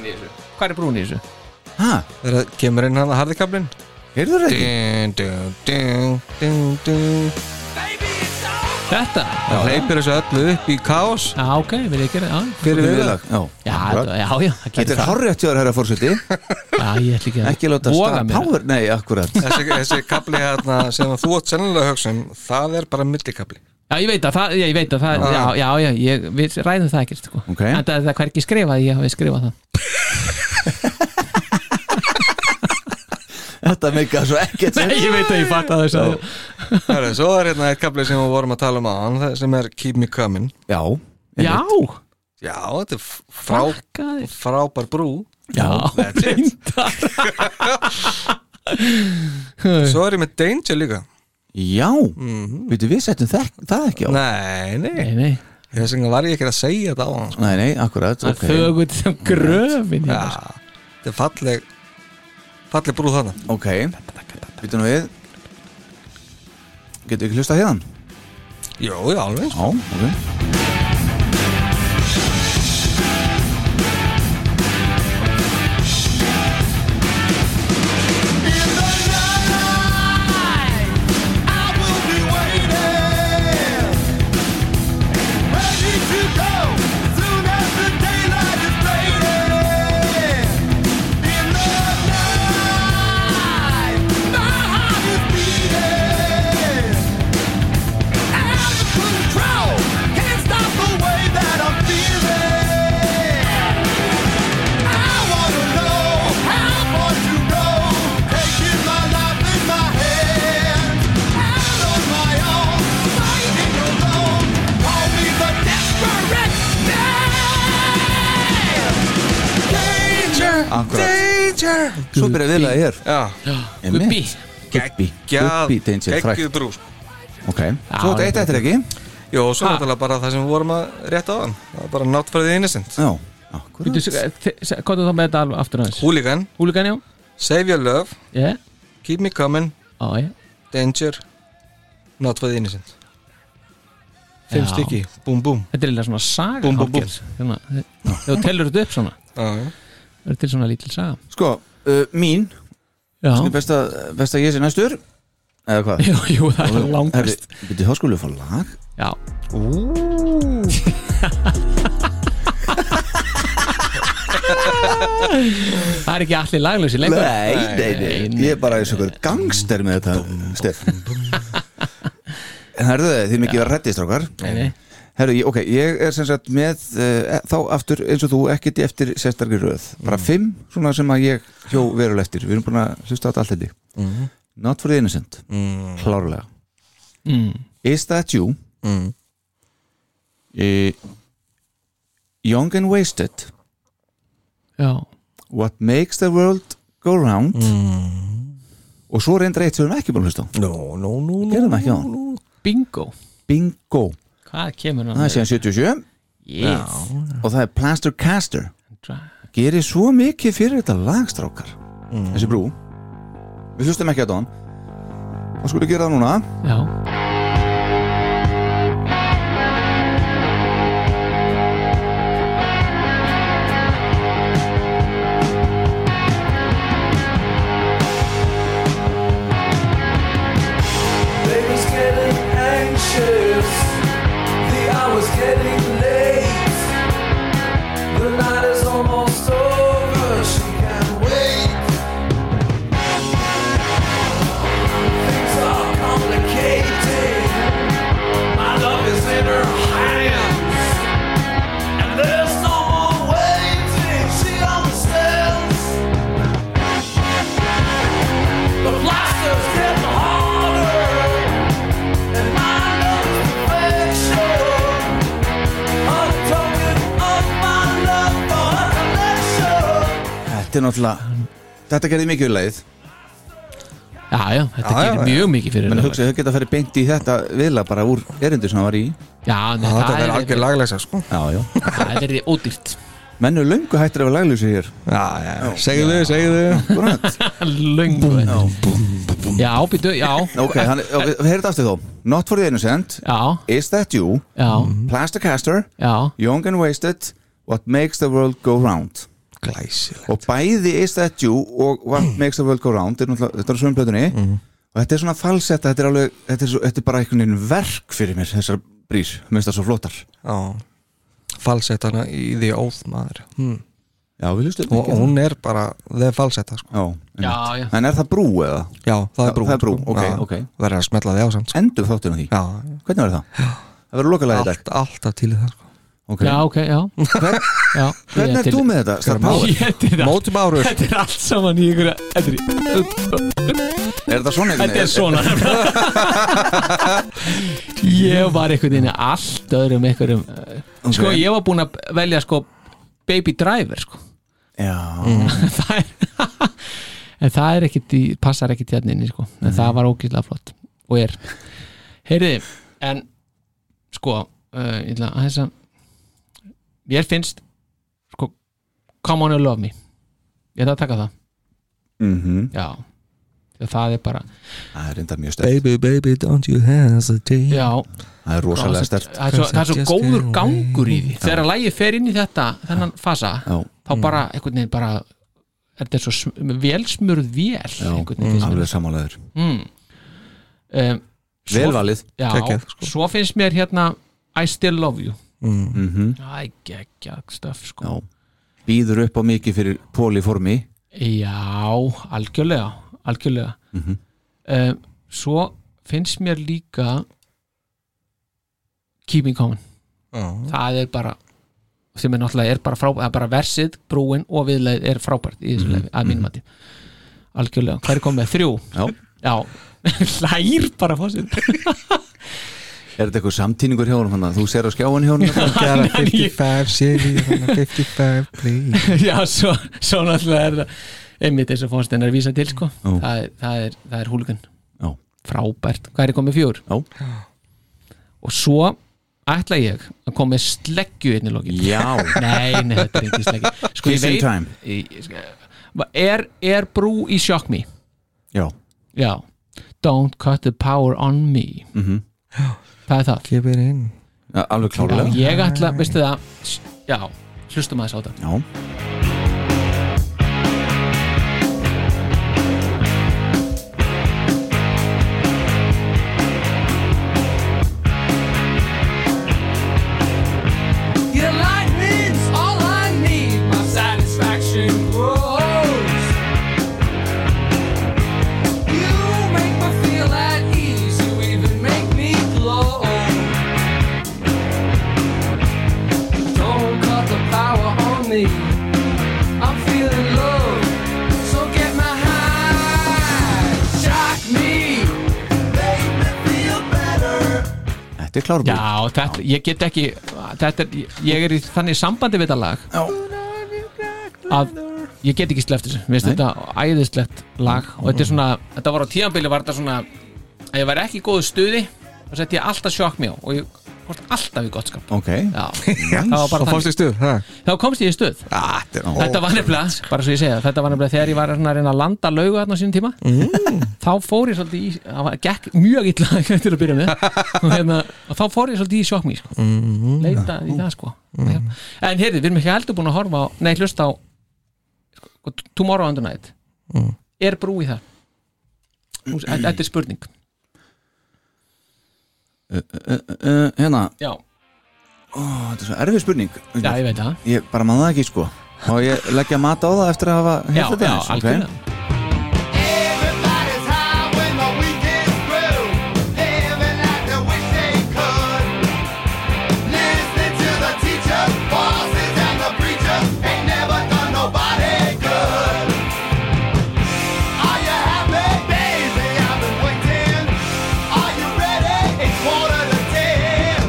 Speaker 7: Hvað er brún í þessu?
Speaker 5: Hæ,
Speaker 6: Þegar kemur inn hann að harðikablin
Speaker 5: heyrðu þetta ekki?
Speaker 6: Dun, dun, dun, dun, dun
Speaker 2: Baby, it's over.
Speaker 7: Þetta?
Speaker 6: Það hleypir þessu öllu upp í kaos
Speaker 7: Já, ok, vil ég gera það já.
Speaker 6: Fyrir við
Speaker 5: Já,
Speaker 7: Já,
Speaker 5: akkurat.
Speaker 7: þetta- já, já, það
Speaker 5: Þetta
Speaker 7: gerir
Speaker 5: er
Speaker 7: það
Speaker 5: horrið hjá þér, herra fórseti
Speaker 7: Já, ég ætla ekki að
Speaker 5: Ekki láta
Speaker 7: voga
Speaker 5: stað
Speaker 7: mér það.
Speaker 5: Power, nei, akkurat
Speaker 6: þessi, þessi kapli hérna sem þú átt sennilega að hugsa um það er bara millikapli
Speaker 7: Já, ég veit að það, já, ég veit að það, já, já, já, ég, við ræðum það ekkert, sko.
Speaker 5: Ok.
Speaker 7: En það er það hvergi skrifað, ég hafi skrifað það.
Speaker 5: Þetta meika svo ekkert
Speaker 7: Nei, ég veit að ég fatt að þess að
Speaker 6: Heru, svo er hérna eitt kapli sem við vorum að tala um á hann sem er Keep Me Coming
Speaker 5: Já,
Speaker 7: Já,
Speaker 6: já, þetta er f- frá,
Speaker 7: Bakkaði.
Speaker 6: frábær brú
Speaker 5: já
Speaker 7: reyndar.
Speaker 6: svo er ég með Danger líka
Speaker 5: Já, veitu, við settum það, það ekki á
Speaker 6: nei,
Speaker 7: Nei,
Speaker 6: nei,
Speaker 7: nei,
Speaker 6: þess vegna var ég ekki að segja þetta á hann sko.
Speaker 5: Nei, nei, akkurat,
Speaker 7: það
Speaker 5: ok
Speaker 7: okay. þögut sem gröfin
Speaker 6: já,
Speaker 7: ja.
Speaker 6: þetta er falleg falleg brú þannig
Speaker 5: Ok, veitu nú við Getum við ekki hlusta hérna?
Speaker 6: jú, já, alveg eins.
Speaker 5: Já, ok Akkurat,
Speaker 6: Danger
Speaker 5: svo byrja viðlega hér
Speaker 6: já,
Speaker 7: Gubbi
Speaker 5: Gubbi,
Speaker 6: gjað,
Speaker 5: Gubbi, Danger, frækt
Speaker 6: geggjuð brú sko.
Speaker 5: Ok, svo þetta eitt eftir ekki
Speaker 6: jú, og svo
Speaker 7: Ha.
Speaker 6: náttúrulega bara það sem við vorum að rétta á hann það var bara not for the innocent
Speaker 5: Já, akkurat
Speaker 7: eh, Kóttu þá með þetta alveg aftur aðeins
Speaker 6: Hooligan,
Speaker 7: Húlikan, já,
Speaker 6: Save Your Love
Speaker 7: já,
Speaker 6: Keep Me Coming,
Speaker 7: á, já
Speaker 6: Danger Not for the Innocent Fimm
Speaker 7: Já.
Speaker 6: stykki, búm búm
Speaker 7: Þetta er eiginlega svona saga
Speaker 6: Búm, búm, búm.
Speaker 7: Hallgils. Svona, Þegar þú telur þetta upp svona
Speaker 6: Já,
Speaker 7: Það er til svona lítil saga
Speaker 5: Sko, uh, mín, sem er
Speaker 7: Já,
Speaker 5: best að, best að ég sé næstur Eða hvað?
Speaker 7: jú, jú, það er langast
Speaker 5: Byrju, þá skulum við fá lag
Speaker 7: Já, það er ekki allir laglösi lengur
Speaker 5: Nei, nei, nei, ég er bara eins og einhver gangster með þetta Steff Herðu, þið er mikið verið rættið strákar
Speaker 7: Nei, nei.
Speaker 5: Herðu, ég- ok, ég er sem sagt með uh, þá aftur eins og þú ekkert í eftir sérstakri röð, bara fimm svona sem að ég hjó veruleg eftir við erum búin að hlusta á þetta allt þetta Not for the innocent, klárlega
Speaker 7: Mm.
Speaker 5: Is That You
Speaker 6: Mm.
Speaker 5: eh, Young and Wasted
Speaker 7: já,
Speaker 5: What Makes the World Go Round Mm. og svo reyndar eitt sem við erum ekki búin að hlusta á
Speaker 6: No, no, no, no
Speaker 5: Gerðum ekki á
Speaker 6: no, no.
Speaker 7: bingo
Speaker 5: Bingo,
Speaker 7: hvað kemur hann
Speaker 5: það er síðan 77
Speaker 7: yes.
Speaker 5: og það er Plaster Caster gerir svo mikið fyrir þetta lagstrákar þessi brú við hlustum ekki að það og skulum gera það núna
Speaker 7: já,
Speaker 2: They was getting anxious. The hour's getting late. The night is almost over. She can't wait. Things are complicated. My love is in her hands. And there's no more waiting. She understands. The blasters get harder, and my love is perfection. I'm talking of my love for her collection.
Speaker 5: þetta er náttúrulega þetta gerði mikið leið
Speaker 7: já, já þetta
Speaker 6: Já, já,
Speaker 7: gerir
Speaker 6: já.
Speaker 7: mjög mikið fyrir
Speaker 5: menn
Speaker 7: hennar.
Speaker 5: hugsaði þau geta að fara beint í þetta viðla bara úr erindu sem það var í
Speaker 7: já, nei, það,
Speaker 6: Það þetta er algjör
Speaker 7: það,
Speaker 6: laglegsa sko
Speaker 5: já, já.
Speaker 7: það er verið ódýrt
Speaker 5: menn eru löngu hættir af laglýsi hér
Speaker 6: Já, já, segðu þau, segðu þau
Speaker 5: Akkúrat.
Speaker 7: löngu já, býtu, já,
Speaker 5: ok, hann, ok, við heyrðum aftur þó Not for the Innocent,
Speaker 7: já
Speaker 5: Is That You
Speaker 7: já,
Speaker 5: Plaster Caster,
Speaker 7: já,
Speaker 5: Young and Wasted What Makes the World Go Round
Speaker 6: Glæsileg
Speaker 5: og bæði Is That You og What Makes the World Go Round er náttúrulega- þetta er á svömblöðunni
Speaker 6: Mhm.
Speaker 5: og þetta er svona falsetta þetta er, alveg, þetta er, svo, þetta er bara einhvern veginn verk fyrir mér þessar brýr, minnst það svo flottar
Speaker 6: Já Falsettana í The Oath maður hmm.
Speaker 5: já, við hlustum
Speaker 6: Og
Speaker 5: ekki
Speaker 6: hún er bara, það er falsetta sko
Speaker 5: já,
Speaker 7: já,
Speaker 5: einmitt.
Speaker 7: já.
Speaker 5: en er það brú eða?
Speaker 6: Já, það er
Speaker 5: Þa-
Speaker 6: brú
Speaker 5: það er brú,
Speaker 6: sko.
Speaker 5: ok,
Speaker 6: Já,
Speaker 5: ok.
Speaker 6: Verður að smetla því á samt sko
Speaker 5: endur þáttum á því,
Speaker 6: Já,
Speaker 5: hvernig verður það? það verður lokalega í dag
Speaker 6: allt, alltaf til í það sko
Speaker 5: okay.
Speaker 7: já, ok, já já,
Speaker 5: hvernig er þú með þetta? Star Power?
Speaker 7: Ég er til allt-
Speaker 6: Mótum árur
Speaker 7: Þetta er allt saman í ykkur
Speaker 5: er þetta svona? einhvern
Speaker 7: Þetta er
Speaker 5: veginn?
Speaker 7: svona Ég var einhvern veginn í allt öðrum einhverjum eh, Sko
Speaker 5: Ok.
Speaker 7: ég var búinn að velja sko Baby Driver sko
Speaker 5: já,
Speaker 6: Mhm.
Speaker 7: Það er En það er ekkit í, passar ekkit hérna inni sko En
Speaker 5: Mhm.
Speaker 7: það var ógíslega flott Og er Heyriði, en sko uh, Ég ætla að þess að Mér finnst sko Come on and love me Ég ætla að taka það
Speaker 5: mhm,
Speaker 7: Já, Því að það er bara
Speaker 5: það er reyndar mjög stert
Speaker 6: Baby, baby, don't you
Speaker 5: Mm.
Speaker 6: hesitate
Speaker 7: Já,
Speaker 5: það er rosalega
Speaker 7: það
Speaker 5: stert
Speaker 7: er svo, það er svo
Speaker 6: Just
Speaker 7: góður
Speaker 6: get
Speaker 7: gangur í því
Speaker 6: away.
Speaker 7: Þegar lægi fer inn í þetta, þennan fasa
Speaker 5: já, Mm.
Speaker 7: þá bara, einhvern veginn bara þetta er svo sm- velsmurð vél
Speaker 5: já,
Speaker 7: einhvern veginn finnst mér.
Speaker 5: alveg samanlegaður
Speaker 7: mm. um, svo-
Speaker 5: velvalið
Speaker 7: Já,
Speaker 6: Geggjað, sko.
Speaker 7: svo finnst mér hérna I still love you
Speaker 6: mm.
Speaker 5: mhm,
Speaker 7: Æ, geggjað stöf
Speaker 5: já
Speaker 7: sko
Speaker 5: býður upp á mikið fyrir poliformi
Speaker 7: Já, algjörlega algjörlega
Speaker 5: Mhm.
Speaker 7: um, Svo finnst mér líka Keeping Common
Speaker 6: Já,
Speaker 7: það er bara sem er náttúrulega er bara frábært, það er bara versið brúin og viðleið er frábært í
Speaker 5: Mhm,
Speaker 7: þessu leiði að mínum mati, algjörlega hvað er komið, þrjú?
Speaker 5: Já.
Speaker 7: já. hlær bara fósið
Speaker 5: Er þetta eitthvað samtíningur hjá honum hann að þú sér á skjáin hjá honum?
Speaker 6: Gera
Speaker 7: Hann er í-
Speaker 6: 55, Siri, 55, please
Speaker 7: já, svo, svo náttúrulega er það einmitt eins og fósið er að vísa til sko.
Speaker 5: Já.
Speaker 7: það, er, það, er, það er húlgan
Speaker 5: Já.
Speaker 7: frábært, hvað er komið fjör?
Speaker 5: Já.
Speaker 7: og svo ætla ég að koma með sleggju einnig lokin
Speaker 5: Já,
Speaker 7: nei, nei, þetta er ekki sleggju sko, ég
Speaker 5: Kiss in
Speaker 7: veit-
Speaker 5: Time
Speaker 7: Í- er, er brú í Shock Me?
Speaker 5: Já,
Speaker 7: Já Don't cut the power on me
Speaker 5: Mhm.
Speaker 7: Það er það
Speaker 6: Keep it in
Speaker 5: ja, alveg
Speaker 7: Já,
Speaker 5: klárlega
Speaker 7: Ég ætla, veistu það s- Já, hlustum að þess á það
Speaker 5: Já,
Speaker 2: Your lightning's all I need. My satisfaction grows. You make me feel at ease. You even make me glow. Don't cut the power on me.
Speaker 5: Þetta er klárbúð
Speaker 7: Já, þetta, ég get ekki þetta er, Ég er í þannig sambandi við þetta lag
Speaker 5: Já.
Speaker 7: að ég get ekki sleppt þessu Mér finnst
Speaker 5: Nei.
Speaker 7: þetta æðislegt lag og þetta er svona, þetta var á tíðanbili var þetta svona að ég væri ekki í góðu stuði og sett ég alltaf sjokk mér á og ég komst alltaf í gott skap
Speaker 5: Ok
Speaker 7: Já, það var bara
Speaker 6: og
Speaker 7: þannig
Speaker 6: fórst í stuð ha?
Speaker 7: Þá komst ég í stuð
Speaker 5: Ah, Þetta er-
Speaker 7: Þetta var nefnilega, bara svo ég segja, þetta var nefnilega þegar ég var svona að reyna að landa laugu þarna á sínum tíma þá fór ég svolítið í, það var- gekk mjög illa til að byrja með og, hérna, og þá fór ég svolítið í sjokkmi sko. leita í það sko en heyrði, við erum ekki heldur búin að horfa á, nei, hlusta á sko, Tomorrow and the Night er brú í það? Nú, Þetta þetta er spurning
Speaker 5: Uh, Hérna,
Speaker 7: Já,
Speaker 5: ó, þetta er svo erfið spurning
Speaker 7: já ég veit það
Speaker 5: Ég bara manna það ekki sko Og ég leggja mat á það eftir að hafa
Speaker 7: Já,
Speaker 5: heyrt þetta
Speaker 7: já,
Speaker 5: aðeins, ok?
Speaker 7: algjörlega
Speaker 4: Everybody's high when the weekend's through, living like they wish they could. Listening to the teachers, bosses, and the preachers, ain't never done nobody good. Are you happy, baby? I've been waiting. Are you ready? It's quarter to ten.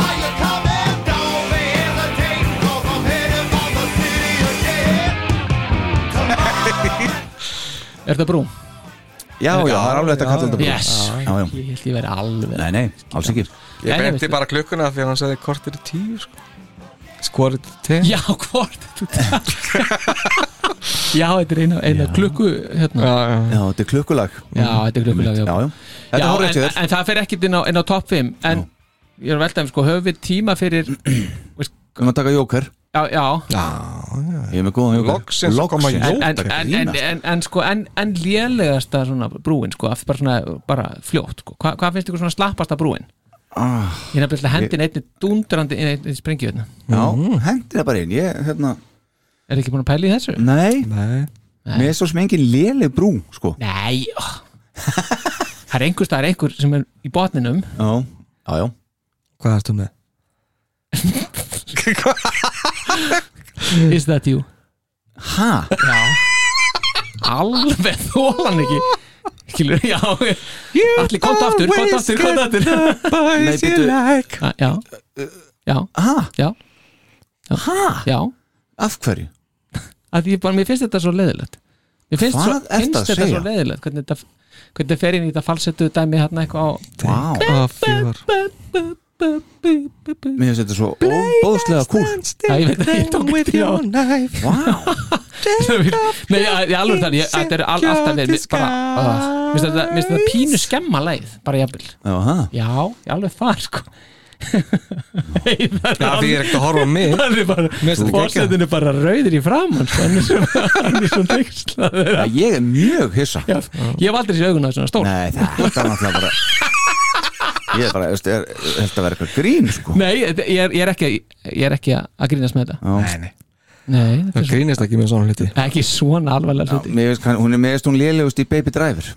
Speaker 4: Are you coming? Don't be hesitating, 'cause I'm heading for the city again.
Speaker 7: Er þetta brú?
Speaker 5: Já, já, það er alveg þetta að kalla þetta brú.
Speaker 7: Yes,
Speaker 5: Já, já.
Speaker 7: ég held ég verið alveg
Speaker 5: Nei, nei, alls ekki
Speaker 7: Nei,
Speaker 6: ég
Speaker 7: nei,
Speaker 6: brendi
Speaker 7: veistu-
Speaker 6: bara klukkuna því að hann sagði kortir í tíu sko. skorið til tíu
Speaker 7: Já, hvort þú talar Já, þetta er eina, eina klukku hérna.
Speaker 6: já, já.
Speaker 5: Já, þetta er klukkulag
Speaker 7: Já, þetta er klukkulag
Speaker 5: Já,
Speaker 7: já.
Speaker 5: já Þetta
Speaker 7: Já,
Speaker 5: er hórið
Speaker 7: en,
Speaker 5: til
Speaker 7: en,
Speaker 5: þér
Speaker 7: það fer ekkert inn á, inn á top 5 En ég er að velta um, sko, höfum við tíma fyrir
Speaker 5: Við maður taka jóker
Speaker 7: Já, já
Speaker 5: Ég er með góðan jóker
Speaker 6: Loksins koma
Speaker 5: Loksins.
Speaker 6: jóker.
Speaker 7: En, en,
Speaker 5: Jóker,
Speaker 7: en, en,
Speaker 5: grínast.
Speaker 7: en, en, sko, en, en lélegasta svona brúin sko, af- bara, svona, bara fljótt sko. Hva, Hvað finnst ykkur svona slappasta brúin?
Speaker 5: Ah,
Speaker 7: Ég er nefnilega hendin einni dundrandi inn einni sprengi hérna.
Speaker 5: Já, hendi það bara inn Ég, hérna
Speaker 7: Er ekki búin að pæla í þessu?
Speaker 5: Nei,
Speaker 6: Nei.
Speaker 5: mér er svo sem engin léleg brú, sko
Speaker 7: Nei ó. Það er einhver staðar einhver sem er í botninum
Speaker 5: Já, já, já
Speaker 6: hvað ertu með?
Speaker 7: Is that you?
Speaker 5: Ha?
Speaker 7: alveg þólan ekki skilur, já allir komta aftur, komta aftur, komta aftur
Speaker 5: Nei, byrju
Speaker 7: Ah, já, já,
Speaker 5: Ha?
Speaker 7: já,
Speaker 5: Ha?
Speaker 7: já
Speaker 5: Af hverju?
Speaker 7: að ég bara, mér finnst þetta svo leiðilegt mér finnst,
Speaker 5: Hvað
Speaker 7: svo,
Speaker 5: ertu
Speaker 7: finnst
Speaker 5: að
Speaker 7: þetta
Speaker 5: segja?
Speaker 7: svo leiðilegt hvernig þetta, hvernig þetta fer inn í þetta falsettu dæmi hérna eitthvað á
Speaker 5: Vá,
Speaker 6: að fjör
Speaker 7: já,
Speaker 5: mér finnst þetta svo óbóðslega kúl
Speaker 7: ég veit það, ég tók eftir því á
Speaker 5: Vá,
Speaker 7: nei, ég alveg þannig, ég- þetta er all- alltaf verið mér- bara, ah, mér finnst þetta- mér finnst þetta pínu skemma leið, bara jafnvel
Speaker 5: já, ha?
Speaker 7: já, ég alveg þar sko Nei, það er
Speaker 6: já því ég er ekkert að horfa á mig
Speaker 7: hann er bara
Speaker 6: finnst þetta
Speaker 7: fórsetin er bara rauðir í framann sko, hann er svona hann er svona neykslað
Speaker 5: Já, Ég er mjög hissa
Speaker 7: ég hef aldrei séð augun á svona stór nei,
Speaker 5: Nei, þetta er náttúrulega bara Ég er bara, veist, er, þetta verður eitthvað grín sko.
Speaker 7: þetta- ég, er, ég er ekki ég er ekki að grínast með þetta
Speaker 5: Já.
Speaker 7: nei, þetta
Speaker 6: það
Speaker 7: er
Speaker 6: grínist ekki með svona hluti
Speaker 7: svona, ekki svona alvarlega hluti
Speaker 5: Mér veist, hann- hún er meðist hún lélegust í Baby Driver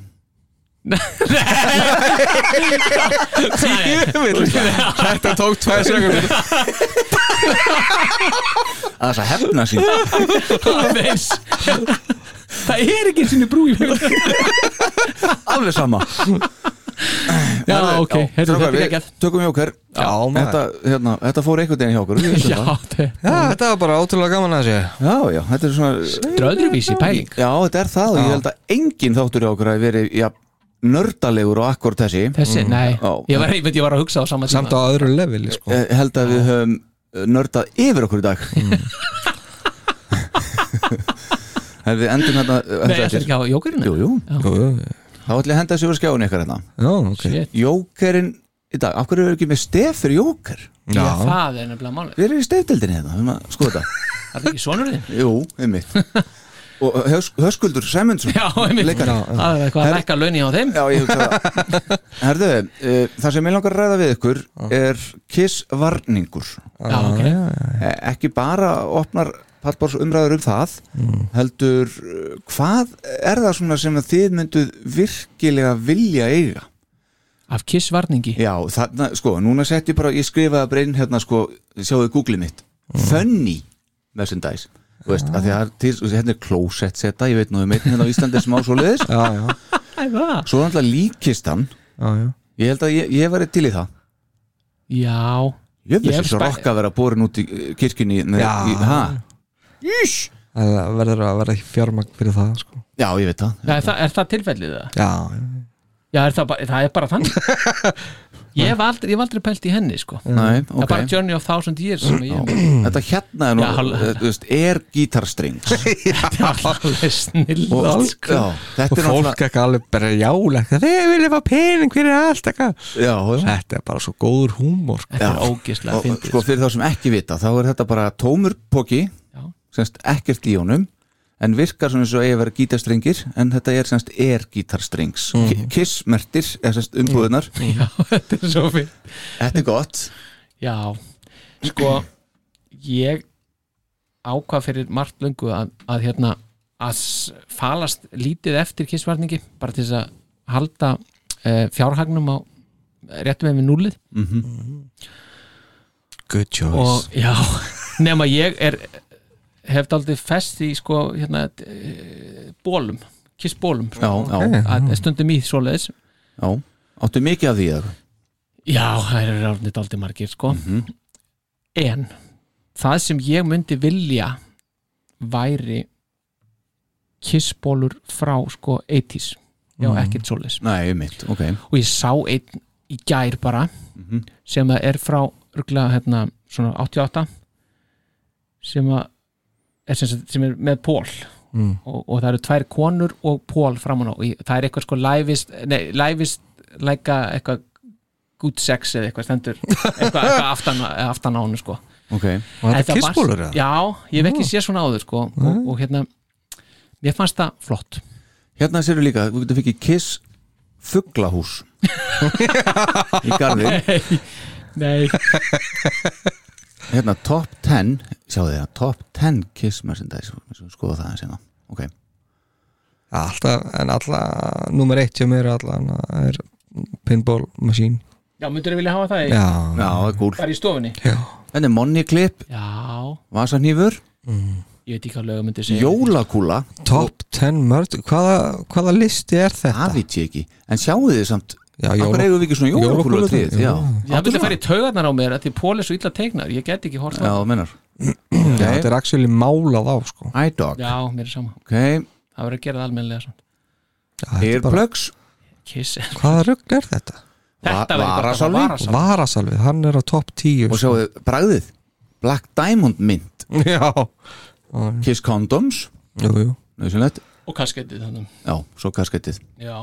Speaker 6: þetta tók tvær sekundir
Speaker 5: að þess að hefna sín
Speaker 7: Aðeins. það er ekki eins og brú í mjög
Speaker 5: alveg sama
Speaker 7: já, ok, heyrðu, þetta er ekki að
Speaker 5: við tökum jóker
Speaker 6: Já, maður.
Speaker 5: þetta, hérna, þetta fór einhvern veginn hjá okkur við vitum
Speaker 7: já,
Speaker 5: það.
Speaker 7: þetta er
Speaker 6: já, þetta var bara ótrúlega gaman að sé
Speaker 5: já, já, þetta er svona
Speaker 7: dröðruvísi pæling
Speaker 5: já, þetta er það og ég held að enginn þáttur hjá okkur að verið já, nördalegur og akkur þessi
Speaker 7: þessi, nei,
Speaker 5: Já.
Speaker 7: ég var, ég, veit, ég var að hugsa Mm. á saman
Speaker 6: samt á öðru leveli sko.
Speaker 5: Eh, held að við höfum eh, nördað yfir okkur í dag
Speaker 7: Mm.
Speaker 5: Herðu, við endum hérna, þetta
Speaker 7: nei, þetta er ekki á jókurinu
Speaker 5: jú, jú,
Speaker 6: Jú, jú.
Speaker 5: þá ætlum ég að henda þessu yfir skjáinu ykkar hérna
Speaker 6: Sko, eh. já, ok
Speaker 7: Shit.
Speaker 5: Jókerinn í dag, af hverju eru ekki með stef fyrir jóker?
Speaker 7: Já,
Speaker 6: já,
Speaker 7: það er nefnilega málið
Speaker 5: Við erum í stefdildinni hérna, við maður skoða þetta
Speaker 7: Það er ekki sonur þinn
Speaker 5: Jú, einmitt Og eh, Hös- Höskuldur Sæmundsson
Speaker 7: Já, einmitt
Speaker 5: Leikari.
Speaker 7: Það er eitthvað að
Speaker 5: Her-
Speaker 7: lækka launi á þeim
Speaker 5: Já, ég hugsa það Herðu, eh, það sem ég langar að ræða við ykkur er kissvarningur
Speaker 7: Ah, Já, ok
Speaker 5: Eh, Ekki bara opnar pallbórs umræður um það heldur, eh, hvað er það svona sem að þið mynduð virkilega vilja eiga?
Speaker 7: Af kissvarningi
Speaker 5: Já, þarna, sko, núna sett ég bara, ég skrifaði bara inn hérna, sko, sjáðu Google mitt Funny merchandise Þú veist, að því að það er til, þú veist, hérna er closet seta, ég veit nú um einn hérna á Íslandi sem á svo leiðis
Speaker 6: já, já,
Speaker 7: Það er það
Speaker 5: Svo er alltaf líkistan,
Speaker 6: já, já.
Speaker 5: ég held að ég, ég væri til í það
Speaker 7: já,
Speaker 5: Ég
Speaker 7: Ég hef
Speaker 5: vissi svo
Speaker 7: spæ-
Speaker 5: rokka að vera borin út í eh, kirkjunni með,
Speaker 6: Já.
Speaker 5: í, ha?
Speaker 6: það verður að verða ekki fjármagn fyrir það sko.
Speaker 5: Já, ég veit það
Speaker 7: Já, er, það, er það tilfellið það?
Speaker 6: já,
Speaker 7: Já, er það, bara, það er bara þannig Ég hef aldrei, ég hef aldrei pælt í henni sko.
Speaker 5: Nei,
Speaker 7: Það er bara
Speaker 5: ok
Speaker 7: Journey of Thousand Years sem ég
Speaker 5: Þetta hérna er nú,
Speaker 7: Já, hal-
Speaker 5: eh, þú veist, er gítarstrings
Speaker 7: er alveg snill
Speaker 5: og,
Speaker 7: sko.
Speaker 5: já, þetta
Speaker 6: og
Speaker 5: er
Speaker 6: fólk
Speaker 5: náttúrulega
Speaker 6: ekki alveg bara jálegt þeir vilja fá pening fyrir allt eitthvað
Speaker 5: já, já.
Speaker 6: þetta er bara svo góður húmor sko.
Speaker 5: Já.
Speaker 7: Þetta er ógislega
Speaker 5: og
Speaker 7: fyndið
Speaker 5: sko
Speaker 7: sko.
Speaker 5: fyrir þá sem ekki vita þá er þetta bara tómur póki
Speaker 7: Já.
Speaker 5: semst ekkert í honum en virkar svona eins og eigi að vera gítarstrengir en þetta er semst er gítarstrings mm. kissmertir, eða semst umbúðunar
Speaker 7: Já, þetta er svo fyndið
Speaker 5: Mhm. þetta er gott
Speaker 7: Já, sko ég ákvað fyrir margt löngu að, að hérna að s- falast lítið eftir kissvarningi bara til þess að halda e, fjárhagnum á réttum með við núlið
Speaker 5: Mhm.
Speaker 6: good choice
Speaker 7: og já, nema ég er hef daldið fest í sko hérna e, bólum, kissbólum
Speaker 5: já, já,
Speaker 7: að stundum í svoleiðis
Speaker 5: já, áttu mikið af því eða?
Speaker 7: Já, það eru ráðnit aldrei margir sko En það sem ég myndi vilja væri kissbólur frá sko 80s Já, ekkert svoleiðis
Speaker 5: nei, mitt, ok
Speaker 7: Og ég sá einn í gær bara sem að er frá örgla hérna svona 88 sem að er sem, sagt- sem er með pól
Speaker 6: Mm.
Speaker 7: og, og það eru tvær konur og pól framan á og ég- það er eitthvað sko læfist nei, læfist læka eitthvað good sex eða eitthvað stendur eitthvað, eitthvað aftan, aftan á hennu sko
Speaker 5: ok,
Speaker 6: og þetta
Speaker 7: Þetta
Speaker 6: er
Speaker 7: var-
Speaker 6: kissbólur eða?
Speaker 7: Já, ég hef ekki séð svona áður sko og, og hérna, mér fannst það flott
Speaker 5: hérna sérðu líka, við getum fikið kiss fuglahús í garði
Speaker 7: Nei,
Speaker 5: hérna top 10 sjáðu þið það, top 10 kiss merchandise skoða það eins hérna ok,
Speaker 6: alltaf, en alltaf nummer eitt hjá mér alltaf er pinball machine
Speaker 7: já, myndur ég vilja hafa það í,
Speaker 6: já,
Speaker 5: já, það er gúl
Speaker 7: bara í stofunni
Speaker 6: já.
Speaker 5: þetta Hérna er money clip,
Speaker 7: Já,
Speaker 5: vasanýfur
Speaker 7: ég veit ekki hvað lögum myndi segja
Speaker 5: jólakúla,
Speaker 6: top 10 mörd hvaða, hvaða listi er þetta?
Speaker 5: það veit ég ekki en sjáu þið samt,
Speaker 6: Já,
Speaker 5: akkur
Speaker 6: jóla-
Speaker 5: eigum við ekki svona jólakúla
Speaker 6: jólakúlur
Speaker 5: til
Speaker 6: til,
Speaker 5: já,
Speaker 6: já.
Speaker 7: Ég myndi að fara í taugarnar á mér að því pól er svo illa teiknar Ég get ekki hort
Speaker 5: já,
Speaker 7: á það.
Speaker 5: mennar
Speaker 6: Já, þetta
Speaker 5: ok,
Speaker 6: er actually málað á sko.
Speaker 5: iDog,
Speaker 7: Já, mér er sama
Speaker 5: ok
Speaker 7: Það verður að gera það almennilega samt
Speaker 6: Já, þetta er bara,
Speaker 5: earplugs,
Speaker 7: Kiss
Speaker 6: hvaða rugg er þetta?
Speaker 5: Va-
Speaker 7: Þetta verður bara
Speaker 5: varasalvi?
Speaker 7: varasalvi.
Speaker 6: Varasalvið, hann er á topp 10
Speaker 5: og sjáu þið bragðið Black Diamond Mint,
Speaker 6: sko. Já Mm.
Speaker 5: kiss condoms
Speaker 6: Jú, jú
Speaker 5: nöðsynlegt,
Speaker 7: Og kaskettið þannig
Speaker 5: já, svo kaskettið
Speaker 7: Já,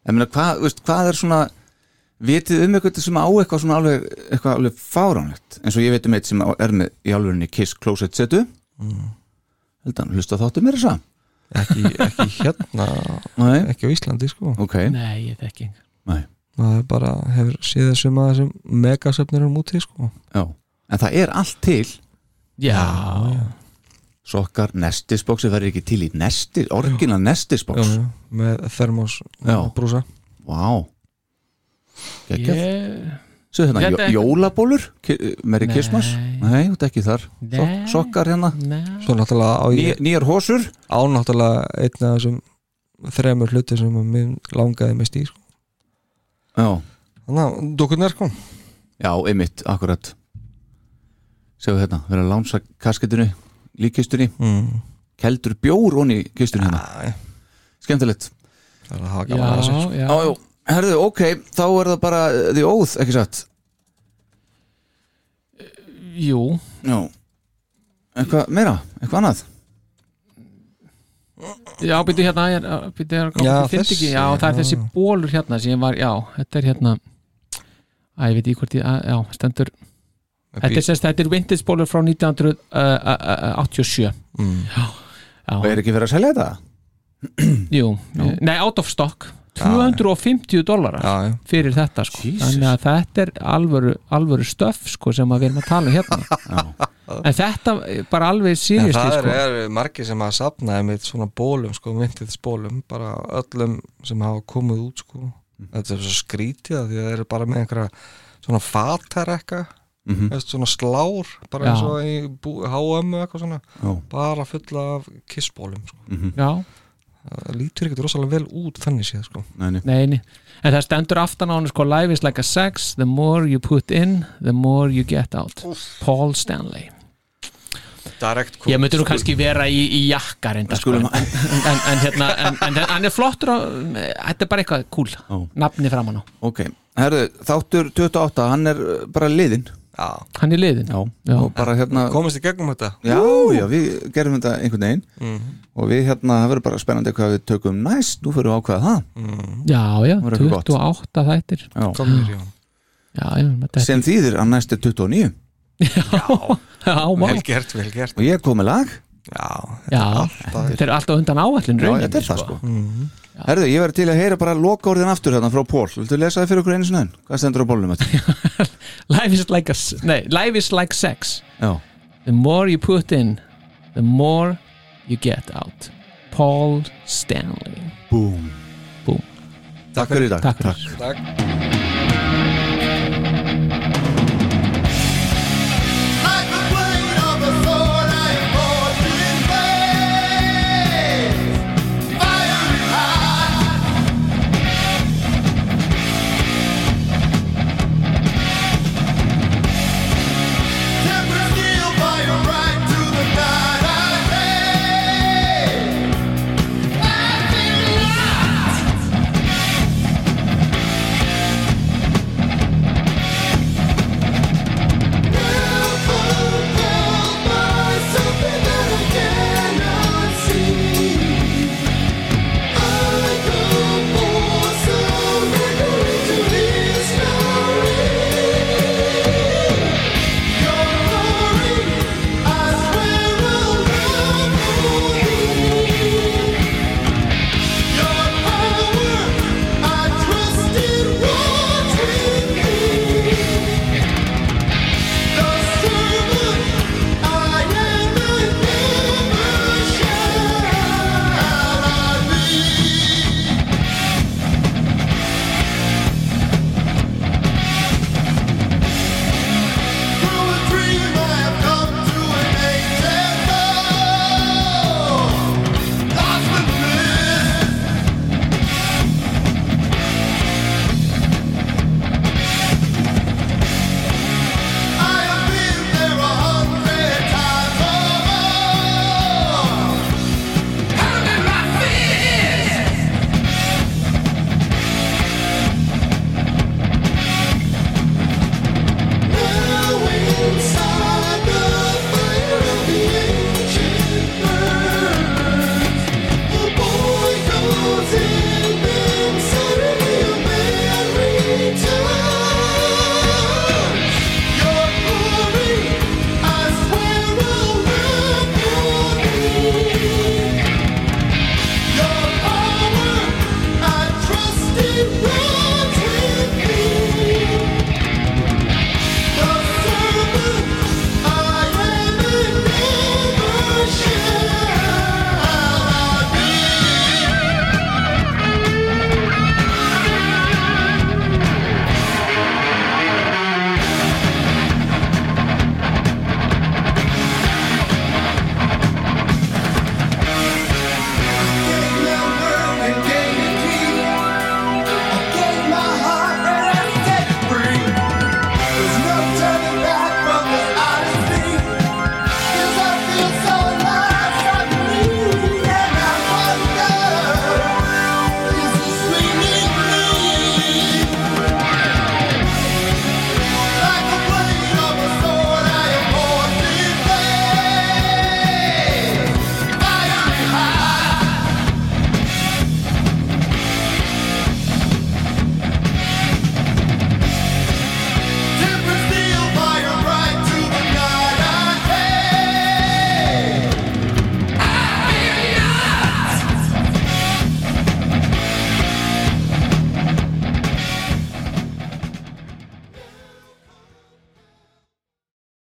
Speaker 5: ég meina, hvað, veist, hvað er svona vitið um eitthvað sem á eitthvað svona alveg, eitthvað alveg fáránlegt eins og ég veit um eitt sem á- er með í alvegurinni Kiss Closet setu mm. held hann, hlusta þáttu mér þess að
Speaker 6: ekki, ekki hérna,
Speaker 5: nei,
Speaker 6: ekki á Íslandi sko.
Speaker 5: ok,
Speaker 7: nei, ég þekki engan.
Speaker 5: nei,
Speaker 6: Það er bara, hefur séð þessum að þessum megasöfnir um úti sko.
Speaker 5: já en það er allt til,
Speaker 7: Já,
Speaker 5: sokkar, nestisboksi það er ekki til í nestis, orginal
Speaker 6: já,
Speaker 5: nestisboks
Speaker 6: já, Með thermos
Speaker 5: Já.
Speaker 6: brúsa
Speaker 5: vá geggjað,
Speaker 7: ég
Speaker 5: svo hérna, jó,
Speaker 7: Þetta er-
Speaker 5: jólabólur Ki- Merry
Speaker 7: Nei.
Speaker 5: Christmas, nei, þú ert ekki þar
Speaker 7: Nei.
Speaker 5: sokkar hérna,
Speaker 7: Nei,
Speaker 6: Svo náttúrulega á
Speaker 5: Ný,
Speaker 6: ég
Speaker 5: nýjar hósur
Speaker 6: á náttúrulega einn af þessum þremur hluti sem að mér langaði mest í sko.
Speaker 5: já
Speaker 6: Þannig að dukkurnar sko
Speaker 5: Já, einmitt, akkurat Sjáðu hérna, vera að lánsa kasketinu líkkistunni,
Speaker 6: mm.
Speaker 5: keldur bjór onni kistunni hérna,
Speaker 6: Æ,
Speaker 5: skemmtilegt
Speaker 6: Það er að hafa
Speaker 7: já,
Speaker 6: gaman að þessu sko.
Speaker 7: já
Speaker 5: Jájú, herðu, ok, þá er það bara uh, the oath, ekki satt
Speaker 7: Jú,
Speaker 5: Já Eitthvað meira, eitthvað annað
Speaker 7: já, byrju hérna ég, er- byrju, er, já,
Speaker 6: Já,
Speaker 7: þessi,
Speaker 6: þessi,
Speaker 7: ekki, já, það er
Speaker 6: já.
Speaker 7: þessi bólur hérna sem ég var, já, þetta er hérna Æ, ég veit í hvort ég, að- já, stendur Þetta er, sérst, þetta er vintage bólur frá 1987
Speaker 6: mm.
Speaker 5: Og
Speaker 7: Já,
Speaker 5: er ekki verið að selja þetta?
Speaker 7: jú, nei, out of stock 250 dólarar
Speaker 6: Já, já
Speaker 7: fyrir þetta sko. þannig að þetta er alvöru, alvöru stöf sko, sem að við erum að tala um hérna en þetta er bara alveg
Speaker 6: En
Speaker 7: sírjusti
Speaker 6: það
Speaker 7: sko.
Speaker 6: er, er margir sem að safnaði með svona bólum, sko, vintiðsbólum bara öllum sem hafa komið út sko. þetta er svo skrítið af því að það eru bara með einhverja svona fatarekka mm svona slár, bara
Speaker 7: Já.
Speaker 6: eins og í bú- H&M eða eitthvað svona,
Speaker 5: Já.
Speaker 6: bara fulla af kissbólum sko.
Speaker 7: já,
Speaker 6: það lítur ekkert rosalega vel út þannig séð sko
Speaker 5: Nei, nei.
Speaker 7: Nei, nei. en það stendur aftan á hann sko life is like a sex, the more you put in the more you get out Paul Stanley
Speaker 10: Direct
Speaker 7: ég myndi nú kannski vera í, í jakka reynda sko, en,
Speaker 5: Skulum-
Speaker 7: en, en, hérna, en, en hann er flottur og, eh, þetta er bara eitthvað cool
Speaker 5: Ó.
Speaker 7: nafni framan á,
Speaker 5: Ok, herðu, þáttur 28, hann er uh, bara liðin
Speaker 6: já.
Speaker 7: hann er liðin Já.
Speaker 5: Og bara hérna
Speaker 6: komist í gegnum þetta
Speaker 5: Já, já, við gerum þetta einhvern veginn Og við hérna, það verður bara spennandi hvað við tökum næst Nú fyrir við að ákveða það
Speaker 7: já, já,
Speaker 5: Það var eitthvað gott.
Speaker 7: 28 þættir já,
Speaker 5: já.
Speaker 6: komir í hann
Speaker 7: já, þetta er
Speaker 5: Sem þýðir að næst er 29
Speaker 7: já, vá.
Speaker 6: vel gert, vel gert
Speaker 5: Og ég kom með lag
Speaker 6: já,
Speaker 7: já, þetta er alltaf undan áallin
Speaker 5: Já, þetta er það sko
Speaker 7: Mm.
Speaker 5: Herðu, ég verður til að heyra bara loka orðin aftur þarna frá Pól Viltu lesa það fyrir okkur einu sinni enn? Hvað stendur á bólnum þetta?
Speaker 7: life is like a, s- nei, life is like sex
Speaker 5: Já,
Speaker 7: the more you put in the more you get out Paul Stanley
Speaker 5: búm
Speaker 7: Búm.
Speaker 5: Takk fyrir í dag
Speaker 7: takk fyrir
Speaker 6: takk
Speaker 5: Takk